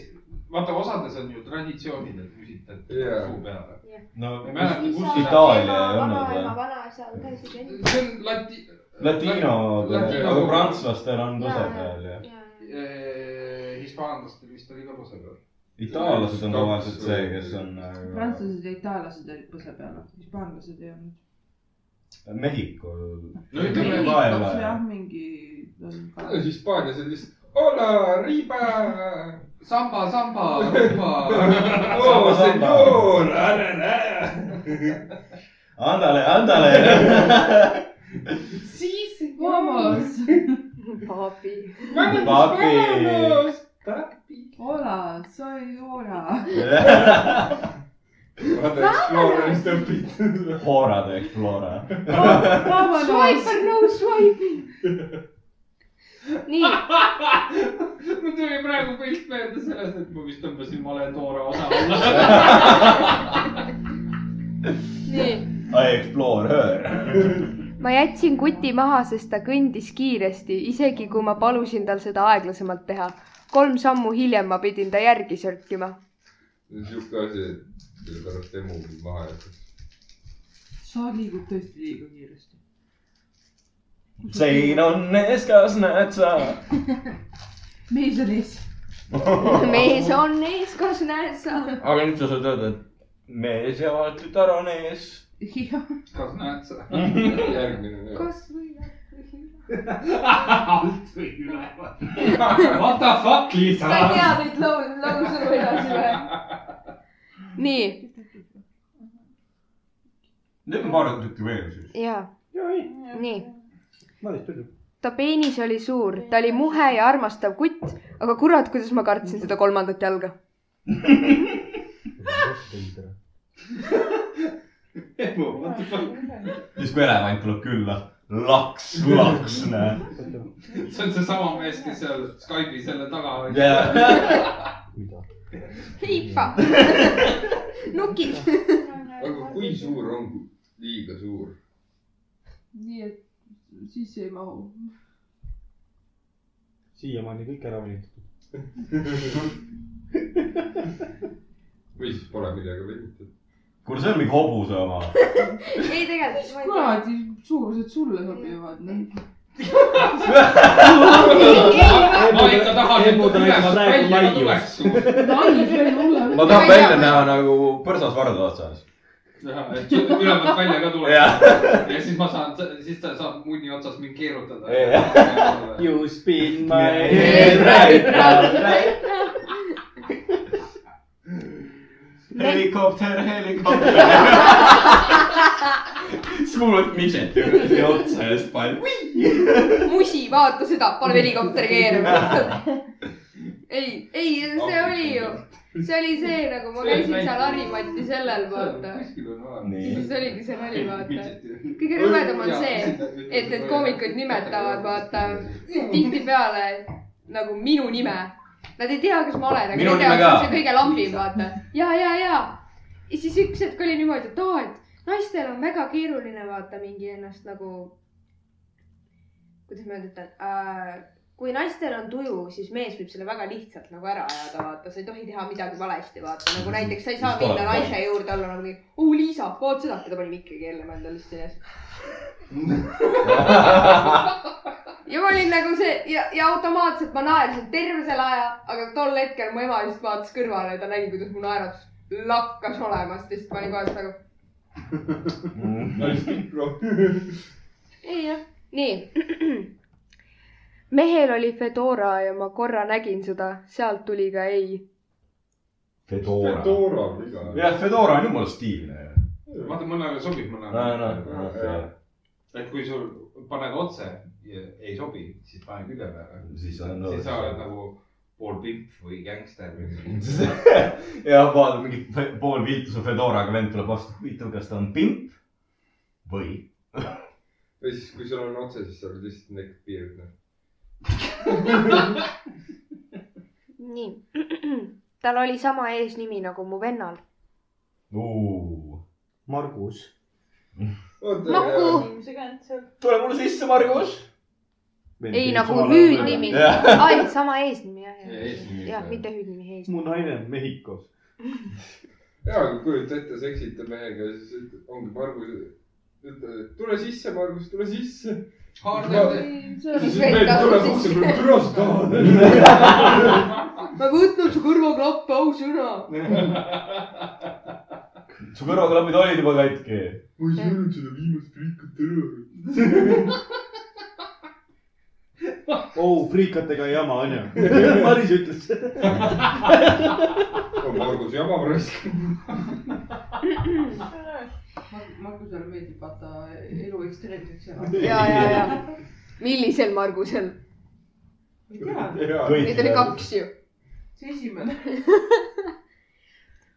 Speaker 3: vaata , osades on ju traditsioonid , et küsitled
Speaker 2: Jaa.
Speaker 3: suu peale .
Speaker 1: no
Speaker 3: ma ei mäleta , kus
Speaker 1: Isa- Itaalia ei olnud või?
Speaker 13: vanaema , vanaisa on ka isegi enda .
Speaker 2: see on lati- .
Speaker 1: Latiinod ,
Speaker 3: Latiino-
Speaker 1: aga prantslastel on lase peal ja .
Speaker 3: Eh, hispaanlastel vist oli ka lase peal .
Speaker 1: itaallased on tavaliselt see , kes on äh,
Speaker 7: prantslased ja itaallased olid põse peal , hispaanlased ei olnud .
Speaker 1: äh, Mehhiko .
Speaker 7: jah , mingi .
Speaker 2: Hispaanias on lihtsalt hola , riba ,
Speaker 3: samba , samba ,
Speaker 2: oo
Speaker 3: rumba .
Speaker 2: senor , ära näe .
Speaker 1: Andale , andale .
Speaker 2: siis
Speaker 7: vabas .
Speaker 5: papi .
Speaker 1: Papi.
Speaker 7: Hola , soy hola .
Speaker 2: vaata , Explorerist õpid .
Speaker 1: Hora de Explora .
Speaker 13: Swiper , no swiping .
Speaker 5: nii .
Speaker 3: mul tuli praegu pilt meelde sellest , et ma vist tõmbasin vale toore osa alla .
Speaker 5: nii .
Speaker 1: I explore her .
Speaker 5: ma jätsin kuti maha , sest ta kõndis kiiresti , isegi kui ma palusin tal seda aeglasemalt teha . kolm sammu hiljem ma pidin ta järgi sörkima .
Speaker 2: sihuke asi , et sellepärast emu mind maha jättis .
Speaker 7: sa liigud tõesti liiga kiiresti .
Speaker 1: sein on ees , kas näed sa ?
Speaker 7: mees on ees .
Speaker 5: mees on ees , kas näed sa ?
Speaker 1: aga nüüd sa saad öelda , et mees ja tütar on ees .
Speaker 3: kas näed sa ?
Speaker 2: järgmine .
Speaker 13: kas või
Speaker 3: alt või ülevalt . What the fuck , Liisa ?
Speaker 13: sa ei tea neid laul , laulsõnu edasi või ?
Speaker 5: nii ,
Speaker 1: teeme paar tükki veel siis .
Speaker 5: ja nii .
Speaker 4: Madis , tuli .
Speaker 5: ta peenis oli suur , ta oli muhe ja armastav kutt , aga kurat , kuidas ma kartsin seda kolmandat jalga .
Speaker 2: what the fuck ?
Speaker 1: siis kui elevant tuleb külla , laks , laks , näe .
Speaker 3: see on seesama mees , kes seal Skype'i selle taga oli
Speaker 1: Jah. .
Speaker 5: hiipa , nukid .
Speaker 2: aga kui suur on liiga suur ?
Speaker 7: nii et siis ei mahu .
Speaker 4: siiamaani kõik ära venitatud .
Speaker 2: või siis pole midagi venitatud .
Speaker 1: kuule , see on mingi hobuse oma .
Speaker 13: ei tegelikult .
Speaker 7: kuradi suurused sulle sobivad , noh .
Speaker 3: ma ikka tahan , et ta ülevalt välja tuleks .
Speaker 7: nali , see on hullem .
Speaker 1: ma tahan välja näha nagu põrsas varda otsas .
Speaker 3: et see ülevalt välja ka tuleb . ja siis ma saan , siis ta saab munni otsas mind keerutada .
Speaker 4: You spin my
Speaker 3: head right round,
Speaker 4: right
Speaker 1: helikopter , helikopter . siis kuulad midžeti kuradi otsa ja siis paned .
Speaker 5: musi , vaata seda , paneb helikopteri keerama . ei , ei , see oli ju , see oli see , nagu ma käisin seal Harimati sellel , vaata . siis oligi see nali , vaata . kõige rõvedam on see , et need koomikud nimetavad , vaata , tihtipeale nagu minu nime . Nad ei tea , kes ma olen , aga
Speaker 1: Minu
Speaker 5: nad teavad ,
Speaker 1: nime
Speaker 5: see on
Speaker 1: ka.
Speaker 5: see kõige lambim , vaata . ja , ja , ja . ja siis üks hetk oli niimoodi , et aa , et naistel on väga keeruline vaata mingi ennast nagu , kuidas ma nüüd ütlen äh, , kui naistel on tuju , siis mees võib selle väga lihtsalt nagu ära ajada , vaata , sa ei tohi teha midagi valesti , vaata nagu näiteks sa ei saa
Speaker 13: Just
Speaker 5: minna
Speaker 13: oled
Speaker 5: naise
Speaker 13: valmis.
Speaker 5: juurde olla nagu , oo Liisa , vaat seda , ta pani ikkagi jälle mõelda lihtsalt üles . ja ma olin nagu see ja , ja automaatselt ma naersin terve selle aja , aga tol hetkel mu ema just vaatas kõrvale ja ta nägi , kuidas mu naeratus lakkas olemast ja siis ma olin kohe nagu ei jah , nii . mehel oli Fedora ja ma korra nägin seda , sealt tuli ka ei .
Speaker 1: Fedora .
Speaker 2: Fedora on iga-
Speaker 1: jah , Fedora on jumala stiilne .
Speaker 3: vaata , mõnele sobib ,
Speaker 1: No, no,
Speaker 3: mõnele
Speaker 1: no, see- .
Speaker 3: et kui sul paned otse ja ei sobi , siis pane külje peale .
Speaker 1: Siis on-
Speaker 3: siis sa oled nagu pool pimp või gängster või midagi .
Speaker 1: jah , vaata mingi fe- pool viltuse Fedoraga vend tuleb vastu , huvitav , kas ta on pimp või ?
Speaker 2: või siis , kui sul on otse , siis sa oled lihtsalt neckbeard , noh .
Speaker 5: tal oli sama eesnimi nagu mu vennal .
Speaker 4: Margus .
Speaker 5: Maku ,
Speaker 9: tule mulle sisse , Margus .
Speaker 5: ei nagu hüüdnimi , aa ei , sama eesnimi jah ,
Speaker 3: Ja eesnimi,
Speaker 5: jah , jah ,
Speaker 3: jah.
Speaker 5: mitte hüüdnimi , eesnimi .
Speaker 4: mu naine on Mehhikos .
Speaker 3: ja kujuta ette , sa eksid ta mehega ja siis ütled- ongi Margus , ütled , et tule sisse , Margus , tule sisse . siis meil tuleb ukse peale , türa sa tahad .
Speaker 23: ma võtnud su kõrvaklappe , ausõna .
Speaker 1: su kõrvaklapid olid juba katki .
Speaker 3: ma ei söönud seda viimast priikat
Speaker 24: oh , priikatega ei jama , onju .
Speaker 4: Maris ütles .
Speaker 3: ära . Margus jamab raisk .
Speaker 7: Margusele meeldib vaata elu ekstreemseks
Speaker 25: ja , ja , ja . millisel Margusel ?
Speaker 7: elada .
Speaker 25: Neid oli kaks ju .
Speaker 7: see esimene .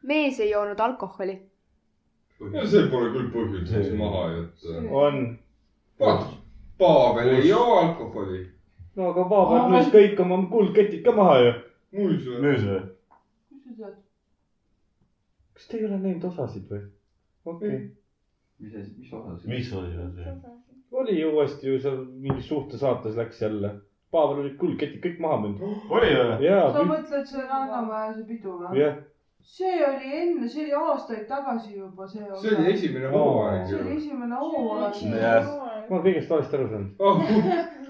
Speaker 5: mees ei joonud alkoholi .
Speaker 3: ja see pole küll põhjust , miks maha jätta .
Speaker 4: on .
Speaker 3: Paabel ei joo alkoholi .
Speaker 4: no aga Paabel müüs kõik oma kuldketid ka maha ju .
Speaker 3: müüs või ?
Speaker 1: müüs või ?
Speaker 4: kas te ei ole näinud osasid või ? okei okay. .
Speaker 2: mis asi , mis osa see ?
Speaker 1: mis oli see ?
Speaker 4: oli ju uuesti ju seal mingis suhtesaates läks jälle . Paabel oli kuldketid kõik maha müünud .
Speaker 1: oli või ?
Speaker 4: jaa
Speaker 7: sa , mõtled see Rannamäe see pidu või ?
Speaker 4: jah .
Speaker 7: see oli enne , see oli aastaid tagasi juba see osa .
Speaker 3: see oli esimene hooaeg
Speaker 7: see oli
Speaker 3: ju .
Speaker 7: esimene hooaeg .
Speaker 4: Jah. ma kõigest valesti aru saanud .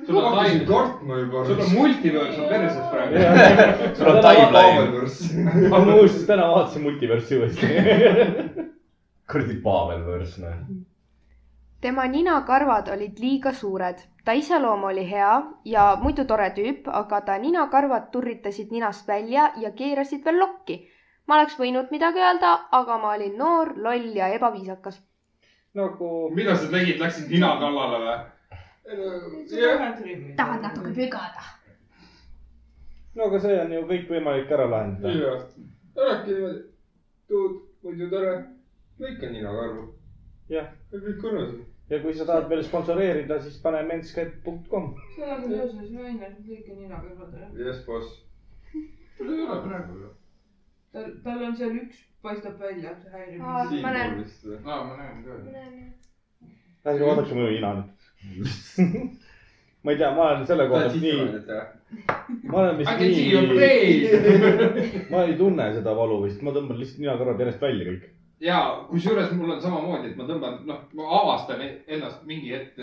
Speaker 3: Ah, ma hakkasin kartma juba .
Speaker 2: sul on multiverse on perses praegu .
Speaker 1: sul on timeline .
Speaker 4: aga ma muuseas täna vaatasin multiversi uuesti .
Speaker 1: kuradi Pavelvõrs , noh .
Speaker 5: tema ninakarvad olid liiga suured , ta iseloom oli hea ja muidu tore tüüp , aga ta ninakarvad turritasid ninast välja ja keerasid veel lokki . ma oleks võinud midagi öelda , aga ma olin noor , loll ja ebaviisakas .
Speaker 4: nagu .
Speaker 2: mida sa tegid , läksid nina kallale või ?
Speaker 26: tahad natuke pügada ?
Speaker 4: no aga see on ju kõik võimalik ära lahendada .
Speaker 3: jah , alati niimoodi . tuud , muidu tore . kõik on ninakarv .
Speaker 4: jah ,
Speaker 3: kõik korras .
Speaker 4: ja kui sa tahad veel sponsoreerida , siis pane menskäpp.com .
Speaker 7: sellega seoses Rainer lõika nina kõrvadele .
Speaker 3: jess , boss . sul ei ole praegu ju .
Speaker 7: tal , tal on seal üks paistab välja , see häirib
Speaker 25: Aa,
Speaker 7: mind .
Speaker 25: ma näen.
Speaker 2: aa , ma näen ka .
Speaker 4: ärge vaadake mu ina nüüd . ma ei tea , ma olen selle koha pealt nii , ma olen
Speaker 2: I
Speaker 4: vist
Speaker 2: can see your
Speaker 4: nii . ma ei tunne seda valu vist , ma tõmban lihtsalt ninakarvad järjest välja kõik .
Speaker 2: ja kusjuures mul on samamoodi , et ma tõmban , noh , ma avastan e- ennast mingi hetk ,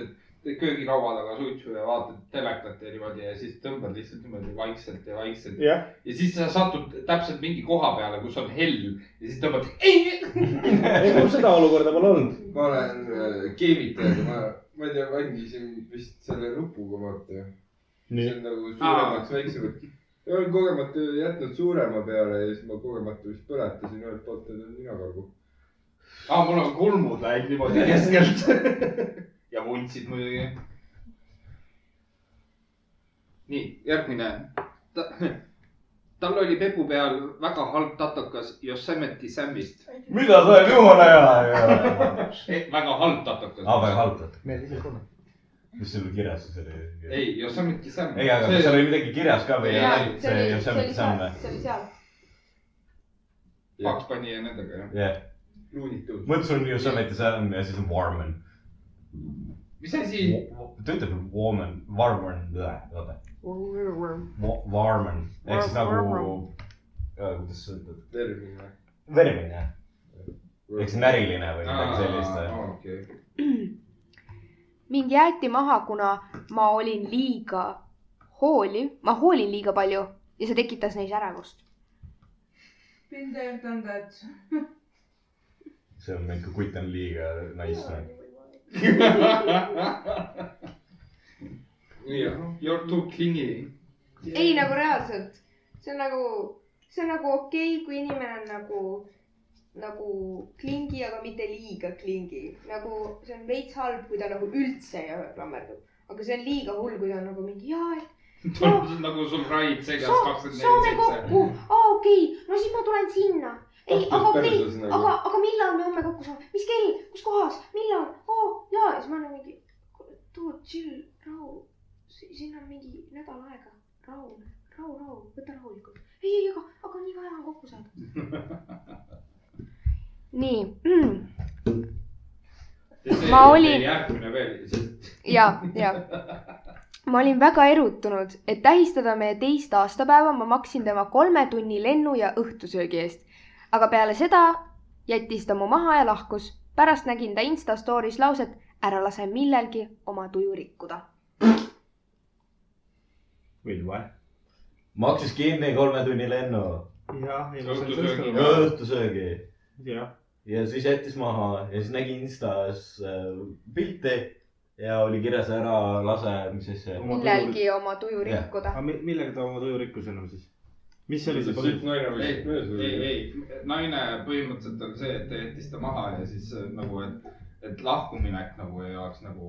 Speaker 2: et köögilaua taga suitsu ja vaatad telekat ja niimoodi ja siis tõmbad lihtsalt niimoodi vaikselt ja vaikselt .
Speaker 4: Jah.
Speaker 2: ja siis sa satud täpselt mingi koha peale , kus on hell ja siis tõmbad ei .
Speaker 4: ei , mul seda olukorda pole olnud .
Speaker 3: ma olen äh, keevitajaga , ma , ma ei tea , mängisin vist selle nupuga , vaata .
Speaker 4: Nii.
Speaker 3: see on nagu suuremaks , väiksemaks . ja olen kogemata jätnud suurema peale ja siis ma kogemata vist põletasin ühelt poolt enda ninakargu .
Speaker 2: aa , Ah, mul on kulmud läinud niimoodi keskelt . ja vuntsid muidugi . nii , järgmine Ta, . tal oli pepu peal väga halb tatokas Yosemite Samist .
Speaker 1: mida sa oled jumala hea .
Speaker 2: Eh, Ah, väga halb tatokas .
Speaker 1: aa , väga halb .
Speaker 4: meeldis ka .
Speaker 1: mis sul kirjas siis oli ?
Speaker 2: ei , Yosemite Sam .
Speaker 1: ei , aga kas seal oli midagi kirjas ka või ?
Speaker 2: Jaa,
Speaker 1: see ei ole see , mis on või ?
Speaker 26: oli seal .
Speaker 2: paks pani ja nendega jah .
Speaker 1: jah ,
Speaker 2: luunitud .
Speaker 1: mõtlesin , et Yosemite Sam ja siis on Warman .
Speaker 2: mis asi ?
Speaker 1: ta ütleb Warman , Warman , oota , Warman ehk siis nagu , kuidas sa ütled ,
Speaker 3: termin või ?
Speaker 1: vermine . ehk siis näriline või midagi sellist .
Speaker 3: okei .
Speaker 5: mind jäeti maha , kuna ma olin liiga hooliv , ma hoolin liiga palju ja see tekitas neis ärevust .
Speaker 7: Pinder Tandat .
Speaker 1: see on ikka , kutt on liiga nice .
Speaker 3: jah ,
Speaker 2: you are too clingy .
Speaker 5: ei nagu reaalselt , see on nagu , see on nagu okei okay, , kui inimene on nagu , nagu klingi , aga mitte liiga klingi . nagu see on veits halb , kui ta nagu üldse ei ole klammerdub , aga see on liiga hull , kui ta on nagu mingi jaa , et
Speaker 2: nagu sul raid seljas
Speaker 5: Soo-
Speaker 2: kakskümmend
Speaker 5: Soome
Speaker 2: neli
Speaker 5: kokku
Speaker 2: seitse .,
Speaker 5: aa okei okay. , no siis ma tulen sinna . ei ,
Speaker 2: Aktus
Speaker 5: aga okei
Speaker 2: perses
Speaker 5: okay, ,
Speaker 2: nagu.
Speaker 5: aga , aga millal me homme kokku saame , mis kell , kus kohas , millal , oo jaa , ja siis ma olen mingi , too chill , rahu , siin on mingi nädal aega , rahu , rahu , rahu , võta rahulikult . ei , ei , aga ,
Speaker 13: aga nii vaja on kokku saada .
Speaker 5: nii mm. .
Speaker 2: see
Speaker 5: Ma olin-
Speaker 2: järgmine veel , sest
Speaker 5: ja , ja ma olin väga erutunud , et tähistada meie teist aastapäeva , ma maksin tema kolme tunni lennu ja õhtusöögi eest . aga peale seda jättis ta mu maha ja lahkus . pärast nägin ta Insta story's lauset , ära lase millelgi oma tuju rikkuda .
Speaker 1: võid vahe .
Speaker 4: maksis kinni kolme tunni lennu ,
Speaker 1: jah , ei ma saan sellest aru .
Speaker 4: õhtusöögi
Speaker 1: jah ,
Speaker 4: ja siis jättis maha ja siis nägi Instas äh, pilti ja oli kirjas ära lase , mis siis see .
Speaker 5: millelgi oma tuju
Speaker 4: Jah.
Speaker 5: rikkuda .
Speaker 1: aga mi- millega ta oma tuju rikkus enam siis ? mis see oli see
Speaker 2: Siit naine
Speaker 1: põhjus ?
Speaker 2: ei , ei , ei , naine põhimõtteliselt on see , et ta jättis ta maha ja siis äh, nagu , et , et lahkuminek nagu ei oleks nagu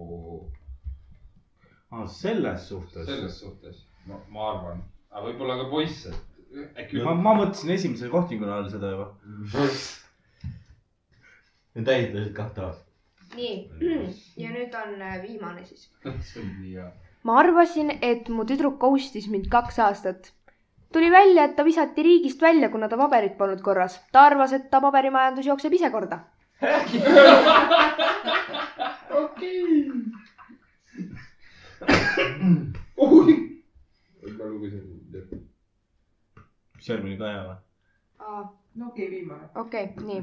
Speaker 1: aa , selles suhtes .
Speaker 2: selles suhtes , ma , ma arvan , aga võib-olla ka poiss , et äkki
Speaker 1: ma , ma mõtlesin esimese kohtinguna all seda juba .
Speaker 4: Need ehitasid kahte aastat .
Speaker 5: nii , ja nüüd on äh, viimane siis .
Speaker 2: see on nii hea .
Speaker 5: ma arvasin , et mu tüdruk ghost'is mind kaks aastat . tuli välja , et ta visati riigist välja , kuna ta paberid polnud korras . ta arvas , et ta paberimajandus jookseb ise korda .
Speaker 2: okei .
Speaker 27: ma lugesin .
Speaker 1: mis järgmine ka hea või ?
Speaker 7: no okei , viimane .
Speaker 5: okei okay, , nii .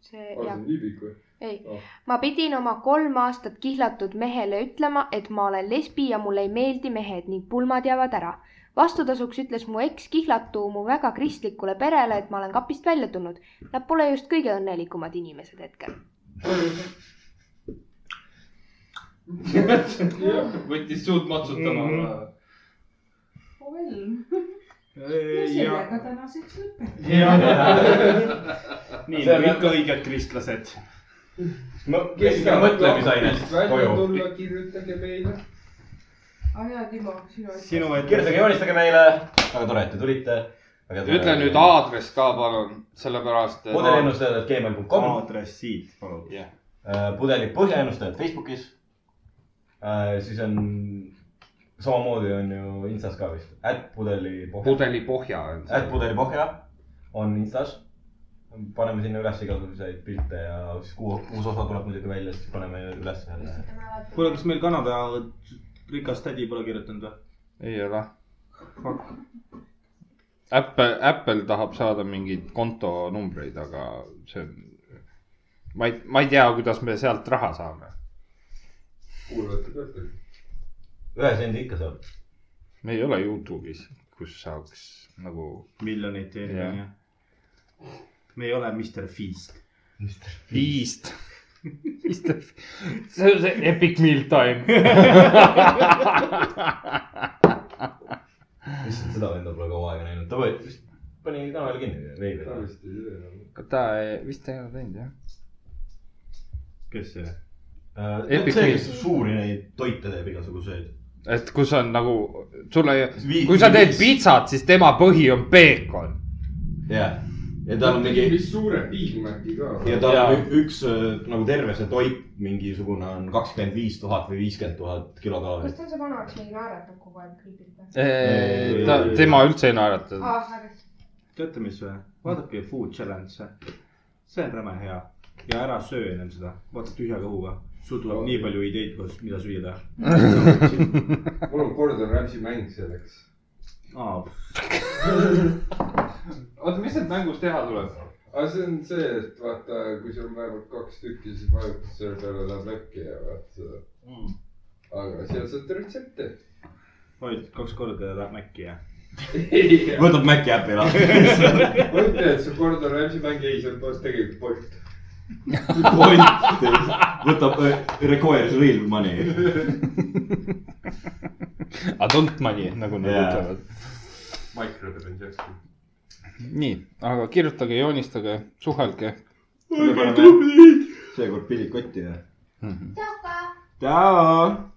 Speaker 5: see
Speaker 27: aa , see
Speaker 5: jah
Speaker 27: on , nii pikk või ?
Speaker 5: ei
Speaker 27: Ah. .
Speaker 5: ma pidin oma kolm aastat kihlatud mehele ütlema , et ma olen lesbi ja mulle ei meeldi mehed ning pulmad jäävad ära . vastutasuks ütles mu eks kihlatu mu väga kristlikule perele , et ma olen kapist välja tulnud . Nad pole just kõige õnnelikumad inimesed hetkel .
Speaker 2: võttis suud matsutama mm .
Speaker 27: Mhm.
Speaker 2: -hmm.
Speaker 7: oh well . ja
Speaker 1: jah .
Speaker 7: sellega tänaseks lõpetame .
Speaker 1: nii nagu ikka õiged kristlased .
Speaker 4: kes ka mõtlemisainest
Speaker 2: välja
Speaker 4: koju .
Speaker 2: tulla , kirjutage meile .
Speaker 7: aa jaa , Timo , sinu asi .
Speaker 1: sinu
Speaker 4: kirjutage , joonistage meile , väga tore , et te tulite .
Speaker 3: ütle nüüd . aadress ka palun , sellepärast .
Speaker 4: pudeliennustajad gmail.com .
Speaker 1: aadressid , palun .
Speaker 3: jah ,
Speaker 4: pudeli Äh, põhjaennustajad Facebookis . siis on , samamoodi on ju Instas ka vist , ätt pudeli pohja .
Speaker 3: pudeli pohja on
Speaker 4: ätt . pudeli pohja on Instas . paneme sinna üles igasuguseid pilte ja siis kuu , uus osa tuleb muidugi välja , siis paneme üles jälle .
Speaker 1: kuule , kas meil Kanada rikas tädi pole kirjutanud või ?
Speaker 3: ei ole . Apple , Apple tahab saada mingeid kontonumbreid , aga see on , ma ei , ma ei tea , kuidas me sealt raha saame .
Speaker 27: kuulajate pealt oli .
Speaker 4: ühe sendi ikka saab .
Speaker 3: me ei ole Youtube'is , kus saaks nagu .
Speaker 1: miljoneid teenida ,
Speaker 3: Jah.
Speaker 1: onju . me ei ole Mr Feast .
Speaker 3: Beast . see on see epic meal time .
Speaker 4: lihtsalt seda venda pole kaua aega näinud , ta võeti vist , pani kanali kinni veidi .
Speaker 27: vist ei tee enam .
Speaker 3: ta ei- vist ei ole teinud jah .
Speaker 1: kes see ?
Speaker 4: Epic Äh, see , kes suuri neid toite teeb igasuguseid .
Speaker 3: et kus on nagu , sul ei
Speaker 4: Vii- ,
Speaker 3: kui sa teed
Speaker 4: viis.
Speaker 3: pitsat , siis tema põhi on peekon .
Speaker 4: jah , ja tal on mingi ,
Speaker 27: vist suure Big Maci ka .
Speaker 4: ja tal on ü- üks öö, nagu terve see toit mingisugune on kakskümmend viis tuhat või viiskümmend tuhat kilokalorit .
Speaker 5: ta on see vanemaks mingi naeratab kogu aeg kriibilt või ?
Speaker 3: ta , tema üldse ei naerata .
Speaker 1: teate , mis või ? vaadake Food Challenge'e . see on räme hea ja ära söö ennem seda , vaata tühja kõhuga . sul tuleb nii palju ideid , kus , mida süüa teha .
Speaker 27: mul on Gordon Ramsay mäng selleks .
Speaker 1: aa ,
Speaker 2: oota , mis sealt mängust teha tuleb ?
Speaker 27: aga see on see , et vaata , kui sul on vähemalt kaks tükki , siis vajutad selle peale , läheb läkki ja vaata .
Speaker 1: Mm.
Speaker 27: aga sealt saad retsepte .
Speaker 1: vajutad kaks korda ja läheb mäkki ja .
Speaker 4: võtab Maci äpi
Speaker 1: noh.
Speaker 4: lahti .
Speaker 27: ma ütlen , et see Gordon Ramsay mäng ei , see on poest tegelikult Bolt .
Speaker 4: võtab ,
Speaker 1: eh,
Speaker 4: requires real money .
Speaker 3: Adult money , nagu nad
Speaker 4: Jaa.
Speaker 3: ütlevad .
Speaker 27: Microtransaction .
Speaker 3: nii , aga kirjutage , joonistage , suhelge .
Speaker 4: seekord pillid kotti ja .
Speaker 13: tšau ka .
Speaker 4: tšau .